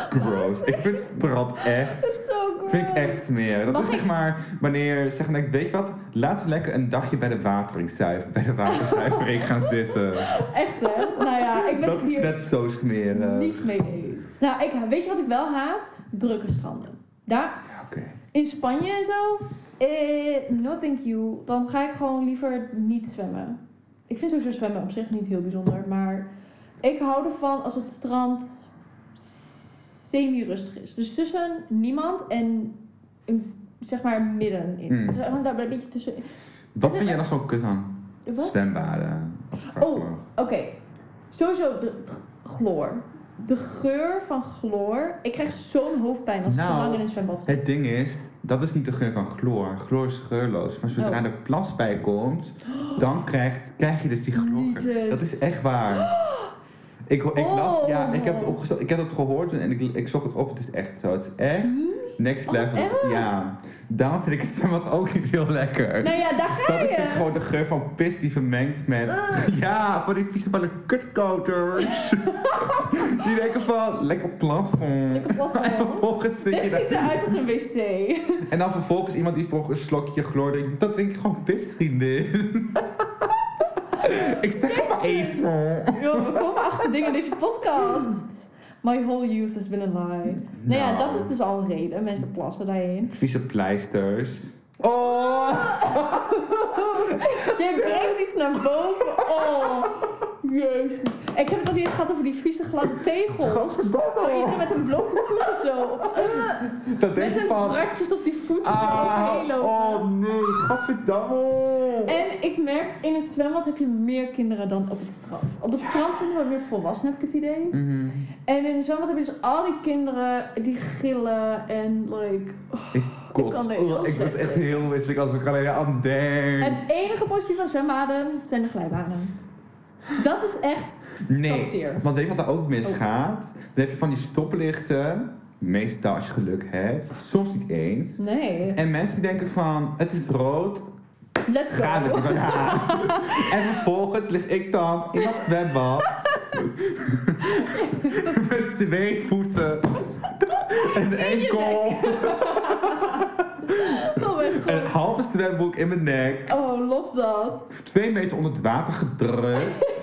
[SPEAKER 1] Gross. Ik vind strand echt.
[SPEAKER 2] Dat is zo gross.
[SPEAKER 1] Vind ik echt smerig. Dat
[SPEAKER 2] Mag
[SPEAKER 1] is
[SPEAKER 2] ik-
[SPEAKER 1] zeg maar wanneer zeg maar, denkt, weet je wat? Laten we lekker een dagje bij de wateringszuiver, bij de waterzuivering gaan zitten.
[SPEAKER 2] Echt, hè? Nou ja, ik ben
[SPEAKER 1] Dat
[SPEAKER 2] het
[SPEAKER 1] is
[SPEAKER 2] hier
[SPEAKER 1] net zo smerig.
[SPEAKER 2] niet mee eens. Nou, ik, weet je wat ik wel haat? Drukke stranden. Daar,
[SPEAKER 1] Ja, oké.
[SPEAKER 2] in Spanje en zo, eh, no thank you. Dan ga ik gewoon liever niet zwemmen. Ik vind sowieso zwemmen op zich niet heel bijzonder, maar ik hou ervan als het strand semi-rustig is. Dus tussen niemand en een- zeg maar middenin.
[SPEAKER 1] Hmm.
[SPEAKER 2] Dus gewoon daar een beetje tussen.
[SPEAKER 1] Wat vind jij dan zo'n kut aan?
[SPEAKER 2] Wat?
[SPEAKER 1] Zwembaden. Als ik vraag
[SPEAKER 2] Oh.
[SPEAKER 1] mag.
[SPEAKER 2] Oké, sowieso de g- chloor. De geur van chloor. Ik krijg zo'n hoofdpijn als ik te
[SPEAKER 1] Nou,
[SPEAKER 2] lang in het zwembad zit.
[SPEAKER 1] Het ding is, dat is niet de geur van chloor. Chloor is geurloos. Maar zodra
[SPEAKER 2] Oh.
[SPEAKER 1] de plas bij komt, dan krijgt, krijg je dus die
[SPEAKER 2] Niet
[SPEAKER 1] chloor.
[SPEAKER 2] eens.
[SPEAKER 1] Dat is echt waar. Ik, ik, las,
[SPEAKER 2] Oh.
[SPEAKER 1] ja, ik, heb het opgezo- ik heb dat gehoord en ik, ik zocht het op. Het is echt zo. Het is echt next
[SPEAKER 2] Oh,
[SPEAKER 1] level.
[SPEAKER 2] erg.
[SPEAKER 1] ja. Daarom vind ik het zwembad ook niet heel lekker.
[SPEAKER 2] Nou ja, Ah. daar ga
[SPEAKER 1] Eh, Dat is
[SPEAKER 2] je.
[SPEAKER 1] dus gewoon de geur van pis die vermengt met... Ja, voor die vieze malle kutkoters. die denken van, lekker plassen.
[SPEAKER 2] Lekker plassen.
[SPEAKER 1] En vervolgens zit je
[SPEAKER 2] Dit
[SPEAKER 1] daar-
[SPEAKER 2] ziet eruit als een wc.
[SPEAKER 1] En dan vervolgens iemand die voor een slokje chloor drinkt. Dat drink ik gewoon pis, vriendin. ik zeg het maar even.
[SPEAKER 2] Yo, we komen achter dingen in deze podcast. My whole youth has been a lie. Nou, ja,
[SPEAKER 1] Nou.
[SPEAKER 2] dat is dus al een reden. Mensen plassen daarheen.
[SPEAKER 1] Vieze pleisters.
[SPEAKER 2] Ah.
[SPEAKER 1] Oh!
[SPEAKER 2] Je brengt iets naar boven. Oh, jezus. Ik heb het nog niet eens gehad over die vieze gladde tegels. Oh,
[SPEAKER 1] Godverdomme.
[SPEAKER 2] iedereen met een blote voeten zo.
[SPEAKER 1] Dat denk
[SPEAKER 2] Met
[SPEAKER 1] ik
[SPEAKER 2] hun
[SPEAKER 1] van...
[SPEAKER 2] ratjes op die voeten
[SPEAKER 1] Ah,
[SPEAKER 2] overheen lopen.
[SPEAKER 1] oh nee, godverdamme.
[SPEAKER 2] En ik merk, in het zwembad heb je meer kinderen dan op het strand. Op het strand zijn er wel meer volwassenen, heb ik het idee.
[SPEAKER 1] Mhm.
[SPEAKER 2] En in het zwembad heb je dus al die kinderen die gillen en like...
[SPEAKER 1] Ik kots.
[SPEAKER 2] kan er
[SPEAKER 1] Oeh,
[SPEAKER 2] heel
[SPEAKER 1] oh, ik word
[SPEAKER 2] slecht
[SPEAKER 1] echt
[SPEAKER 2] in.
[SPEAKER 1] heel wisselijk als ik er alleen aan denk.
[SPEAKER 2] Het enige positieve van zwembaden zijn de glijbanen. Dat is echt...
[SPEAKER 1] Nee,
[SPEAKER 2] Saboteer. Oh.
[SPEAKER 1] want weet je wat er ook misgaat? Dan heb je van die stoplichten, meestal als je geluk hebt, soms niet eens.
[SPEAKER 2] Nee.
[SPEAKER 1] En mensen die denken van, het is rood,
[SPEAKER 2] Let's go.
[SPEAKER 1] ga met die banaan. en vervolgens lig ik dan in dat zwembad. met twee voeten. Een enkel.
[SPEAKER 2] Oh mijn
[SPEAKER 1] Een
[SPEAKER 2] god.
[SPEAKER 1] halve zwembroek in mijn nek.
[SPEAKER 2] Oh, lof dat.
[SPEAKER 1] twee meter onder het water gedrukt.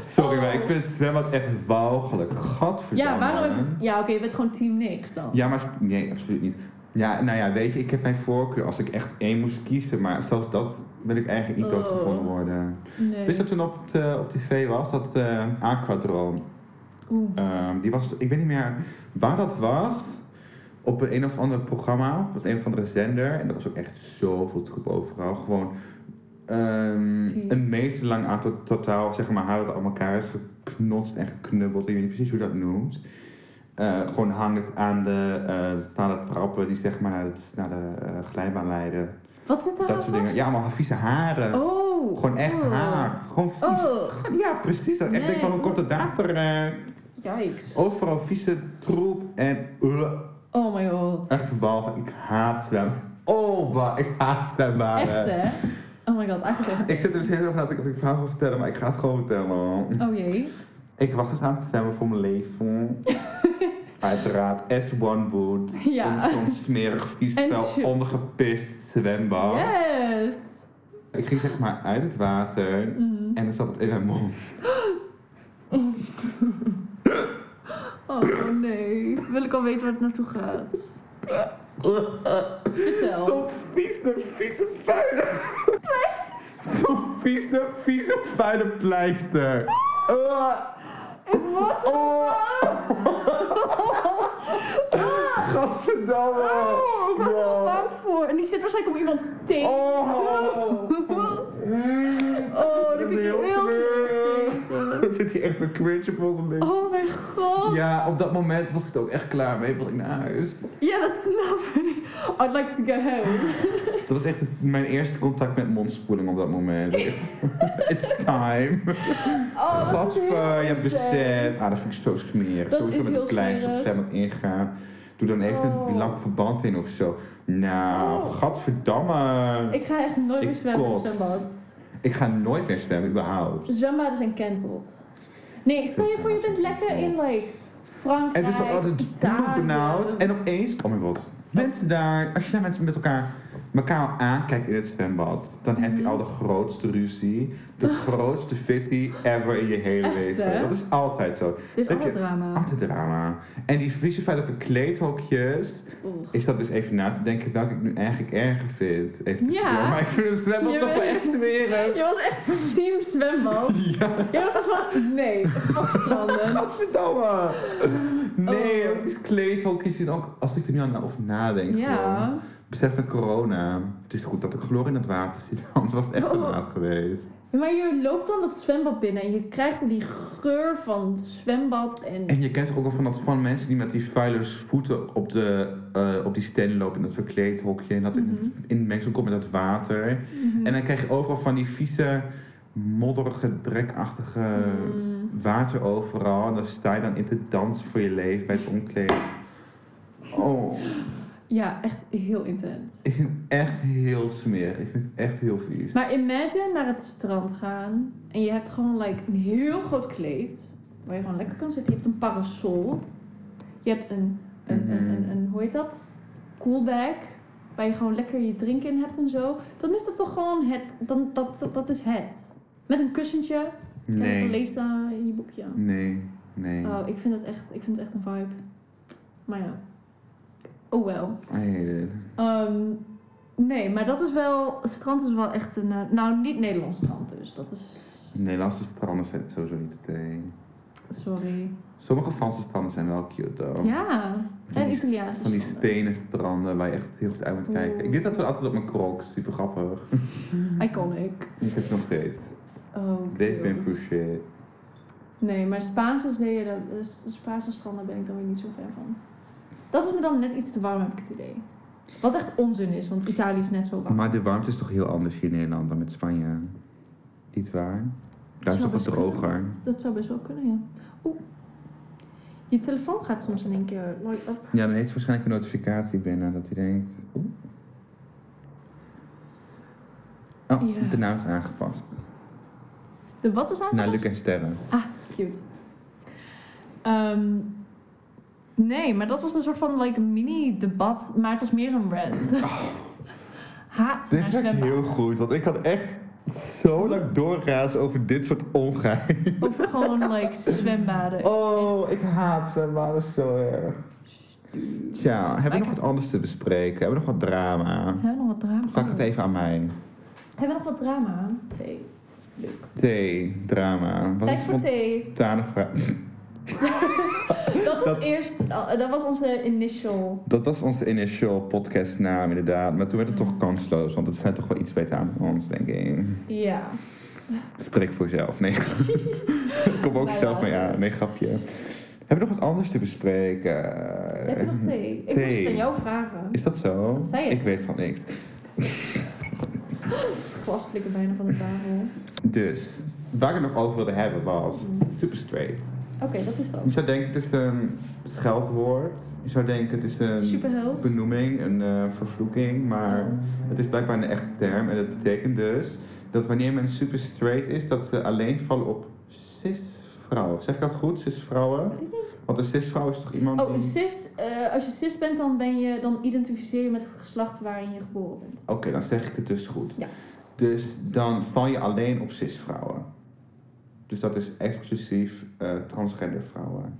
[SPEAKER 1] Sorry,
[SPEAKER 2] Oh.
[SPEAKER 1] maar ik vind het zwembad echt walgelijk. Gadverdamme.
[SPEAKER 2] Ja, waarom heb je... Ja, oké, je bent gewoon team niks dan.
[SPEAKER 1] Ja, maar... s- Nee, absoluut niet. Ja, nou ja, weet je, ik heb mijn voorkeur als ik echt één moest kiezen. Maar zelfs dat wil ik eigenlijk niet
[SPEAKER 2] Oh.
[SPEAKER 1] doodgevonden worden.
[SPEAKER 2] Nee.
[SPEAKER 1] Wist je dat toen op, het, eh, op tv was, dat eh Aquadroom?
[SPEAKER 2] Oeh.
[SPEAKER 1] Ehm, die was, ik weet niet meer waar dat was. Op een, een of ander programma, op een of andere zender. En dat was ook echt zoveel troep overal. Gewoon ehm,
[SPEAKER 2] Zie.
[SPEAKER 1] een meter lang aan to- totaal, zeg maar, haar dat aan elkaar is geknotst en geknubbeld. Ik weet niet precies hoe je dat noemt. Eh, gewoon hangend aan de, eh aan de trappen die zeg maar naar, het, naar de eh, glijbaan leiden.
[SPEAKER 2] Ah, Wat zit daar
[SPEAKER 1] dat soort dingen. Ja, allemaal vieze haren.
[SPEAKER 2] Oh.
[SPEAKER 1] Gewoon echt
[SPEAKER 2] Oh.
[SPEAKER 1] haar. Gewoon vies.
[SPEAKER 2] Oh.
[SPEAKER 1] Ja, precies. Dat. Ik
[SPEAKER 2] Nee.
[SPEAKER 1] denk van, hoe komt het daar terecht?
[SPEAKER 2] Yikes.
[SPEAKER 1] Overal vieze troep en uh,
[SPEAKER 2] Oh my god.
[SPEAKER 1] echt bal. Ik haat zwemmen. Oh, maar ik haat zwembaden.
[SPEAKER 2] Echt, hè? Oh my god, eigenlijk
[SPEAKER 1] Ik
[SPEAKER 2] echt.
[SPEAKER 1] zit er dus heel erg over na te denken of ik het verhaal wil vertellen, maar ik ga het gewoon vertellen. man.
[SPEAKER 2] Oh jee.
[SPEAKER 1] Ik was dus aan het zwemmen voor mijn leven. Uiteraard, S1 boot.
[SPEAKER 2] Ja.
[SPEAKER 1] In zo'n smerig, vies,
[SPEAKER 2] En
[SPEAKER 1] vuil,
[SPEAKER 2] zo-
[SPEAKER 1] ondergepist zwembad.
[SPEAKER 2] Yes.
[SPEAKER 1] Ik ging zeg maar uit het water
[SPEAKER 2] Mhm.
[SPEAKER 1] en dan zat het in mijn mond.
[SPEAKER 2] Oh nee. Wil ik al weten waar het naartoe gaat. Vertel.
[SPEAKER 1] Zo'n vieze, vieze, vuile. Zo'n vieze, vieze, vuile pleister. Uh,
[SPEAKER 2] Ah. Ik was het
[SPEAKER 1] oh, godverdamme.
[SPEAKER 2] Oh, ik was er wel bang voor. En die zit waarschijnlijk om iemand tegen.
[SPEAKER 1] Oh.
[SPEAKER 2] Oh, dat vind ik heel slecht.
[SPEAKER 1] Er zit hier echt een cringe op onze lippen.
[SPEAKER 2] Oh mijn god.
[SPEAKER 1] Ja, op dat moment was ik er ook echt klaar mee, want ik naar huis.
[SPEAKER 2] Ja, dat snap ik. I'd like to go home.
[SPEAKER 1] Dat was echt het- mijn eerste contact met mondspoeling op dat moment. It's time.
[SPEAKER 2] Oh, dat is heel
[SPEAKER 1] Gadver, je
[SPEAKER 2] intens.
[SPEAKER 1] beseft. Ah, dat vind ik zo smerig.
[SPEAKER 2] Dat
[SPEAKER 1] Sowieso
[SPEAKER 2] is
[SPEAKER 1] met een
[SPEAKER 2] heel
[SPEAKER 1] kleinste
[SPEAKER 2] smerig.
[SPEAKER 1] zwembad ingaan. Doe dan even een
[SPEAKER 2] Oh.
[SPEAKER 1] lang verband in of zo. Nou,
[SPEAKER 2] Oh.
[SPEAKER 1] gadverdamme. Ik,
[SPEAKER 2] Ik ga echt nooit
[SPEAKER 1] Ik
[SPEAKER 2] meer zwemmen in het
[SPEAKER 1] kot.
[SPEAKER 2] zwembad.
[SPEAKER 1] ga nooit meer zwemmen, überhaupt.
[SPEAKER 2] Zwembaden zijn cancelled. Nee, stel je voor je bent lekker in like Frankrijk,
[SPEAKER 1] Het is toch altijd
[SPEAKER 2] Italië.
[SPEAKER 1] benauwd. En opeens, oh mijn god. Mensen daar, als je daar mensen met elkaar, elkaar al aankijkt in het zwembad, dan heb je al de grootste ruzie, de grootste fitty ever in je hele
[SPEAKER 2] Echt,
[SPEAKER 1] leven.
[SPEAKER 2] hè?
[SPEAKER 1] Dat is altijd zo.
[SPEAKER 2] Het is
[SPEAKER 1] Heb
[SPEAKER 2] altijd
[SPEAKER 1] je-
[SPEAKER 2] drama.
[SPEAKER 1] Altijd drama. En die vieze vuile verkleedhokjes,
[SPEAKER 2] Oeh.
[SPEAKER 1] Ik zat dus even na te denken welke ik nu eigenlijk erger vind. Even tussendoor.
[SPEAKER 2] Ja.
[SPEAKER 1] Maar ik vind het zwembad
[SPEAKER 2] Je
[SPEAKER 1] toch wel
[SPEAKER 2] bent-
[SPEAKER 1] echt smerig.
[SPEAKER 2] Je was echt team zwembad.
[SPEAKER 1] Ja,
[SPEAKER 2] Jij was als van, nee, afstanden.
[SPEAKER 1] godverdamme. Nee,
[SPEAKER 2] Oh.
[SPEAKER 1] die kleedhokjes zijn ook... Als ik er nu aan over nadenk gewoon.
[SPEAKER 2] Ja.
[SPEAKER 1] Besef met corona. Het is goed dat er chloor in het water zit. Anders was het echt te
[SPEAKER 2] Oh.
[SPEAKER 1] laat geweest.
[SPEAKER 2] Maar je loopt dan dat zwembad binnen en je krijgt die geur van zwembad en...
[SPEAKER 1] En je kent toch ook al van dat van mensen die met die vuilers voeten op, de, eh, op die stenen lopen. In dat verkleedhokje. En dat in, in mengsel komt met dat water.
[SPEAKER 2] Mhm.
[SPEAKER 1] En dan krijg je overal van die vieze, modderige, drekachtige
[SPEAKER 2] Mm.
[SPEAKER 1] water overal. En dan sta je dan in te dansen voor je leven bij het omkleden. Oh,
[SPEAKER 2] Ja, echt heel intens.
[SPEAKER 1] ik vind het echt heel smerig. Ik vind het echt heel vies.
[SPEAKER 2] Maar imagine naar het strand gaan en je hebt gewoon like, een heel groot kleed waar je gewoon lekker kan zitten. Je hebt een parasol. Je hebt een, een, een, een, een hoe heet dat? Coolbag. Waar je gewoon lekker je drinken in hebt en zo. Dan is dat toch gewoon het. Dan, dat, dat, dat is het. Met een kussentje en een
[SPEAKER 1] nee,
[SPEAKER 2] leesla in je boekje.
[SPEAKER 1] nee, nee.
[SPEAKER 2] Oh, ik vind het echt, ik vind het echt een vibe. Maar ja. Oh wel.
[SPEAKER 1] I hate it.
[SPEAKER 2] Ehm, nee, maar dat is wel. Strand is wel echt een. eh, Nou, niet Nederlands strand, dus dat is.
[SPEAKER 1] Nederlandse stranden zijn sowieso niet te teen.
[SPEAKER 2] Sorry.
[SPEAKER 1] Sommige Franse stranden zijn wel cute, though.
[SPEAKER 2] Ja,
[SPEAKER 1] Van
[SPEAKER 2] en
[SPEAKER 1] die-
[SPEAKER 2] Italiaanse
[SPEAKER 1] Van die
[SPEAKER 2] stranden.
[SPEAKER 1] stenen stranden waar je echt heel goed uit moet kijken.
[SPEAKER 2] Oeh.
[SPEAKER 1] Ik deed dat wel altijd op mijn crocs. Super grappig.
[SPEAKER 2] Iconic.
[SPEAKER 1] Ik heb ze nog steeds.
[SPEAKER 2] Oh,
[SPEAKER 1] They've been
[SPEAKER 2] cute.
[SPEAKER 1] through shit.
[SPEAKER 2] Nee, maar Spaanse zeeën, eh, daar- Spaanse stranden ben ik dan weer niet zo fan van. Dat is me dan net iets te warm, heb ik het idee. Wat echt onzin is, want Italië is net zo warm.
[SPEAKER 1] Maar de warmte is toch heel anders hier in Nederland dan met Spanje? Niet waar? Daar is
[SPEAKER 2] Zou
[SPEAKER 1] toch wat
[SPEAKER 2] best kunnen.
[SPEAKER 1] droger?
[SPEAKER 2] Dat zou best wel kunnen, ja. Oeh. Je telefoon gaat soms in één keer light up.
[SPEAKER 1] Ja, dan heeft hij waarschijnlijk een notificatie binnen dat hij denkt... oeh. Oh,
[SPEAKER 2] Ja.
[SPEAKER 1] de naam is aangepast.
[SPEAKER 2] De wat is waar?
[SPEAKER 1] Naar Luc en Sterren.
[SPEAKER 2] Ah, cute. Ehm, nee, maar dat was een soort van like, mini-debat, maar het was meer een rant.
[SPEAKER 1] Oh.
[SPEAKER 2] Haat naar Snapchat.
[SPEAKER 1] goed, want ik kan echt zo lang doorrazen over dit soort ongeheim.
[SPEAKER 2] Over gewoon like zwembaden.
[SPEAKER 1] Oh, ik haat zwembaden zo erg. Tja, hebben we
[SPEAKER 2] Maar
[SPEAKER 1] nog
[SPEAKER 2] ik-
[SPEAKER 1] wat anders te bespreken? Hebben we nog wat drama?
[SPEAKER 2] Hebben we nog wat drama?
[SPEAKER 1] Vraag het even aan mij.
[SPEAKER 2] Hebben we nog wat drama? Thee.
[SPEAKER 1] Thee, drama. Wat
[SPEAKER 2] Tijd
[SPEAKER 1] is
[SPEAKER 2] voor thee.
[SPEAKER 1] spontane vraag?
[SPEAKER 2] Dat was
[SPEAKER 1] Dat-
[SPEAKER 2] eerst, dat was onze initial.
[SPEAKER 1] Dat was onze initial podcastnaam inderdaad. Maar toen werd het
[SPEAKER 2] Ja.
[SPEAKER 1] toch kansloos, want het gaat toch wel iets beter aan bij ons, denk ik.
[SPEAKER 2] Ja.
[SPEAKER 1] Spreek voor jezelf, nee. Kom ook
[SPEAKER 2] Wij
[SPEAKER 1] zelf mee
[SPEAKER 2] lazen.
[SPEAKER 1] aan, nee, grapje. Hebben we nog wat anders te bespreken?
[SPEAKER 2] Heb je nog thee? Ik moest
[SPEAKER 1] Eh, Thee.
[SPEAKER 2] het aan jou vragen.
[SPEAKER 1] Is dat zo?
[SPEAKER 2] Dat zei je
[SPEAKER 1] ik weet
[SPEAKER 2] net.
[SPEAKER 1] van niks.
[SPEAKER 2] Glasblikken bijna van de tafel.
[SPEAKER 1] Dus, waar ik het nog over wilde hebben was super straight.
[SPEAKER 2] Oké, dat is
[SPEAKER 1] Je
[SPEAKER 2] dat.
[SPEAKER 1] zou denken het is een scheldwoord. Je zou denken het is een
[SPEAKER 2] Superheld.
[SPEAKER 1] benoeming, een eh, vervloeking. Maar het is blijkbaar een echte term. En dat betekent dus dat wanneer men super straight is, dat ze alleen vallen op cis-vrouwen. Zeg ik dat goed? Cis-vrouwen?
[SPEAKER 2] Weet ik niet.
[SPEAKER 1] Want een cis-vrouw is toch iemand
[SPEAKER 2] Oh, een
[SPEAKER 1] die...
[SPEAKER 2] cis, eh, als je cis bent, dan, ben je, dan identificeer je met het geslacht waarin je geboren bent.
[SPEAKER 1] Oké, dan zeg ik het dus goed.
[SPEAKER 2] Ja.
[SPEAKER 1] Dus dan val je alleen op cis-vrouwen. Dus dat is exclusief eh, transgender vrouwen.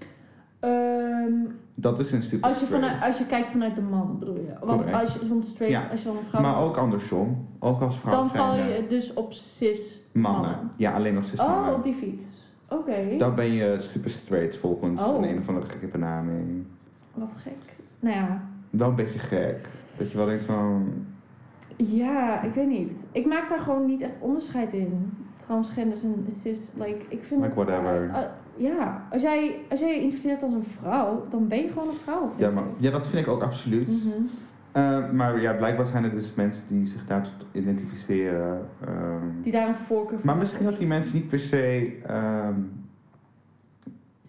[SPEAKER 2] Ehm,
[SPEAKER 1] Dat is een super
[SPEAKER 2] als, je
[SPEAKER 1] straight.
[SPEAKER 2] vanuit, als je kijkt vanuit de man, bedoel je. Want
[SPEAKER 1] Correct.
[SPEAKER 2] als je van straight,
[SPEAKER 1] Ja.
[SPEAKER 2] als je dan een vrouw
[SPEAKER 1] Maar
[SPEAKER 2] bent,
[SPEAKER 1] ook andersom. Ook als vrouw
[SPEAKER 2] dan val
[SPEAKER 1] zijnde.
[SPEAKER 2] je dus op cis
[SPEAKER 1] Mannen.
[SPEAKER 2] mannen.
[SPEAKER 1] Ja, alleen nog cis
[SPEAKER 2] Oh,
[SPEAKER 1] mannen.
[SPEAKER 2] op die fiets. Oké.
[SPEAKER 1] Dan ben je super straight volgens
[SPEAKER 2] Oh.
[SPEAKER 1] een, een of andere gekke benaming.
[SPEAKER 2] Wat gek. Nou ja.
[SPEAKER 1] Wel een beetje gek. Dat je wel denkt van...
[SPEAKER 2] Ja, ik weet niet. Ik maak daar gewoon niet echt onderscheid in. Transgenders en cis, like, ik vind...
[SPEAKER 1] Like
[SPEAKER 2] het-
[SPEAKER 1] whatever.
[SPEAKER 2] eh, eh, ja, als jij, als jij je identificeert als een vrouw, dan ben je gewoon een vrouw.
[SPEAKER 1] Ja, maar, ja dat vind ik ook absoluut.
[SPEAKER 2] Mhm.
[SPEAKER 1] Eh, maar ja, blijkbaar zijn er dus mensen die zich daartoe identificeren. ehm.
[SPEAKER 2] Die daar een voorkeur voor
[SPEAKER 1] Maar misschien dat die mensen niet per se ehm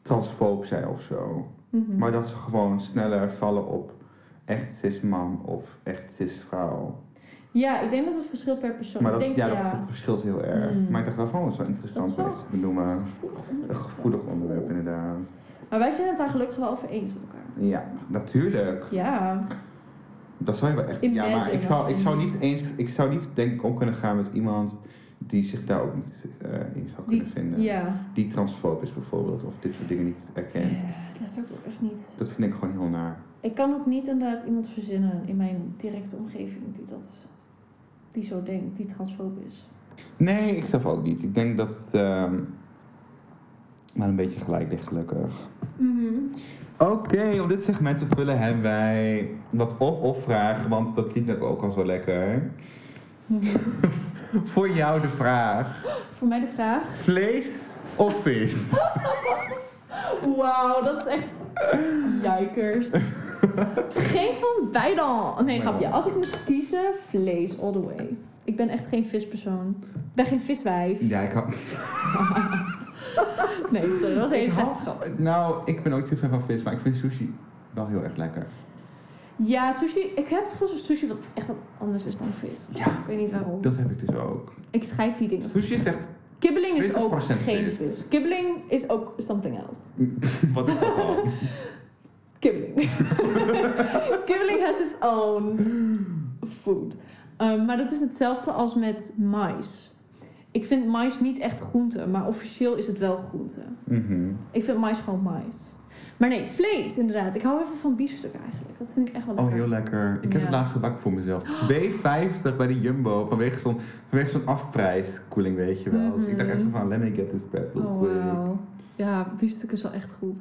[SPEAKER 1] transfoob zijn of zo.
[SPEAKER 2] Mhm.
[SPEAKER 1] Maar dat ze gewoon sneller vallen op echt cis man of echt cis vrouw.
[SPEAKER 2] Ja, ik denk dat het verschilt per persoon.
[SPEAKER 1] Maar
[SPEAKER 2] ik
[SPEAKER 1] dat,
[SPEAKER 2] denk,
[SPEAKER 1] ja, dat, dat verschilt heel erg.
[SPEAKER 2] Mm.
[SPEAKER 1] Maar ik dacht wel van, dat is wel
[SPEAKER 2] Dat
[SPEAKER 1] interessant
[SPEAKER 2] is wel
[SPEAKER 1] om even te benoemen.
[SPEAKER 2] Gevoelig onderwerp.
[SPEAKER 1] Een gevoelig onderwerp inderdaad.
[SPEAKER 2] Maar wij zijn het daar gelukkig wel over eens met elkaar.
[SPEAKER 1] Ja, natuurlijk.
[SPEAKER 2] Ja,
[SPEAKER 1] Dat zou je wel echt... ja, maar
[SPEAKER 2] Imagine
[SPEAKER 1] ik zou, ik
[SPEAKER 2] als-
[SPEAKER 1] zou niet eens... Ik zou niet denk ik om kunnen gaan met iemand die zich daar ook niet eh, in zou
[SPEAKER 2] Die-
[SPEAKER 1] kunnen vinden.
[SPEAKER 2] ja.
[SPEAKER 1] Die transfoob is bijvoorbeeld of dit soort dingen niet erkent.
[SPEAKER 2] Eh, Dat heb ik ook echt niet.
[SPEAKER 1] Dat vind ik gewoon heel naar.
[SPEAKER 2] Ik kan ook niet inderdaad iemand verzinnen in mijn directe omgeving die dat... Die zo denkt, die transfoob is.
[SPEAKER 1] Nee, ik zelf ook niet. Ik denk dat het ehm, maar een beetje gelijk ligt, gelukkig.
[SPEAKER 2] Mhm.
[SPEAKER 1] Oké, om dit segment te vullen hebben wij wat of-of vragen, want dat liep net ook al zo lekker. Voor jou de vraag:
[SPEAKER 2] Voor mij de vraag.
[SPEAKER 1] vlees of vis?
[SPEAKER 2] Wauw, dat is echt. Jijkers. geen van beiden. Nee, grapje. Als ik moest kiezen, vlees all the way. Ik ben echt geen vispersoon. Ik ben geen viswijf.
[SPEAKER 1] Ja, ik had.
[SPEAKER 2] Nee, sorry, dat was een hele
[SPEAKER 1] Ik
[SPEAKER 2] slechte
[SPEAKER 1] had-
[SPEAKER 2] grap.
[SPEAKER 1] Nou, ik ben ook niet fan van vis, maar ik vind sushi wel heel erg lekker.
[SPEAKER 2] Ja, sushi. Ik heb het gevoel dat sushi wat echt wat anders is dan vis.
[SPEAKER 1] Ja.
[SPEAKER 2] Ik weet niet waarom.
[SPEAKER 1] Dat heb ik dus ook.
[SPEAKER 2] Ik schrijf die dingen.
[SPEAKER 1] Sushi is echt.
[SPEAKER 2] Kibbeling is ook
[SPEAKER 1] 20%
[SPEAKER 2] geen
[SPEAKER 1] vis.
[SPEAKER 2] vis. Kibbeling is ook something else.
[SPEAKER 1] Wat is dat dan?
[SPEAKER 2] Kibbeling. Kibbeling has its own food. Um, maar dat is hetzelfde als met mais. Ik vind mais niet echt groente, maar officieel is het wel groente.
[SPEAKER 1] Mhm.
[SPEAKER 2] Ik vind mais gewoon mais. Maar nee, vlees inderdaad. Ik hou even van biefstuk eigenlijk. Dat vind ik echt wel
[SPEAKER 1] Oh,
[SPEAKER 2] lekker.
[SPEAKER 1] heel lekker. Ik heb het
[SPEAKER 2] Ja.
[SPEAKER 1] laatst gebakken voor mezelf. 2,50 bij de Jumbo vanwege zo'n vanwege zo'n afprijskoeling, weet je wel. Dus ik dacht echt zo van, let me get this bad real
[SPEAKER 2] Mhm. Oh,
[SPEAKER 1] quick.
[SPEAKER 2] wauw. Ja, biefstuk is wel echt goed.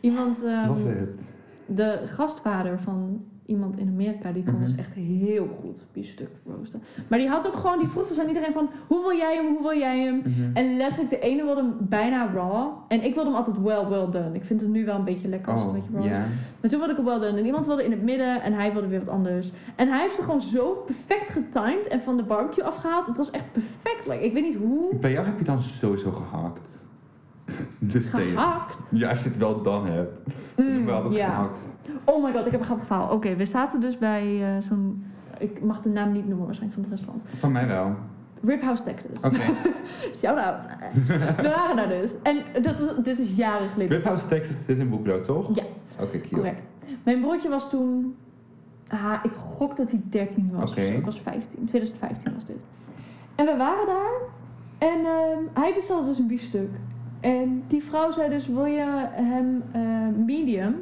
[SPEAKER 2] Iemand, ehm,
[SPEAKER 1] Love it.
[SPEAKER 2] de gastvader van iemand in Amerika die kon
[SPEAKER 1] Mhm.
[SPEAKER 2] ons echt heel goed biefstuk roosten. Maar die had ook gewoon, die vroeg dus aan iedereen van hoe wil jij hem, hoe wil jij hem?
[SPEAKER 1] Mhm.
[SPEAKER 2] En letterlijk, de ene wilde hem bijna raw. En ik wilde hem altijd well, well done. Ik vind het nu wel een beetje lekker als het een beetje raw
[SPEAKER 1] Oh,
[SPEAKER 2] is.
[SPEAKER 1] ja.
[SPEAKER 2] Maar toen wilde ik hem wel doen. En iemand wilde in het midden en hij wilde weer wat anders. En hij heeft ze gewoon zo perfect getimed en van de barbecue afgehaald. Het was echt perfect. Like, ik weet niet hoe.
[SPEAKER 1] Bij jou heb je dan sowieso gehakt. Dus tegen.
[SPEAKER 2] Gehakt. Mm,
[SPEAKER 1] Ja, als je het wel dan hebt. Dan hebben we altijd
[SPEAKER 2] ja.
[SPEAKER 1] gehakt.
[SPEAKER 2] Oh my god, ik heb een grappig verhaal. Oké, we zaten dus bij eh, zo'n... Ik mag de naam niet noemen waarschijnlijk van het restaurant.
[SPEAKER 1] Van mij wel.
[SPEAKER 2] Rip House Texas.
[SPEAKER 1] Oké.
[SPEAKER 2] Shout out. we waren daar dus. En dat is, dit is jaren geleden.
[SPEAKER 1] Rip House Texas is in Boeklo, toch?
[SPEAKER 2] Ja.
[SPEAKER 1] Oké, cute.
[SPEAKER 2] Correct. Mijn broertje was toen. Ah, ik gok dat hij 13 was.
[SPEAKER 1] Oké.
[SPEAKER 2] of zo. Ik was 15. 2015 was dit. En we waren daar. En ehm, hij bestelde dus een biefstuk. En die vrouw zei dus: Wil je hem eh, medium?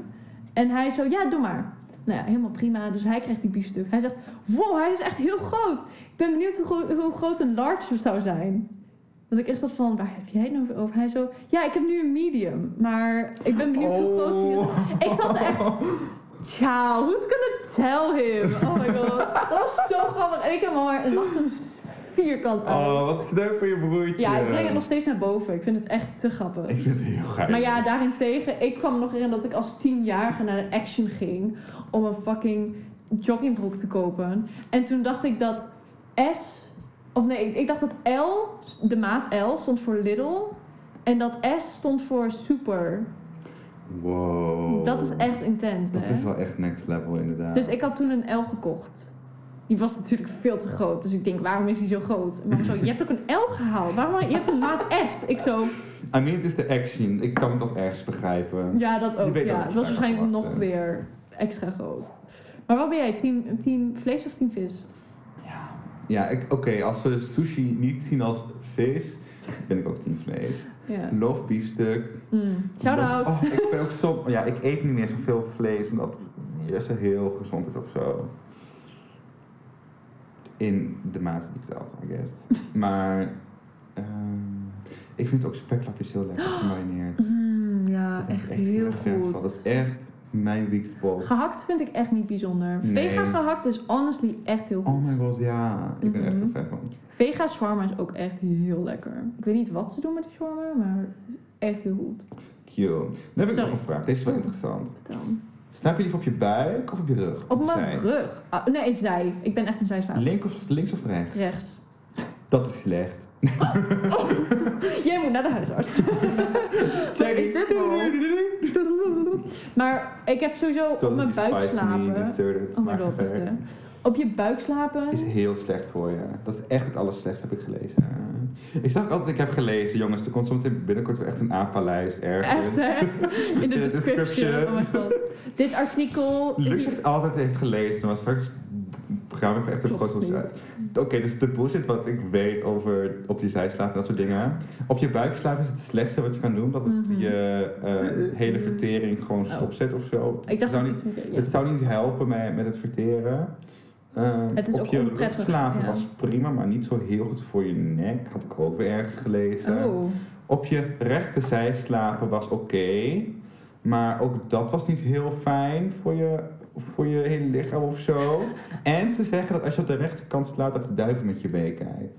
[SPEAKER 2] En hij zo: Ja, doe maar. Nou ja, helemaal prima. Dus hij kreeg die biefstuk. Hij zegt: Wow, hij is echt heel groot. Ik ben benieuwd hoe, gro- hoe groot een large zou zijn. Dat ik echt zat van, waar heb jij het nou over? Hij zo, ja, ik heb nu een medium. Maar ik ben benieuwd hoe groot hij is. Ik zat echt. Ciao, who's gonna tell him? Oh my god. Dat was zo grappig. En ik heb hem maar lacht hem vierkant uit.
[SPEAKER 1] Oh, wat sneu voor je broertje.
[SPEAKER 2] ja, ik breng het nog steeds naar boven. Ik vind het echt te grappig.
[SPEAKER 1] Ik vind het heel gaaf.
[SPEAKER 2] Maar ja, daarentegen, ik kwam nog in dat ik als tienjarige naar de Action ging om een fucking joggingbroek te kopen. En toen dacht ik dat S, of nee, ik dacht dat L, de maat L, stond voor Little. En dat S stond voor super.
[SPEAKER 1] Wow.
[SPEAKER 2] Dat is echt intens,
[SPEAKER 1] Oh. Dat
[SPEAKER 2] hè?
[SPEAKER 1] is wel echt next level, inderdaad.
[SPEAKER 2] Dus ik had toen een L gekocht. Die was natuurlijk veel te groot. Dus ik denk, waarom is die zo groot? En mama zo, je hebt ook een L gehaald. Waarom? Je hebt een maat S. Ik zo,
[SPEAKER 1] I mean, het is de action. Ik kan het toch ergens begrijpen.
[SPEAKER 2] ja, dat
[SPEAKER 1] Die
[SPEAKER 2] ook.
[SPEAKER 1] weet ook
[SPEAKER 2] Ja.
[SPEAKER 1] wat
[SPEAKER 2] Het
[SPEAKER 1] je
[SPEAKER 2] was waarschijnlijk
[SPEAKER 1] daarvan
[SPEAKER 2] nog
[SPEAKER 1] verwacht,
[SPEAKER 2] weer extra groot. Maar wat ben jij? Team, team vlees of team vis?
[SPEAKER 1] Ja, ja ik- oké, als we sushi niet zien als vis, ben ik ook team vlees.
[SPEAKER 2] Ja.
[SPEAKER 1] Love biefstuk.
[SPEAKER 2] Mm. Shout out.
[SPEAKER 1] Love- Oh, ik ben ook zo... Ja, ik eet niet meer zoveel vlees, omdat het juist heel gezond is of zo. In de maat die telt, I guess. Maar ehm, ik vind ook speklapjes heel lekker gemarineerd.
[SPEAKER 2] Mm, ja,
[SPEAKER 1] Dat
[SPEAKER 2] echt
[SPEAKER 1] ben ik
[SPEAKER 2] heel
[SPEAKER 1] erg fan van.
[SPEAKER 2] goed.
[SPEAKER 1] Dat is echt mijn weak spot.
[SPEAKER 2] Gehakt vind ik echt niet bijzonder.
[SPEAKER 1] Nee.
[SPEAKER 2] Vega gehakt is honestly echt heel
[SPEAKER 1] Oh
[SPEAKER 2] goed.
[SPEAKER 1] my god, ja. Ik ben echt een
[SPEAKER 2] Mhm.
[SPEAKER 1] fan van.
[SPEAKER 2] Vega shawarma is ook echt heel lekker. Ik weet niet wat ze doen met de shawarma, maar het is echt heel goed.
[SPEAKER 1] Cute. Dan heb ik
[SPEAKER 2] Sorry.
[SPEAKER 1] nog een vraag. Deze is wel
[SPEAKER 2] Oh.
[SPEAKER 1] interessant.
[SPEAKER 2] Dan.
[SPEAKER 1] Slaap je liever op je buik of op je rug?
[SPEAKER 2] Op mijn
[SPEAKER 1] Zij.
[SPEAKER 2] rug. Ah, nee, ik zei. Ik ben echt een zijslaap.
[SPEAKER 1] Link of, links of rechts?
[SPEAKER 2] Rechts.
[SPEAKER 1] Dat is slecht.
[SPEAKER 2] Oh, jij moet naar de huisarts. Wat is dit nou? Maar ik heb sowieso op mijn buik slapen.
[SPEAKER 1] slapen.
[SPEAKER 2] Oh my god, dit, hè. Op je buik slapen.
[SPEAKER 1] is heel slecht voor je. Dat is echt het allerslechtste, heb ik gelezen. Ik zag altijd, ik heb gelezen, jongens, er komt zometeen binnenkort wel echt een apenlijst
[SPEAKER 2] Echt,
[SPEAKER 1] ergens.
[SPEAKER 2] hè? In de
[SPEAKER 1] In de
[SPEAKER 2] description.
[SPEAKER 1] description.
[SPEAKER 2] Oh mijn god. Dit artikel...
[SPEAKER 1] Lux heeft altijd heeft gelezen, maar straks gaan we echt een
[SPEAKER 2] Klopt
[SPEAKER 1] groot
[SPEAKER 2] niet.
[SPEAKER 1] uit. Oké, dus de bullshit wat ik weet over op je zij slapen en dat soort dingen. Op je buik slapen is het slechtste wat je kan doen, omdat het
[SPEAKER 2] Mhm.
[SPEAKER 1] je eh, hele vertering gewoon
[SPEAKER 2] Oh.
[SPEAKER 1] stopzet of zo.
[SPEAKER 2] Ik
[SPEAKER 1] het,
[SPEAKER 2] dacht
[SPEAKER 1] zou
[SPEAKER 2] dat
[SPEAKER 1] niet,
[SPEAKER 2] iets meer- ja.
[SPEAKER 1] het zou niet helpen met, met het verteren. Eh,
[SPEAKER 2] Het is
[SPEAKER 1] op
[SPEAKER 2] ook
[SPEAKER 1] je rug
[SPEAKER 2] onprettig,
[SPEAKER 1] slapen
[SPEAKER 2] ja.
[SPEAKER 1] was prima, maar niet zo heel goed voor je nek. Had ik ook weer ergens gelezen.
[SPEAKER 2] Oh.
[SPEAKER 1] Op je rechterzij slapen was oké. maar ook dat was niet heel fijn voor je, voor je hele lichaam of zo. en ze zeggen dat als je op de rechterkant slaapt, dat de duiven met je mee kijkt.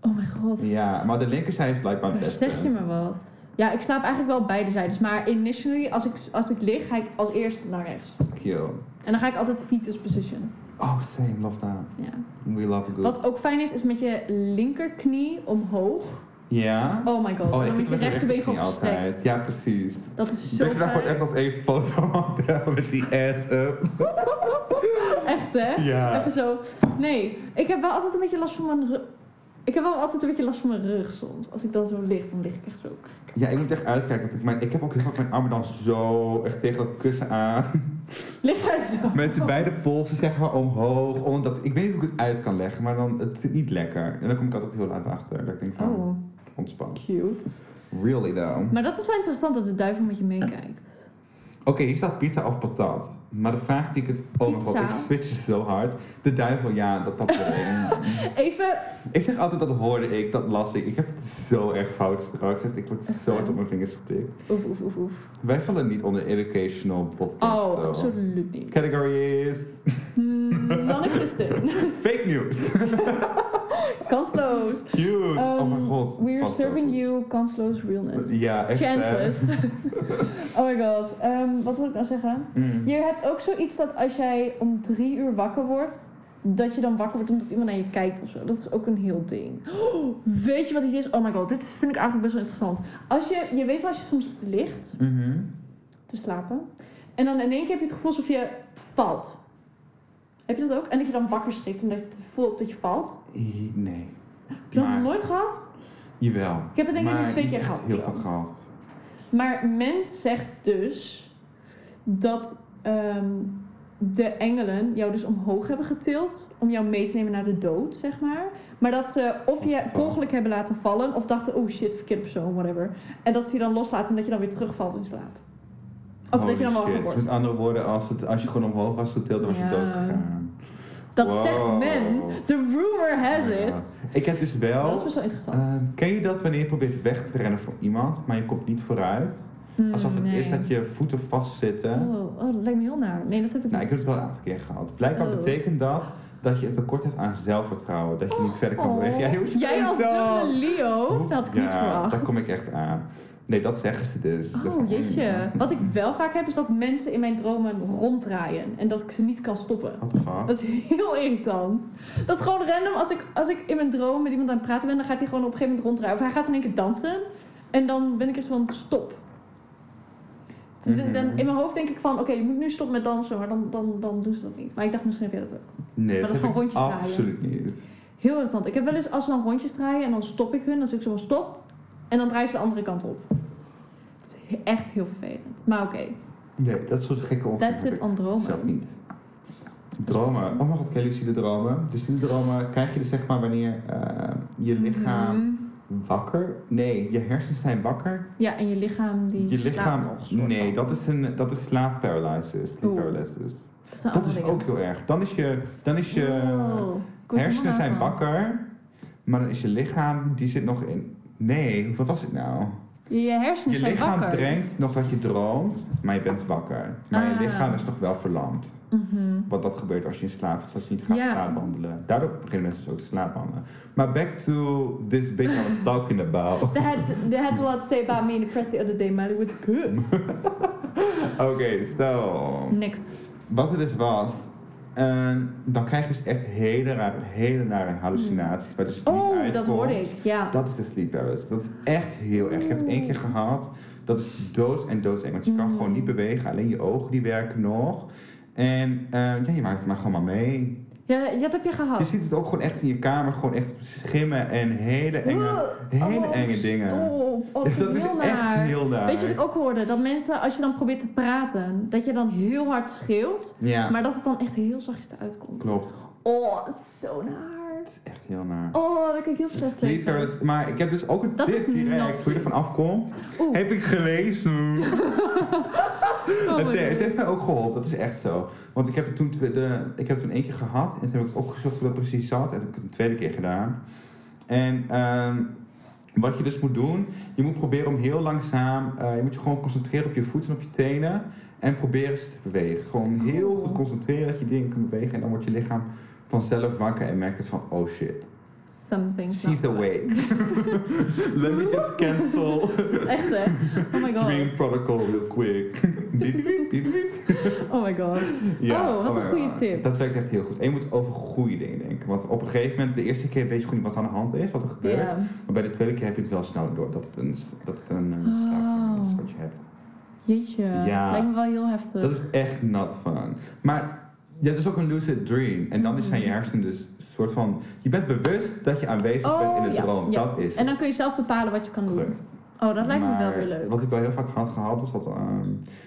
[SPEAKER 2] oh mijn god.
[SPEAKER 1] Ja, maar de linkerzij is blijkbaar het
[SPEAKER 2] Daar
[SPEAKER 1] beste.
[SPEAKER 2] zeg je me wat. Ja, ik slaap eigenlijk wel beide zijdes. Maar initially, als ik, als ik lig, ga ik als eerst naar rechts.
[SPEAKER 1] Kill.
[SPEAKER 2] En dan ga ik altijd fetus position.
[SPEAKER 1] Oh, same, love that.
[SPEAKER 2] Ja.
[SPEAKER 1] We love a good.
[SPEAKER 2] Wat ook fijn is, is met je linkerknie omhoog.
[SPEAKER 1] Ja?
[SPEAKER 2] Oh my god. en dan met je rechterbeen gewoon gestrekt.
[SPEAKER 1] Ja, precies.
[SPEAKER 2] Dat is zo
[SPEAKER 1] Denk je daar gewoon echt
[SPEAKER 2] fijn.
[SPEAKER 1] als één fotomodel met die ass up?
[SPEAKER 2] Echt, hè?
[SPEAKER 1] Ja.
[SPEAKER 2] Even zo. Nee, ik heb wel altijd een beetje last van mijn rug. Ik heb wel altijd een beetje last van mijn rug soms. Als ik dan zo lig, dan lig ik echt zo.
[SPEAKER 1] Ja, ik moet echt uitkijken. Dat ik, mijn, ik heb ook heel vaak mijn armen dan zo echt tegen dat kussen aan.
[SPEAKER 2] Lig jij zo?
[SPEAKER 1] Met de beide polsen zeg maar omhoog. Omdat, ik weet niet hoe ik het uit kan leggen, maar dan, het zit niet lekker. En dan kom ik altijd heel laat achter. Dat ik denk van,
[SPEAKER 2] Oh,
[SPEAKER 1] ontspan.
[SPEAKER 2] cute.
[SPEAKER 1] Really though.
[SPEAKER 2] Maar dat is wel interessant dat de duivel met je meekijkt.
[SPEAKER 1] Oké, hier staat pizza of patat. Maar de vraag die ik het... Oh mijn god, ik
[SPEAKER 2] Pizza.
[SPEAKER 1] switch het zo hard. De duivel, ja, dat dat wel.
[SPEAKER 2] Even,
[SPEAKER 1] ik zeg altijd, dat hoorde ik, dat las ik. Ik heb het zo erg fout straks. Echt, Ik word zo hard op mijn vingers getikt.
[SPEAKER 2] oef, oef, oef, oef.
[SPEAKER 1] Wij vallen niet onder educational podcast.
[SPEAKER 2] Oh,
[SPEAKER 1] zo.
[SPEAKER 2] absoluut niet.
[SPEAKER 1] Category is...
[SPEAKER 2] Hmm, Non-existent.
[SPEAKER 1] Fake news.
[SPEAKER 2] Kansloos.
[SPEAKER 1] Cute. oh mijn
[SPEAKER 2] Um,
[SPEAKER 1] god.
[SPEAKER 2] We're
[SPEAKER 1] Past zo
[SPEAKER 2] serving
[SPEAKER 1] goed.
[SPEAKER 2] you kansloos realness.
[SPEAKER 1] Ja, echt. hè.
[SPEAKER 2] Chanceless. oh my god. Ehm, wat wil ik nou zeggen?
[SPEAKER 1] Mm.
[SPEAKER 2] Je hebt ook zoiets dat als jij om drie uur wakker wordt, dat je dan wakker wordt omdat iemand naar je kijkt of zo. Dat is ook een heel ding. Oh, weet je wat dit is? Oh my god, dit vind ik eigenlijk best wel interessant. Als je, je weet wel als je soms ligt
[SPEAKER 1] Mhm.
[SPEAKER 2] te slapen en dan in één keer heb je het gevoel alsof je valt. Heb je dat ook? En dat je dan wakker schrikt omdat je het gevoel hebt dat je valt.
[SPEAKER 1] I- Nee.
[SPEAKER 2] Heb je dat
[SPEAKER 1] Maar-
[SPEAKER 2] nog nooit gehad?
[SPEAKER 1] Jawel.
[SPEAKER 2] Ik heb het denk ik
[SPEAKER 1] Maar
[SPEAKER 2] nu twee
[SPEAKER 1] niet
[SPEAKER 2] keer
[SPEAKER 1] echt
[SPEAKER 2] gehad. of
[SPEAKER 1] Heel
[SPEAKER 2] zo.
[SPEAKER 1] vaak gehad.
[SPEAKER 2] Maar men zegt dus dat ehm, de engelen jou dus omhoog hebben getild om jou mee te nemen naar de dood, zeg maar. Maar dat ze of je per ongeluk hebben laten vallen of dachten, oh shit, verkeerde persoon, whatever. En dat ze je dan loslaten en dat je dan weer terugvalt in slaap. Of dat
[SPEAKER 1] Holy
[SPEAKER 2] je dan wakker
[SPEAKER 1] shit.
[SPEAKER 2] wordt.
[SPEAKER 1] Met andere woorden, als, het, als je gewoon omhoog was getild, dan was
[SPEAKER 2] Ja.
[SPEAKER 1] je dood gegaan.
[SPEAKER 2] Dat
[SPEAKER 1] Wow. Oh
[SPEAKER 2] zegt men. The rumor has
[SPEAKER 1] Ja.
[SPEAKER 2] it. Oh,
[SPEAKER 1] Ik heb dus wel...
[SPEAKER 2] Dat is best wel interessant.
[SPEAKER 1] ehm, ken je dat wanneer je probeert weg te rennen van iemand, maar je komt niet vooruit?
[SPEAKER 2] Hmm,
[SPEAKER 1] Alsof het
[SPEAKER 2] nee.
[SPEAKER 1] is dat je voeten vastzitten.
[SPEAKER 2] Oh, oh, dat lijkt me heel naar. Nee, dat heb ik
[SPEAKER 1] Nou, ik heb het
[SPEAKER 2] niet.
[SPEAKER 1] wel een aantal keer gehad. Blijkbaar
[SPEAKER 2] Oh.
[SPEAKER 1] betekent dat dat je een tekort hebt aan zelfvertrouwen. Dat je niet verder kan
[SPEAKER 2] Oh.
[SPEAKER 1] bewegen. Ja, hoe stom
[SPEAKER 2] Jij
[SPEAKER 1] is
[SPEAKER 2] als
[SPEAKER 1] dat?
[SPEAKER 2] dubbele Leo, dat had ik
[SPEAKER 1] ja,
[SPEAKER 2] niet verwacht.
[SPEAKER 1] daar kom ik echt aan. Nee, dat zeggen ze dus.
[SPEAKER 2] Oh jeetje. Wat ik wel vaak heb is dat mensen in mijn dromen ronddraaien en dat ik ze niet kan stoppen.
[SPEAKER 1] What the fuck?
[SPEAKER 2] Dat is heel irritant. Dat gewoon random, als ik, als ik in mijn droom met iemand aan het praten ben, dan gaat hij gewoon op een gegeven moment ronddraaien. Of hij gaat in één keer dansen en dan ben ik eens van stop. Dan- dan-
[SPEAKER 1] Mhm.
[SPEAKER 2] in mijn hoofd denk ik van oké, je moet nu stoppen met dansen, maar dan, dan, dan doen ze dat niet. Maar ik dacht misschien heb je dat ook.
[SPEAKER 1] Nee,
[SPEAKER 2] Maar dat is
[SPEAKER 1] heb
[SPEAKER 2] gewoon
[SPEAKER 1] ik
[SPEAKER 2] rondjes draaien.
[SPEAKER 1] Absoluut niet.
[SPEAKER 2] Heel irritant. Ik heb wel eens als ze dan rondjes draaien en dan stop ik hun, dan zeg ik zo van stop en dan draaien ze de andere kant op. Het is echt heel vervelend. Maar oké,
[SPEAKER 1] Nee, dat soort gekke ongelukken
[SPEAKER 2] that's
[SPEAKER 1] heb
[SPEAKER 2] it on
[SPEAKER 1] ik
[SPEAKER 2] dromen.
[SPEAKER 1] zelf niet. Dromen. Oh mijn god, ken je lucide dromen? Dus lucide dromen krijg je dus zeg maar wanneer eh, je lichaam
[SPEAKER 2] Mhm.
[SPEAKER 1] wakker... Nee, je hersens zijn wakker.
[SPEAKER 2] Ja, en je lichaam die
[SPEAKER 1] je
[SPEAKER 2] slaapt
[SPEAKER 1] lichaam...
[SPEAKER 2] nog. soort
[SPEAKER 1] nee,
[SPEAKER 2] van.
[SPEAKER 1] dat is, een, dat is slaapparalysis. sleep
[SPEAKER 2] Oeh. Oh,
[SPEAKER 1] paralysis.
[SPEAKER 2] is, een Oh,
[SPEAKER 1] Dat
[SPEAKER 2] andere
[SPEAKER 1] is
[SPEAKER 2] ding.
[SPEAKER 1] ook heel erg. Dan is je... Dan is je
[SPEAKER 2] Wow, ik word
[SPEAKER 1] hersenen zijn
[SPEAKER 2] helemaal van.
[SPEAKER 1] wakker, maar dan is je lichaam, die zit nog in... Nee, wat was het nou?
[SPEAKER 2] Je hersenen
[SPEAKER 1] Je
[SPEAKER 2] zijn
[SPEAKER 1] lichaam
[SPEAKER 2] wakker.
[SPEAKER 1] denkt nog dat je droomt, maar je bent wakker. Maar
[SPEAKER 2] Ah.
[SPEAKER 1] je lichaam is nog wel verlamd.
[SPEAKER 2] Mhm.
[SPEAKER 1] Want dat gebeurt als je in slaap valt, als je niet gaat
[SPEAKER 2] Ja.
[SPEAKER 1] slaapwandelen. Daardoor beginnen mensen dus ook te slaapwandelen. Maar back to this bitch I was talking about.
[SPEAKER 2] They had, they had a lot to say about me in the press the other day, maar it was good.
[SPEAKER 1] Oké, so...
[SPEAKER 2] Next.
[SPEAKER 1] Wat het dus was... en dan krijg je dus echt hele rare, hele rare hallucinaties. Waar dus niet
[SPEAKER 2] Oh,
[SPEAKER 1] uitkomt.
[SPEAKER 2] dat hoorde ik. Ja.
[SPEAKER 1] Dat is de sleep paralysis. Dat is echt heel erg. Ik heb het één keer gehad. Dat is dood en doodseng. Want je kan
[SPEAKER 2] Mm.
[SPEAKER 1] gewoon niet bewegen. Alleen je ogen die werken nog. En eh, ja, je maakt het maar gewoon maar mee.
[SPEAKER 2] ja, ja, dat heb je
[SPEAKER 1] Je
[SPEAKER 2] gehad.
[SPEAKER 1] ziet het ook gewoon echt in je kamer. Gewoon echt schimmen en hele enge,
[SPEAKER 2] Oh,
[SPEAKER 1] hele enge dingen.
[SPEAKER 2] stop. Oh,
[SPEAKER 1] dat is
[SPEAKER 2] heel
[SPEAKER 1] echt
[SPEAKER 2] naar.
[SPEAKER 1] heel naar.
[SPEAKER 2] Weet je wat ik ook hoorde? Dat mensen, als je dan probeert te praten, dat je dan heel hard schreeuwt,
[SPEAKER 1] Ja,
[SPEAKER 2] maar dat het dan echt heel zachtjes eruit komt.
[SPEAKER 1] klopt. Het
[SPEAKER 2] Oh, dat is zo naar.
[SPEAKER 1] is echt heel naar.
[SPEAKER 2] Oh, daar kijk ik heel slecht
[SPEAKER 1] Sleep
[SPEAKER 2] tegen.
[SPEAKER 1] paralysis. Maar ik heb dus ook een
[SPEAKER 2] Dat is
[SPEAKER 1] tip direct.
[SPEAKER 2] not
[SPEAKER 1] Hoe je ervan afkomt.
[SPEAKER 2] Oeh,
[SPEAKER 1] Heb ik gelezen.
[SPEAKER 2] oh my
[SPEAKER 1] Het- nee, het
[SPEAKER 2] God.
[SPEAKER 1] heeft mij ook geholpen, dat is echt zo. Want ik heb het toen, twe- de, ik heb het toen één keer gehad en toen heb ik het opgezocht hoe dat precies zat. En toen heb ik het een tweede keer gedaan. En ehm, wat je dus moet doen, je moet proberen om heel langzaam, eh, je moet je gewoon concentreren op je voeten en op je tenen. En proberen ze te bewegen. Gewoon heel
[SPEAKER 2] Oh.
[SPEAKER 1] goed concentreren dat je dingen kan bewegen. En dan wordt je lichaam vanzelf wakker en merkt het van, oh shit,
[SPEAKER 2] Something.
[SPEAKER 1] she's awake. Let me just cancel
[SPEAKER 2] Echt hè? Oh my god.
[SPEAKER 1] Dream Protocol real quick. Biep, biep, biep, biep.
[SPEAKER 2] Oh my god. Oh, wat een
[SPEAKER 1] my
[SPEAKER 2] goede
[SPEAKER 1] God.
[SPEAKER 2] tip.
[SPEAKER 1] Dat werkt echt heel goed. En je moet over goede dingen denken. Want op een gegeven moment, de eerste keer weet je gewoon niet wat aan de hand is, wat er gebeurt.
[SPEAKER 2] Ja.
[SPEAKER 1] Maar bij de tweede keer heb je het wel snel door dat het een, dat het een eh,
[SPEAKER 2] Oh.
[SPEAKER 1] slaapverlamming is wat je hebt.
[SPEAKER 2] Jeetje.
[SPEAKER 1] Ja.
[SPEAKER 2] Lijkt me wel heel heftig.
[SPEAKER 1] Dat is echt not fun. Maar je hebt dus ook een lucid dream. En dan is zijn je
[SPEAKER 2] Hmm.
[SPEAKER 1] hersenen dus een soort van... Je bent bewust dat je aanwezig bent in
[SPEAKER 2] Oh,
[SPEAKER 1] de
[SPEAKER 2] ja,
[SPEAKER 1] droom.
[SPEAKER 2] ja.
[SPEAKER 1] Dat is
[SPEAKER 2] En dan kun je zelf bepalen wat je kan doen.
[SPEAKER 1] Correct.
[SPEAKER 2] Oh, dat lijkt me wel
[SPEAKER 1] Maar
[SPEAKER 2] weer leuk.
[SPEAKER 1] Wat ik wel heel vaak had gehad, was dat, ehm,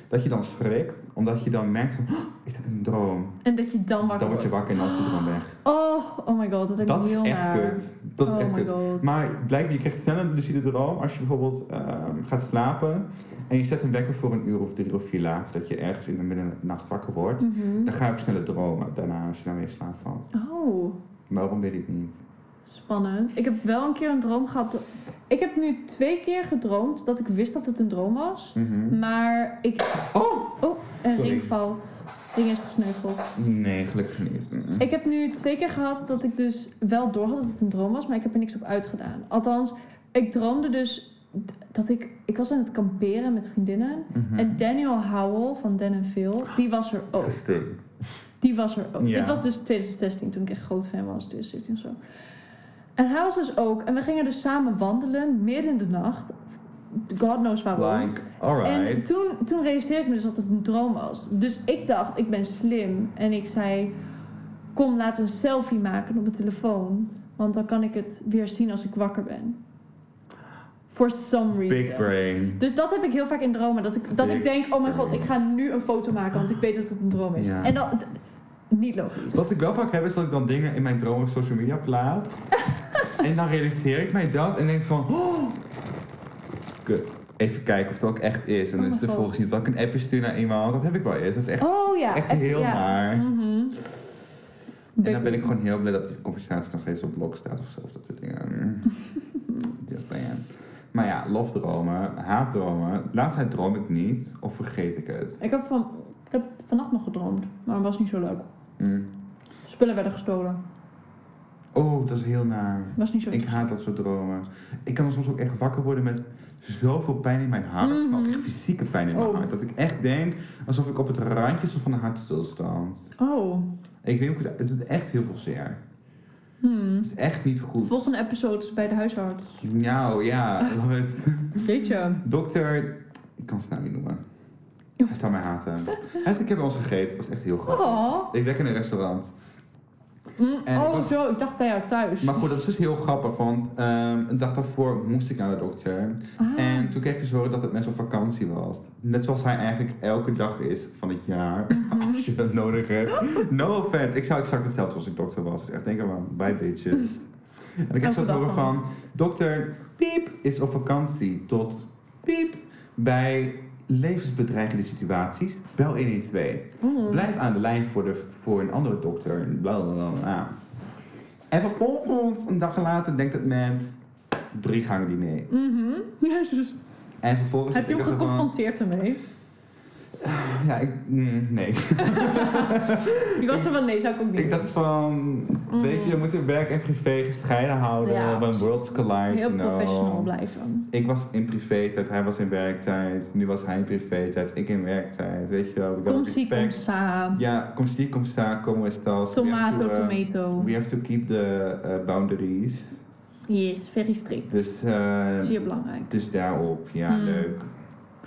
[SPEAKER 1] dat je dan schrikt, omdat je dan merkt van, "Oh, is dat een droom?
[SPEAKER 2] En dat je dan wakker
[SPEAKER 1] Dan word je
[SPEAKER 2] wordt.
[SPEAKER 1] wakker en dan is de droom weg.
[SPEAKER 2] Oh, oh my god, dat heb ik
[SPEAKER 1] Dat is
[SPEAKER 2] heel
[SPEAKER 1] echt
[SPEAKER 2] naar.
[SPEAKER 1] kut. Dat is
[SPEAKER 2] oh
[SPEAKER 1] echt
[SPEAKER 2] my
[SPEAKER 1] kut.
[SPEAKER 2] god.
[SPEAKER 1] Maar blijkbaar, je krijgt sneller een lucide droom als je bijvoorbeeld ehm, gaat slapen en je zet een wekker voor een uur of drie of vier later, dat je ergens in de middernacht wakker wordt.
[SPEAKER 2] Mhm.
[SPEAKER 1] Dan ga je ook sneller dromen daarna als je daarmee in slaap valt.
[SPEAKER 2] Oh,
[SPEAKER 1] Waarom weet ik niet.
[SPEAKER 2] spannend. Ik heb wel een keer een droom gehad. dat- Ik heb nu twee keer gedroomd dat ik wist dat het een droom was.
[SPEAKER 1] Mhm.
[SPEAKER 2] Maar ik...
[SPEAKER 1] Oh!
[SPEAKER 2] Oh, een
[SPEAKER 1] Sorry.
[SPEAKER 2] ring valt. Ring is gesneuveld.
[SPEAKER 1] Nee, gelukkig niet. Mhm. Mm-mm.
[SPEAKER 2] Ik heb nu twee keer gehad dat ik dus wel door had dat het een droom was, maar ik heb er niks op uitgedaan. Althans, ik droomde dus d- dat ik... Ik was aan het kamperen met vriendinnen.
[SPEAKER 1] Mhm.
[SPEAKER 2] En Daniel Howell van Den Phil, die was er ook.
[SPEAKER 1] Stuk.
[SPEAKER 2] Die was er ook.
[SPEAKER 1] Ja.
[SPEAKER 2] Dit was dus 2016, toen ik echt groot fan was, 2017 of zo. En hij was dus ook. En we gingen dus samen wandelen, midden in de nacht. God knows waarom.
[SPEAKER 1] Like,
[SPEAKER 2] En
[SPEAKER 1] alright.
[SPEAKER 2] toen, toen realiseerde ik me dus dat het een droom was. Dus ik dacht, ik ben slim. En ik zei, kom laten we een selfie maken op mijn telefoon. Want dan kan ik het weer zien als ik wakker ben. For some reason.
[SPEAKER 1] Big brain.
[SPEAKER 2] Dus dat heb ik heel vaak in dromen. Dat ik, dat
[SPEAKER 1] Big
[SPEAKER 2] ik denk, oh mijn god,
[SPEAKER 1] brain.
[SPEAKER 2] ik ga nu een foto maken, want ik weet dat het een droom is.
[SPEAKER 1] Ja.
[SPEAKER 2] En dat... d- Niet logisch.
[SPEAKER 1] Wat ik wel vaak heb, is dat ik dan dingen in mijn droom op social media plaat. en dan realiseer ik mij dat en denk van... Oh, kut. Even kijken of het ook echt is. En
[SPEAKER 2] Oh
[SPEAKER 1] dan is
[SPEAKER 2] my
[SPEAKER 1] het er
[SPEAKER 2] God.
[SPEAKER 1] volgens niet. Dat ik een appje stuur naar iemand, dat heb ik wel eens. Dat is echt,
[SPEAKER 2] Oh ja.
[SPEAKER 1] echt heel
[SPEAKER 2] ja.
[SPEAKER 1] naar.
[SPEAKER 2] Mhm.
[SPEAKER 1] En dan ben ik gewoon heel blij dat die conversatie nog steeds op blog staat of zo. Of dat soort dingen. Mm. Just saying. Maar ja, lofdromen, haatdromen. Laatst tijd droom ik niet of vergeet ik het.
[SPEAKER 2] Ik heb, van, ik heb vannacht nog gedroomd, maar het was niet zo leuk.
[SPEAKER 1] Mm.
[SPEAKER 2] Spullen werden gestolen.
[SPEAKER 1] Oh, dat is heel naar.
[SPEAKER 2] Was niet zo
[SPEAKER 1] Ik haat dat soort dromen. Ik kan soms ook echt wakker worden met zoveel pijn in mijn hart. Maar ook
[SPEAKER 2] Mhm.
[SPEAKER 1] echt fysieke pijn in mijn
[SPEAKER 2] Oh.
[SPEAKER 1] hart. Dat ik echt denk alsof ik op het randje stond van een hartstilstand.
[SPEAKER 2] Oh.
[SPEAKER 1] Ik weet ook, het het doet echt heel veel zeer.
[SPEAKER 2] Hmm.
[SPEAKER 1] Het is echt niet goed.
[SPEAKER 2] Volgende episode is bij de huisarts.
[SPEAKER 1] Nou ja, love it.
[SPEAKER 2] Weet je?
[SPEAKER 1] Dokter, ik kan zijn naam niet noemen. Hij zou mij haten. Hij zei, ik heb bij ons gegeten. Het was echt heel grappig.
[SPEAKER 2] Oh.
[SPEAKER 1] Ik werk in een restaurant.
[SPEAKER 2] Mm,
[SPEAKER 1] En
[SPEAKER 2] oh,
[SPEAKER 1] ik was-
[SPEAKER 2] zo. Ik dacht bij jou thuis.
[SPEAKER 1] Maar goed, dat is dus heel grappig, want ehm, een dag daarvoor moest ik naar de dokter.
[SPEAKER 2] Ah.
[SPEAKER 1] En toen kreeg ik dus horen dat het mensen op vakantie was. Net zoals hij eigenlijk elke dag is van het jaar.
[SPEAKER 2] Mhm.
[SPEAKER 1] Als je dat nodig hebt. No offense. Ik zou exact hetzelfde als ik dokter was. Dus echt denk aan, bye bitches. En ik heb zo
[SPEAKER 2] Elke
[SPEAKER 1] te
[SPEAKER 2] dag
[SPEAKER 1] horen
[SPEAKER 2] gewoon.
[SPEAKER 1] van, dokter Piep is op vakantie tot Piep bij levensbedreigende situaties. Bel 112.
[SPEAKER 2] Mm.
[SPEAKER 1] Blijf aan de lijn voor, de, voor een andere dokter. en Bla bla bla. bla. En vervolgens, een dag later, denkt het mens... Drie gangen diner.
[SPEAKER 2] Mhm. Jezus.
[SPEAKER 1] En vervolgens...
[SPEAKER 2] Heb je
[SPEAKER 1] ik
[SPEAKER 2] hem
[SPEAKER 1] er zo van-
[SPEAKER 2] geconfronteerd ermee?
[SPEAKER 1] Ja, ik... mm, nee.
[SPEAKER 2] Je was er van, nee, zou ik ook niet
[SPEAKER 1] ik dacht van... Weet je, we moeten werk en privé gescheiden houden.
[SPEAKER 2] Mm. Ja,
[SPEAKER 1] we hebben een
[SPEAKER 2] precies.
[SPEAKER 1] worlds collide.
[SPEAKER 2] doen. Heel
[SPEAKER 1] you know.
[SPEAKER 2] professional blijven.
[SPEAKER 1] Ik was in privé-tijd, hij was in werktijd. Nu was hij in privé-tijd, ik in werktijd. Weet je wel, we
[SPEAKER 2] Kom
[SPEAKER 1] got
[SPEAKER 2] zie,
[SPEAKER 1] respect.
[SPEAKER 2] kom sta.
[SPEAKER 1] Ja, kom zie, kom sta, kom estas. eh,
[SPEAKER 2] Tomato, tomato.
[SPEAKER 1] uh, We have to keep the eh, boundaries.
[SPEAKER 2] Yes, very strikt.
[SPEAKER 1] Dus,
[SPEAKER 2] Dat
[SPEAKER 1] eh
[SPEAKER 2] is hier belangrijk.
[SPEAKER 1] dus daarop, ja,
[SPEAKER 2] Mm.
[SPEAKER 1] leuk.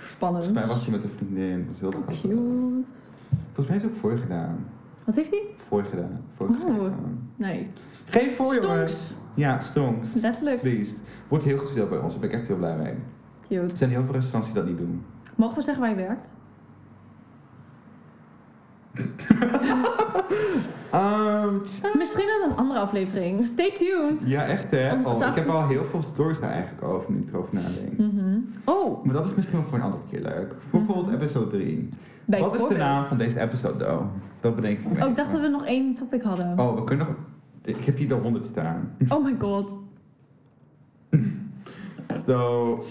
[SPEAKER 2] Spannend.
[SPEAKER 1] Volgens mij was hij met een vriendin. Dat is heel
[SPEAKER 2] Oh,
[SPEAKER 1] grappig.
[SPEAKER 2] cute.
[SPEAKER 1] Volgens mij is het ook voorgedaan.
[SPEAKER 2] Wat heeft hij?
[SPEAKER 1] Voorgedaan.
[SPEAKER 2] Oh.
[SPEAKER 1] Voorgedaan.
[SPEAKER 2] Nee.
[SPEAKER 1] Geef voor, jongen.
[SPEAKER 2] Stonks.
[SPEAKER 1] Ja, stonks.
[SPEAKER 2] Letterlijk.
[SPEAKER 1] Please. Wordt heel goed verdeeld bij ons. Daar ben ik echt heel blij mee. Er
[SPEAKER 2] Cute.
[SPEAKER 1] zijn heel veel restaurants die dat niet doen.
[SPEAKER 2] Mogen we zeggen waar je werkt?
[SPEAKER 1] Ehm,
[SPEAKER 2] Misschien in een andere aflevering. Stay tuned.
[SPEAKER 1] ja, echt hè.
[SPEAKER 2] Om-
[SPEAKER 1] Oh, ik
[SPEAKER 2] tafel-
[SPEAKER 1] heb al heel veel stories daar eigenlijk over nu ik erover nadenk.
[SPEAKER 2] Mhm. Oh,
[SPEAKER 1] Maar dat is misschien wel voor een andere keer leuk. Bijvoorbeeld
[SPEAKER 2] Mhm.
[SPEAKER 1] episode 3. Wat
[SPEAKER 2] bijvoorbeeld.
[SPEAKER 1] is de naam van deze episode, though? Dat bedenk ik me.
[SPEAKER 2] Oh, ik dacht dat we nog één topic hadden.
[SPEAKER 1] Oh, we kunnen nog... Ik heb hier de 100 staan.
[SPEAKER 2] Oh my god.
[SPEAKER 1] So,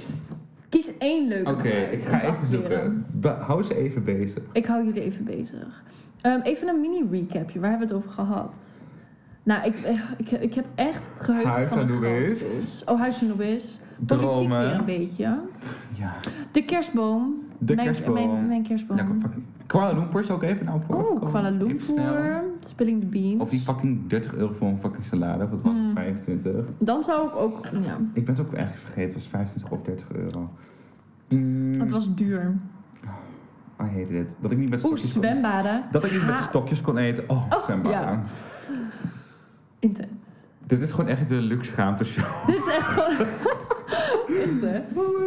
[SPEAKER 2] Kies één leuke.
[SPEAKER 1] oké,
[SPEAKER 2] eruit
[SPEAKER 1] ik
[SPEAKER 2] om
[SPEAKER 1] ga
[SPEAKER 2] te
[SPEAKER 1] even
[SPEAKER 2] activeren.
[SPEAKER 1] zoeken. Be- Hou ze even bezig.
[SPEAKER 2] Ik hou jullie even bezig. Ehm, even een mini-recapje. Waar hebben we het over gehad? Nou, ik, ik, ik heb echt het geheugen
[SPEAKER 1] Huis
[SPEAKER 2] van een
[SPEAKER 1] Anubis.
[SPEAKER 2] goud. Oh, Huis Anubis. Politiek
[SPEAKER 1] Dromen.
[SPEAKER 2] weer een beetje.
[SPEAKER 1] Ja.
[SPEAKER 2] De kerstboom.
[SPEAKER 1] De
[SPEAKER 2] mijn,
[SPEAKER 1] kerstboom.
[SPEAKER 2] Mijn, mijn kerstboom.
[SPEAKER 1] Ja, kom, fucking. Kuala Lumpur is ook even nou voor.
[SPEAKER 2] Ehm, oh,
[SPEAKER 1] Kom,
[SPEAKER 2] Kuala
[SPEAKER 1] even snel.
[SPEAKER 2] Lumpur. Spilling the Beans.
[SPEAKER 1] Of die fucking 30 euro voor een fucking salade. Of wat was het,
[SPEAKER 2] Mm.
[SPEAKER 1] 25?
[SPEAKER 2] Dan zou ik ook... Ja,
[SPEAKER 1] Ik ben het ook echt vergeten. Het was 25 of 30 euro. Mm,
[SPEAKER 2] het was duur.
[SPEAKER 1] I hated it. Dat ik niet met
[SPEAKER 2] Oeh,
[SPEAKER 1] stokjes kon
[SPEAKER 2] zwembaden.
[SPEAKER 1] Dat ik niet met
[SPEAKER 2] Haat.
[SPEAKER 1] stokjes kon eten. Oh,
[SPEAKER 2] Oh,
[SPEAKER 1] zwembaden.
[SPEAKER 2] ja. Intens.
[SPEAKER 1] Dit is gewoon echt de luxe schaamte show.
[SPEAKER 2] Dit is echt gewoon... echt, hè?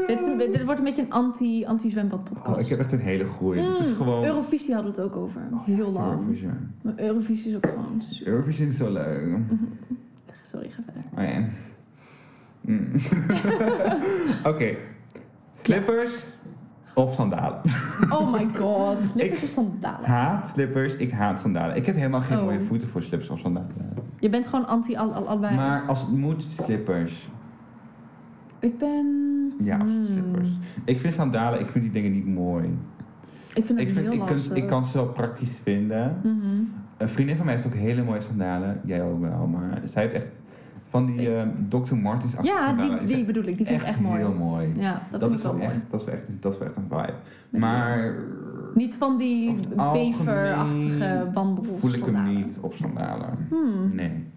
[SPEAKER 2] Dit, is een be- dit wordt een beetje een anti- anti-zwembad-podcast.
[SPEAKER 1] Oh, ik heb echt een hele groei. Het is
[SPEAKER 2] Mm,
[SPEAKER 1] gewoon... Oh,
[SPEAKER 2] Eurovisie hadden we het ook over. Heel lang.
[SPEAKER 1] Eurovision.
[SPEAKER 2] Maar Eurovisie is ook gewoon... super.
[SPEAKER 1] Eurovision is zo leuk.
[SPEAKER 2] Mhm. Sorry, ga verder.
[SPEAKER 1] Oh ja. Mm. Oké. Slippers of sandalen?
[SPEAKER 2] Oh my god. Snickers of sandalen.
[SPEAKER 1] Haat slippers, ik haat sandalen. Ik heb helemaal geen
[SPEAKER 2] Oh.
[SPEAKER 1] mooie voeten voor slippers of sandalen.
[SPEAKER 2] Je bent gewoon anti al, al, allebei.
[SPEAKER 1] Maar als het moet, slippers.
[SPEAKER 2] ik ben...
[SPEAKER 1] Ja, of
[SPEAKER 2] Hmm.
[SPEAKER 1] slippers. Ik vind sandalen, ik vind die dingen niet mooi.
[SPEAKER 2] Ik vind het
[SPEAKER 1] Ik, vind,
[SPEAKER 2] heel
[SPEAKER 1] ik, kan,
[SPEAKER 2] lastig.
[SPEAKER 1] ik kan ze wel praktisch vinden.
[SPEAKER 2] Mhm.
[SPEAKER 1] Een vriendin van mij heeft ook hele mooie sandalen. Jij ook wel, maar zij heeft echt van die
[SPEAKER 2] Echt?
[SPEAKER 1] eh, Dr. Martens
[SPEAKER 2] Ja, die, die
[SPEAKER 1] vind
[SPEAKER 2] bedoel ik. Die vind ik echt mooi.
[SPEAKER 1] heel mooi.
[SPEAKER 2] Ja, dat,
[SPEAKER 1] dat
[SPEAKER 2] vind
[SPEAKER 1] is
[SPEAKER 2] ik wel
[SPEAKER 1] wel
[SPEAKER 2] mooi.
[SPEAKER 1] echt, dat is wel echt, dat is wel echt een vibe.
[SPEAKER 2] Ja.
[SPEAKER 1] Maar
[SPEAKER 2] Niet van die
[SPEAKER 1] Over het algemeen
[SPEAKER 2] beverachtige wandel.
[SPEAKER 1] voel ik hem niet op sandalen. Nee.
[SPEAKER 2] Hmm.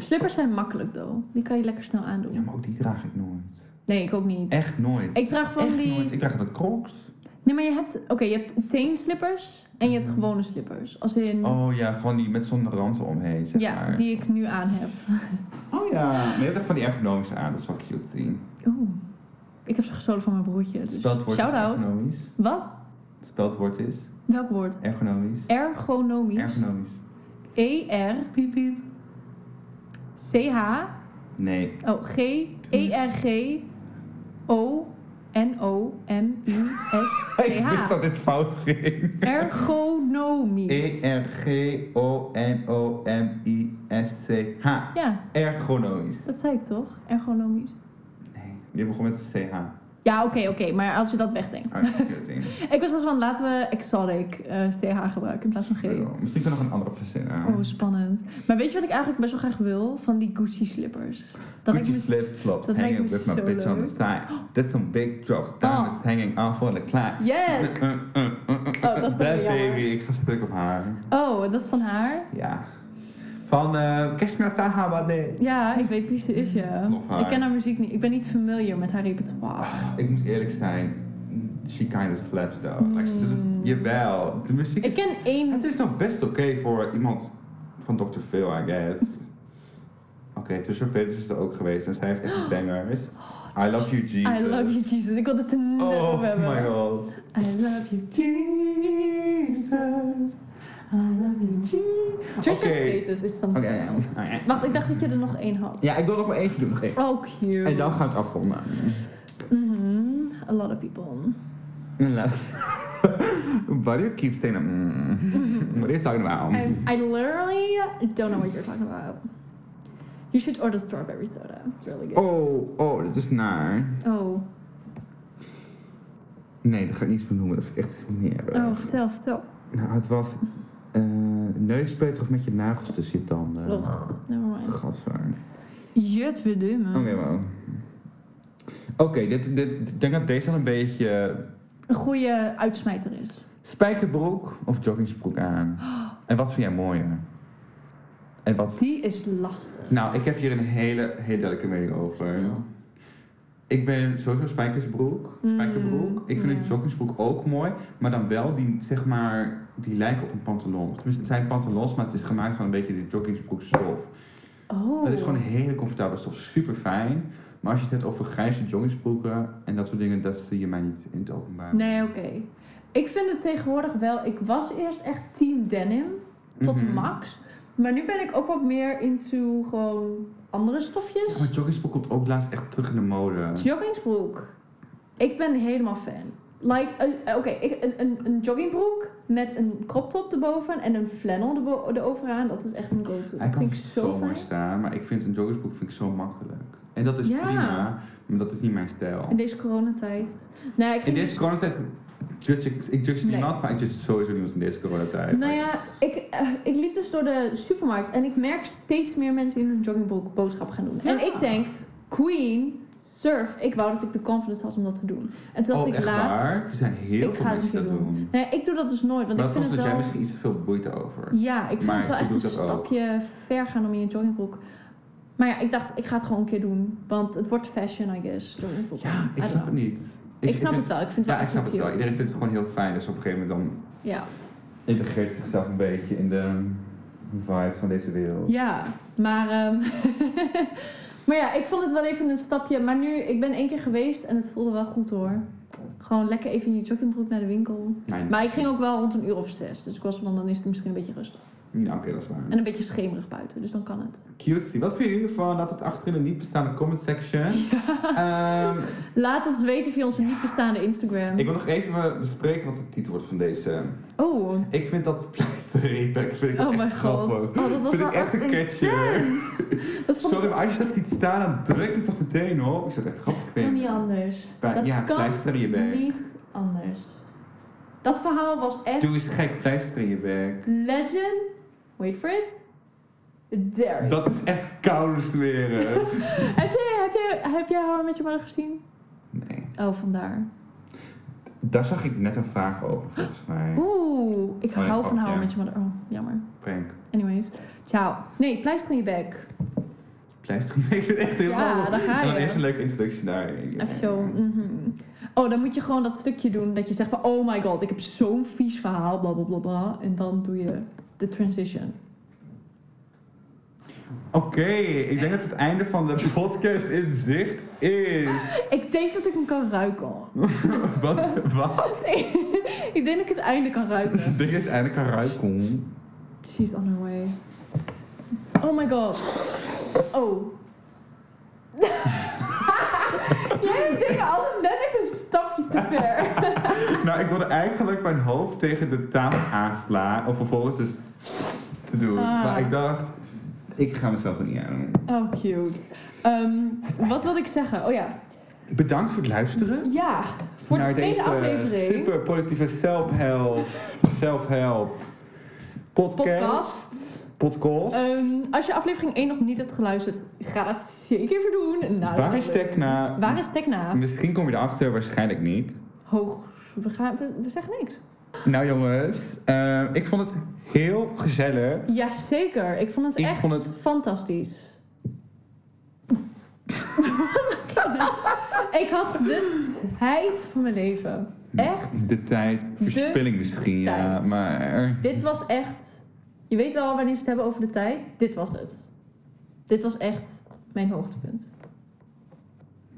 [SPEAKER 2] Slippers zijn makkelijk, though. Die kan je lekker snel aandoen.
[SPEAKER 1] Nou. Ja, maar ook die draag ik nooit.
[SPEAKER 2] Nee, ik ook niet.
[SPEAKER 1] Echt nooit.
[SPEAKER 2] Ik draag van
[SPEAKER 1] Echt
[SPEAKER 2] die- Mm.
[SPEAKER 1] nooit. Ik draag altijd crocs.
[SPEAKER 2] Nee, maar je hebt... Oké, je hebt teenslippers en je hebt gewone slippers. Als in...
[SPEAKER 1] Oh ja, van die met zo'n rand omheen, zeg
[SPEAKER 2] ja,
[SPEAKER 1] maar.
[SPEAKER 2] die ik nu aan heb.
[SPEAKER 1] Oh ja. Maar je hebt echt van die ergonomische aan, dat is wel cute. Die.
[SPEAKER 2] Oeh. Ik heb ze gestolen van mijn broertje.
[SPEAKER 1] Het
[SPEAKER 2] Dus
[SPEAKER 1] Spelwoord is
[SPEAKER 2] shout-out.
[SPEAKER 1] ergonomisch.
[SPEAKER 2] Wat?
[SPEAKER 1] Het Spelwoord is
[SPEAKER 2] Welk woord?
[SPEAKER 1] ergonomisch.
[SPEAKER 2] Ergonomisch. E
[SPEAKER 1] Ergonomisch. Piep piep.
[SPEAKER 2] E-R-C-H...
[SPEAKER 1] Nee.
[SPEAKER 2] Oh, G-E-R-G-O...
[SPEAKER 1] Ik wist
[SPEAKER 2] N-O-M-I-S-C-H.
[SPEAKER 1] dat dit fout ging. E
[SPEAKER 2] Ergonomisch.
[SPEAKER 1] E-R-G-O-N-O-M-I-S-C-H.
[SPEAKER 2] Ja,
[SPEAKER 1] Ergonomisch.
[SPEAKER 2] dat zei ik toch? Ergonomisch.
[SPEAKER 1] Nee. Je begon met Oh, een CH.
[SPEAKER 2] Ja, oké, oké. maar als je dat wegdenkt.
[SPEAKER 1] Ah, kut, ding.
[SPEAKER 2] Ik was wel van, laten we exotic eh, CH gebruiken in plaats van G.
[SPEAKER 1] Misschien kan ik nog een andere verzinnen.
[SPEAKER 2] Oh, spannend. Maar weet je wat ik eigenlijk best wel graag wil? Van die Gucci slippers. Dat
[SPEAKER 1] Gucci
[SPEAKER 2] lijkt me- dus-
[SPEAKER 1] flip flops
[SPEAKER 2] dat lijkt
[SPEAKER 1] hanging
[SPEAKER 2] me
[SPEAKER 1] with my
[SPEAKER 2] zo
[SPEAKER 1] bitch on the
[SPEAKER 2] leuk. Oh.
[SPEAKER 1] side. That's some big drops. Diamonds hanging off on the clock.
[SPEAKER 2] Yes!
[SPEAKER 1] Uh, uh, uh, uh,
[SPEAKER 2] Oh, dat is wel
[SPEAKER 1] That
[SPEAKER 2] weer jammer.
[SPEAKER 1] baby, ik ga stuk op haar.
[SPEAKER 2] Oh, dat is van haar?
[SPEAKER 1] Ja. Van eh Kashmir Sahabade.
[SPEAKER 2] Ja, ik weet wie ze is, ja.
[SPEAKER 1] Nog haar. Ah,
[SPEAKER 2] Ik ken haar muziek niet. Ik ben niet familiar met haar repertoire.
[SPEAKER 1] Ik moet eerlijk zijn, she kind of slaps though. Like, ze doet-
[SPEAKER 2] Mm.
[SPEAKER 1] jawel, de muziek
[SPEAKER 2] Ik
[SPEAKER 1] is...
[SPEAKER 2] ken één...
[SPEAKER 1] Het is nog best oké voor iemand van Dr. Phil, I guess. Oké, Trisha Paytas is er ook geweest en zij heeft echt bangers. I love you, Jesus.
[SPEAKER 2] Oh, I love you, Jesus. Ik wilde het er net op
[SPEAKER 1] Oh
[SPEAKER 2] hebben.
[SPEAKER 1] my god.
[SPEAKER 2] I love you.
[SPEAKER 1] Jesus, I love you, Jesus.
[SPEAKER 2] Trisha
[SPEAKER 1] Oké,
[SPEAKER 2] Paytas is something
[SPEAKER 1] Oké.
[SPEAKER 2] else. Wacht, ik dacht dat je er nog één had.
[SPEAKER 1] Ja, ik wil nog maar eentje doen. nog één.
[SPEAKER 2] Oh, cute.
[SPEAKER 1] En dan gaan we het afronden.
[SPEAKER 2] Mhm. A lot of people.
[SPEAKER 1] Why do Mm. you keep saying that? Mm. What are you talking about?
[SPEAKER 2] I, I literally don't know what you're talking about. You should order strawberry soda. It's really good.
[SPEAKER 1] Oh, oh, dat is naar.
[SPEAKER 2] Oh,
[SPEAKER 1] Nee, dat ga ik niet benoemen. Dat vind ik echt smerig.
[SPEAKER 2] oh, vertel, vertel.
[SPEAKER 1] Nou, het was eh neuspeuter of met je nagels tussen je tanden.
[SPEAKER 2] Ugh, never mind.
[SPEAKER 1] Gadver.
[SPEAKER 2] Jut, we dummen.
[SPEAKER 1] Oké, wow. Oh, Oké, dit, dit, ik denk dat deze al een beetje
[SPEAKER 2] Een goede uitsmijter is.
[SPEAKER 1] spijkerbroek of joggingsbroek aan. En wat vind jij mooier? En wat...
[SPEAKER 2] Die is lastig.
[SPEAKER 1] Nou, ik heb hier een hele, hele duidelijke mening over.
[SPEAKER 2] Vertel.
[SPEAKER 1] Ik ben sowieso spijkersbroek.
[SPEAKER 2] Mm,
[SPEAKER 1] Spijkerbroek. ik vind
[SPEAKER 2] ja.
[SPEAKER 1] een joggingsbroek ook mooi. Maar dan wel die, zeg maar, die lijken op een pantalon. Tenminste, het zijn pantalons, maar het is gemaakt van een beetje die joggingsbroekstof.
[SPEAKER 2] Oh.
[SPEAKER 1] Dat is gewoon een hele comfortabele stof. Super fijn. Maar als je het hebt over grijze joggingsbroeken en dat soort dingen, dat zie je mij niet in het openbaar.
[SPEAKER 2] Nee, oké. Ik vind het tegenwoordig wel... Ik was eerst echt team denim. Tot
[SPEAKER 1] Mhm.
[SPEAKER 2] max. Maar nu ben ik ook wat meer into gewoon andere stofjes.
[SPEAKER 1] Ja, maar joggingsbroek komt ook laatst echt terug in de mode.
[SPEAKER 2] Joggingsbroek. Ik ben helemaal fan. Like, eh, eh, oké, ik- een, een, een joggingbroek met een crop top erboven en een flannel erbo- eroveraan. Dat is echt een go-to.
[SPEAKER 1] Hij
[SPEAKER 2] Dat
[SPEAKER 1] kan
[SPEAKER 2] vind
[SPEAKER 1] zo,
[SPEAKER 2] ik
[SPEAKER 1] mooi
[SPEAKER 2] zo fijn.
[SPEAKER 1] staan, maar ik vind een joggingsbroek vind ik zo makkelijk. En dat is
[SPEAKER 2] Ja.
[SPEAKER 1] prima, maar dat is niet mijn stijl.
[SPEAKER 2] In deze coronatijd. Nou, ik
[SPEAKER 1] In
[SPEAKER 2] ging
[SPEAKER 1] deze coronatijd judge ik, ik judge
[SPEAKER 2] Nee.
[SPEAKER 1] niemand, maar ik judge sowieso niemand in deze coronatijd.
[SPEAKER 2] Nou ja, ik, eh, ik liep dus door de supermarkt en ik merk steeds meer mensen in hun joggingbroek boodschap gaan doen. En
[SPEAKER 1] Ja.
[SPEAKER 2] ik denk, queen, surf. Ik wou dat ik de confidence had om dat te doen. En toen
[SPEAKER 1] oh,
[SPEAKER 2] had ik
[SPEAKER 1] echt
[SPEAKER 2] laatst...
[SPEAKER 1] waar? Er zijn heel
[SPEAKER 2] ik
[SPEAKER 1] veel
[SPEAKER 2] ga het
[SPEAKER 1] mensen die
[SPEAKER 2] niet
[SPEAKER 1] dat
[SPEAKER 2] doen.
[SPEAKER 1] doen.
[SPEAKER 2] Nee, ik doe dat dus nooit, want
[SPEAKER 1] maar
[SPEAKER 2] ik
[SPEAKER 1] dat
[SPEAKER 2] vind
[SPEAKER 1] komt dat
[SPEAKER 2] het wel...
[SPEAKER 1] jij misschien iets te veel boeite over.
[SPEAKER 2] Ja, ik vond
[SPEAKER 1] Maar
[SPEAKER 2] het wel
[SPEAKER 1] je
[SPEAKER 2] echt een
[SPEAKER 1] doet dat ook.
[SPEAKER 2] stapje ver gaan om in je joggingbroek. Maar ja, ik dacht, ik ga het gewoon een keer doen. Want het wordt fashion, I guess. Joggingbroek.
[SPEAKER 1] Ja,
[SPEAKER 2] I
[SPEAKER 1] ik
[SPEAKER 2] don't
[SPEAKER 1] snap
[SPEAKER 2] know.
[SPEAKER 1] het niet.
[SPEAKER 2] Ik, snap
[SPEAKER 1] vind-
[SPEAKER 2] het wel. Ik vind het
[SPEAKER 1] Ja,
[SPEAKER 2] wel
[SPEAKER 1] ik snap het wel.
[SPEAKER 2] cute.
[SPEAKER 1] Iedereen vindt het gewoon heel fijn, dus op een gegeven moment dan
[SPEAKER 2] Ja.
[SPEAKER 1] integreert het zichzelf een beetje in de vibes van deze wereld.
[SPEAKER 2] ja, maar... ehm, Maar ja, ik vond het wel even een stapje. Maar nu, ik ben één keer geweest en het voelde wel goed hoor. Gewoon lekker even in je joggingbroek naar de winkel.
[SPEAKER 1] Mijn-
[SPEAKER 2] Maar ik ging ook wel rond een uur of zes. Dus ik was van, dan is het misschien een beetje rustig.
[SPEAKER 1] Ja, oké, dat is waar.
[SPEAKER 2] En een beetje schemerig buiten, dus dan kan het.
[SPEAKER 1] Cutie. Wat vinden jullie van? Laat het achter in de niet bestaande comment section. Ehm,
[SPEAKER 2] Laat het weten via onze niet bestaande Instagram.
[SPEAKER 1] ik wil nog even bespreken wat de titel wordt van deze.
[SPEAKER 2] Oh,
[SPEAKER 1] Ik vind dat pleisterreepek vind ik
[SPEAKER 2] oh
[SPEAKER 1] echt
[SPEAKER 2] mijn god.
[SPEAKER 1] grappig.
[SPEAKER 2] Oh, dat was
[SPEAKER 1] Vind
[SPEAKER 2] wel
[SPEAKER 1] ik echt een catchy.
[SPEAKER 2] intens. Dat vond ik
[SPEAKER 1] Sorry, maar als je dat ziet staan, dan druk het toch meteen op. Ik zou het echt grappig
[SPEAKER 4] kan
[SPEAKER 1] vinden.
[SPEAKER 4] niet anders.
[SPEAKER 1] Bij-
[SPEAKER 4] dat
[SPEAKER 1] ja,
[SPEAKER 4] kan
[SPEAKER 1] pleister in je bek.
[SPEAKER 4] niet anders. Dat verhaal was echt
[SPEAKER 1] Doe eens gek, pleister in je bek.
[SPEAKER 4] legend. Wait for it. Derek.
[SPEAKER 1] Dat is echt koude smeren.
[SPEAKER 2] Heb jij, heb jij, heb jij How I Met Your Mother gezien?
[SPEAKER 1] Nee.
[SPEAKER 2] Oh, vandaar.
[SPEAKER 1] Daar zag ik net een vraag over, volgens
[SPEAKER 2] Oh.
[SPEAKER 1] mij.
[SPEAKER 2] Oeh, ik
[SPEAKER 1] Oh, ja,
[SPEAKER 2] hou van
[SPEAKER 1] grapje.
[SPEAKER 2] How I Met Your Mother. Oh, jammer.
[SPEAKER 1] Prank.
[SPEAKER 2] Anyways. Ciao. Nee, pleister in je bek.
[SPEAKER 1] Pleister in je bek. Ik vind het echt heel
[SPEAKER 2] Ja, daar ga
[SPEAKER 1] En dan
[SPEAKER 2] je.
[SPEAKER 1] even een leuke introductie daar.
[SPEAKER 2] Even zo. mhm. Oh, dan moet je gewoon dat stukje doen dat je zegt van... Oh my god, ik heb zo'n vies verhaal, bla bla bla bla. En dan doe je de transition.
[SPEAKER 1] Oké, ik denk dat het einde van de podcast in zicht is.
[SPEAKER 2] Ik denk dat ik hem kan ruiken.
[SPEAKER 1] Wat? Wat?
[SPEAKER 2] ik denk dat ik het einde kan ruiken.
[SPEAKER 1] Dit is eindelijk een ruikom.
[SPEAKER 2] She's on her way. Oh my god. Oh. Jij doet dingen altijd net even een stapje te ver.
[SPEAKER 1] Nou, ik wilde eigenlijk mijn hoofd tegen de tafel aanslaan. Om vervolgens dus te doen.
[SPEAKER 2] Ah.
[SPEAKER 1] Maar ik dacht, ik ga mezelf er niet aan doen.
[SPEAKER 2] Oh, cute. Ehm, wat wilde ik zeggen? Oh ja.
[SPEAKER 1] Bedankt voor het luisteren.
[SPEAKER 2] Ja, voor de
[SPEAKER 1] naar
[SPEAKER 2] tweede
[SPEAKER 1] deze
[SPEAKER 2] aflevering.
[SPEAKER 1] super politieke self-help, self-help podcast.
[SPEAKER 2] Podcast.
[SPEAKER 1] podcast.
[SPEAKER 2] Ehm, als je aflevering 1 nog niet hebt geluisterd, ga dat zeker even doen. Nou,
[SPEAKER 1] Waar is Tekna?
[SPEAKER 2] Waar is Tekna?
[SPEAKER 1] Misschien kom je erachter, waarschijnlijk niet.
[SPEAKER 2] Hoog. We, gaan, we, we zeggen niks.
[SPEAKER 1] Nou jongens, eh, ik vond het heel gezellig.
[SPEAKER 2] Jazeker. Ik vond het
[SPEAKER 1] Ik
[SPEAKER 2] echt
[SPEAKER 1] vond het-
[SPEAKER 2] fantastisch. ik had de tijd van mijn leven. Echt.
[SPEAKER 1] De tijd, verspilling misschien, ja,
[SPEAKER 2] tijd.
[SPEAKER 1] maar...
[SPEAKER 2] Dit was echt... Je weet wel wanneer ze het hebben over de tijd. Dit was het. Dit was echt mijn hoogtepunt.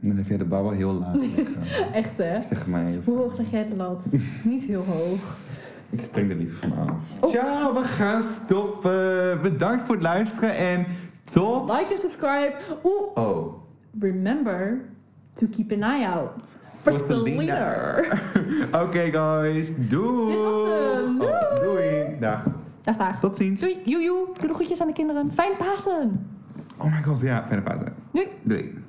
[SPEAKER 1] Dan heb jij de bouw wel heel laag liggen.
[SPEAKER 2] Echt hè.
[SPEAKER 1] zeg mij
[SPEAKER 2] Hoe hoog leg jij de lat? Niet heel hoog.
[SPEAKER 1] Ik spring er liever van af.
[SPEAKER 2] Oh.
[SPEAKER 1] Ciao, we gaan stoppen. Bedankt voor het luisteren en tot...
[SPEAKER 2] Like en subscribe. Oeh,
[SPEAKER 1] Oh.
[SPEAKER 2] remember to keep an eye out for
[SPEAKER 1] What's the
[SPEAKER 2] the leader.
[SPEAKER 1] okay, guys. Doei.
[SPEAKER 2] Dit was hem. Doei.
[SPEAKER 1] Oh, doei. Dag.
[SPEAKER 2] Dag, dag.
[SPEAKER 1] Tot ziens.
[SPEAKER 2] Doei, joejoe. Doe de groetjes aan de kinderen. Fijn Pasen.
[SPEAKER 1] Oh my god, ja. Fijne Pasen.
[SPEAKER 2] Doei.
[SPEAKER 1] Doei.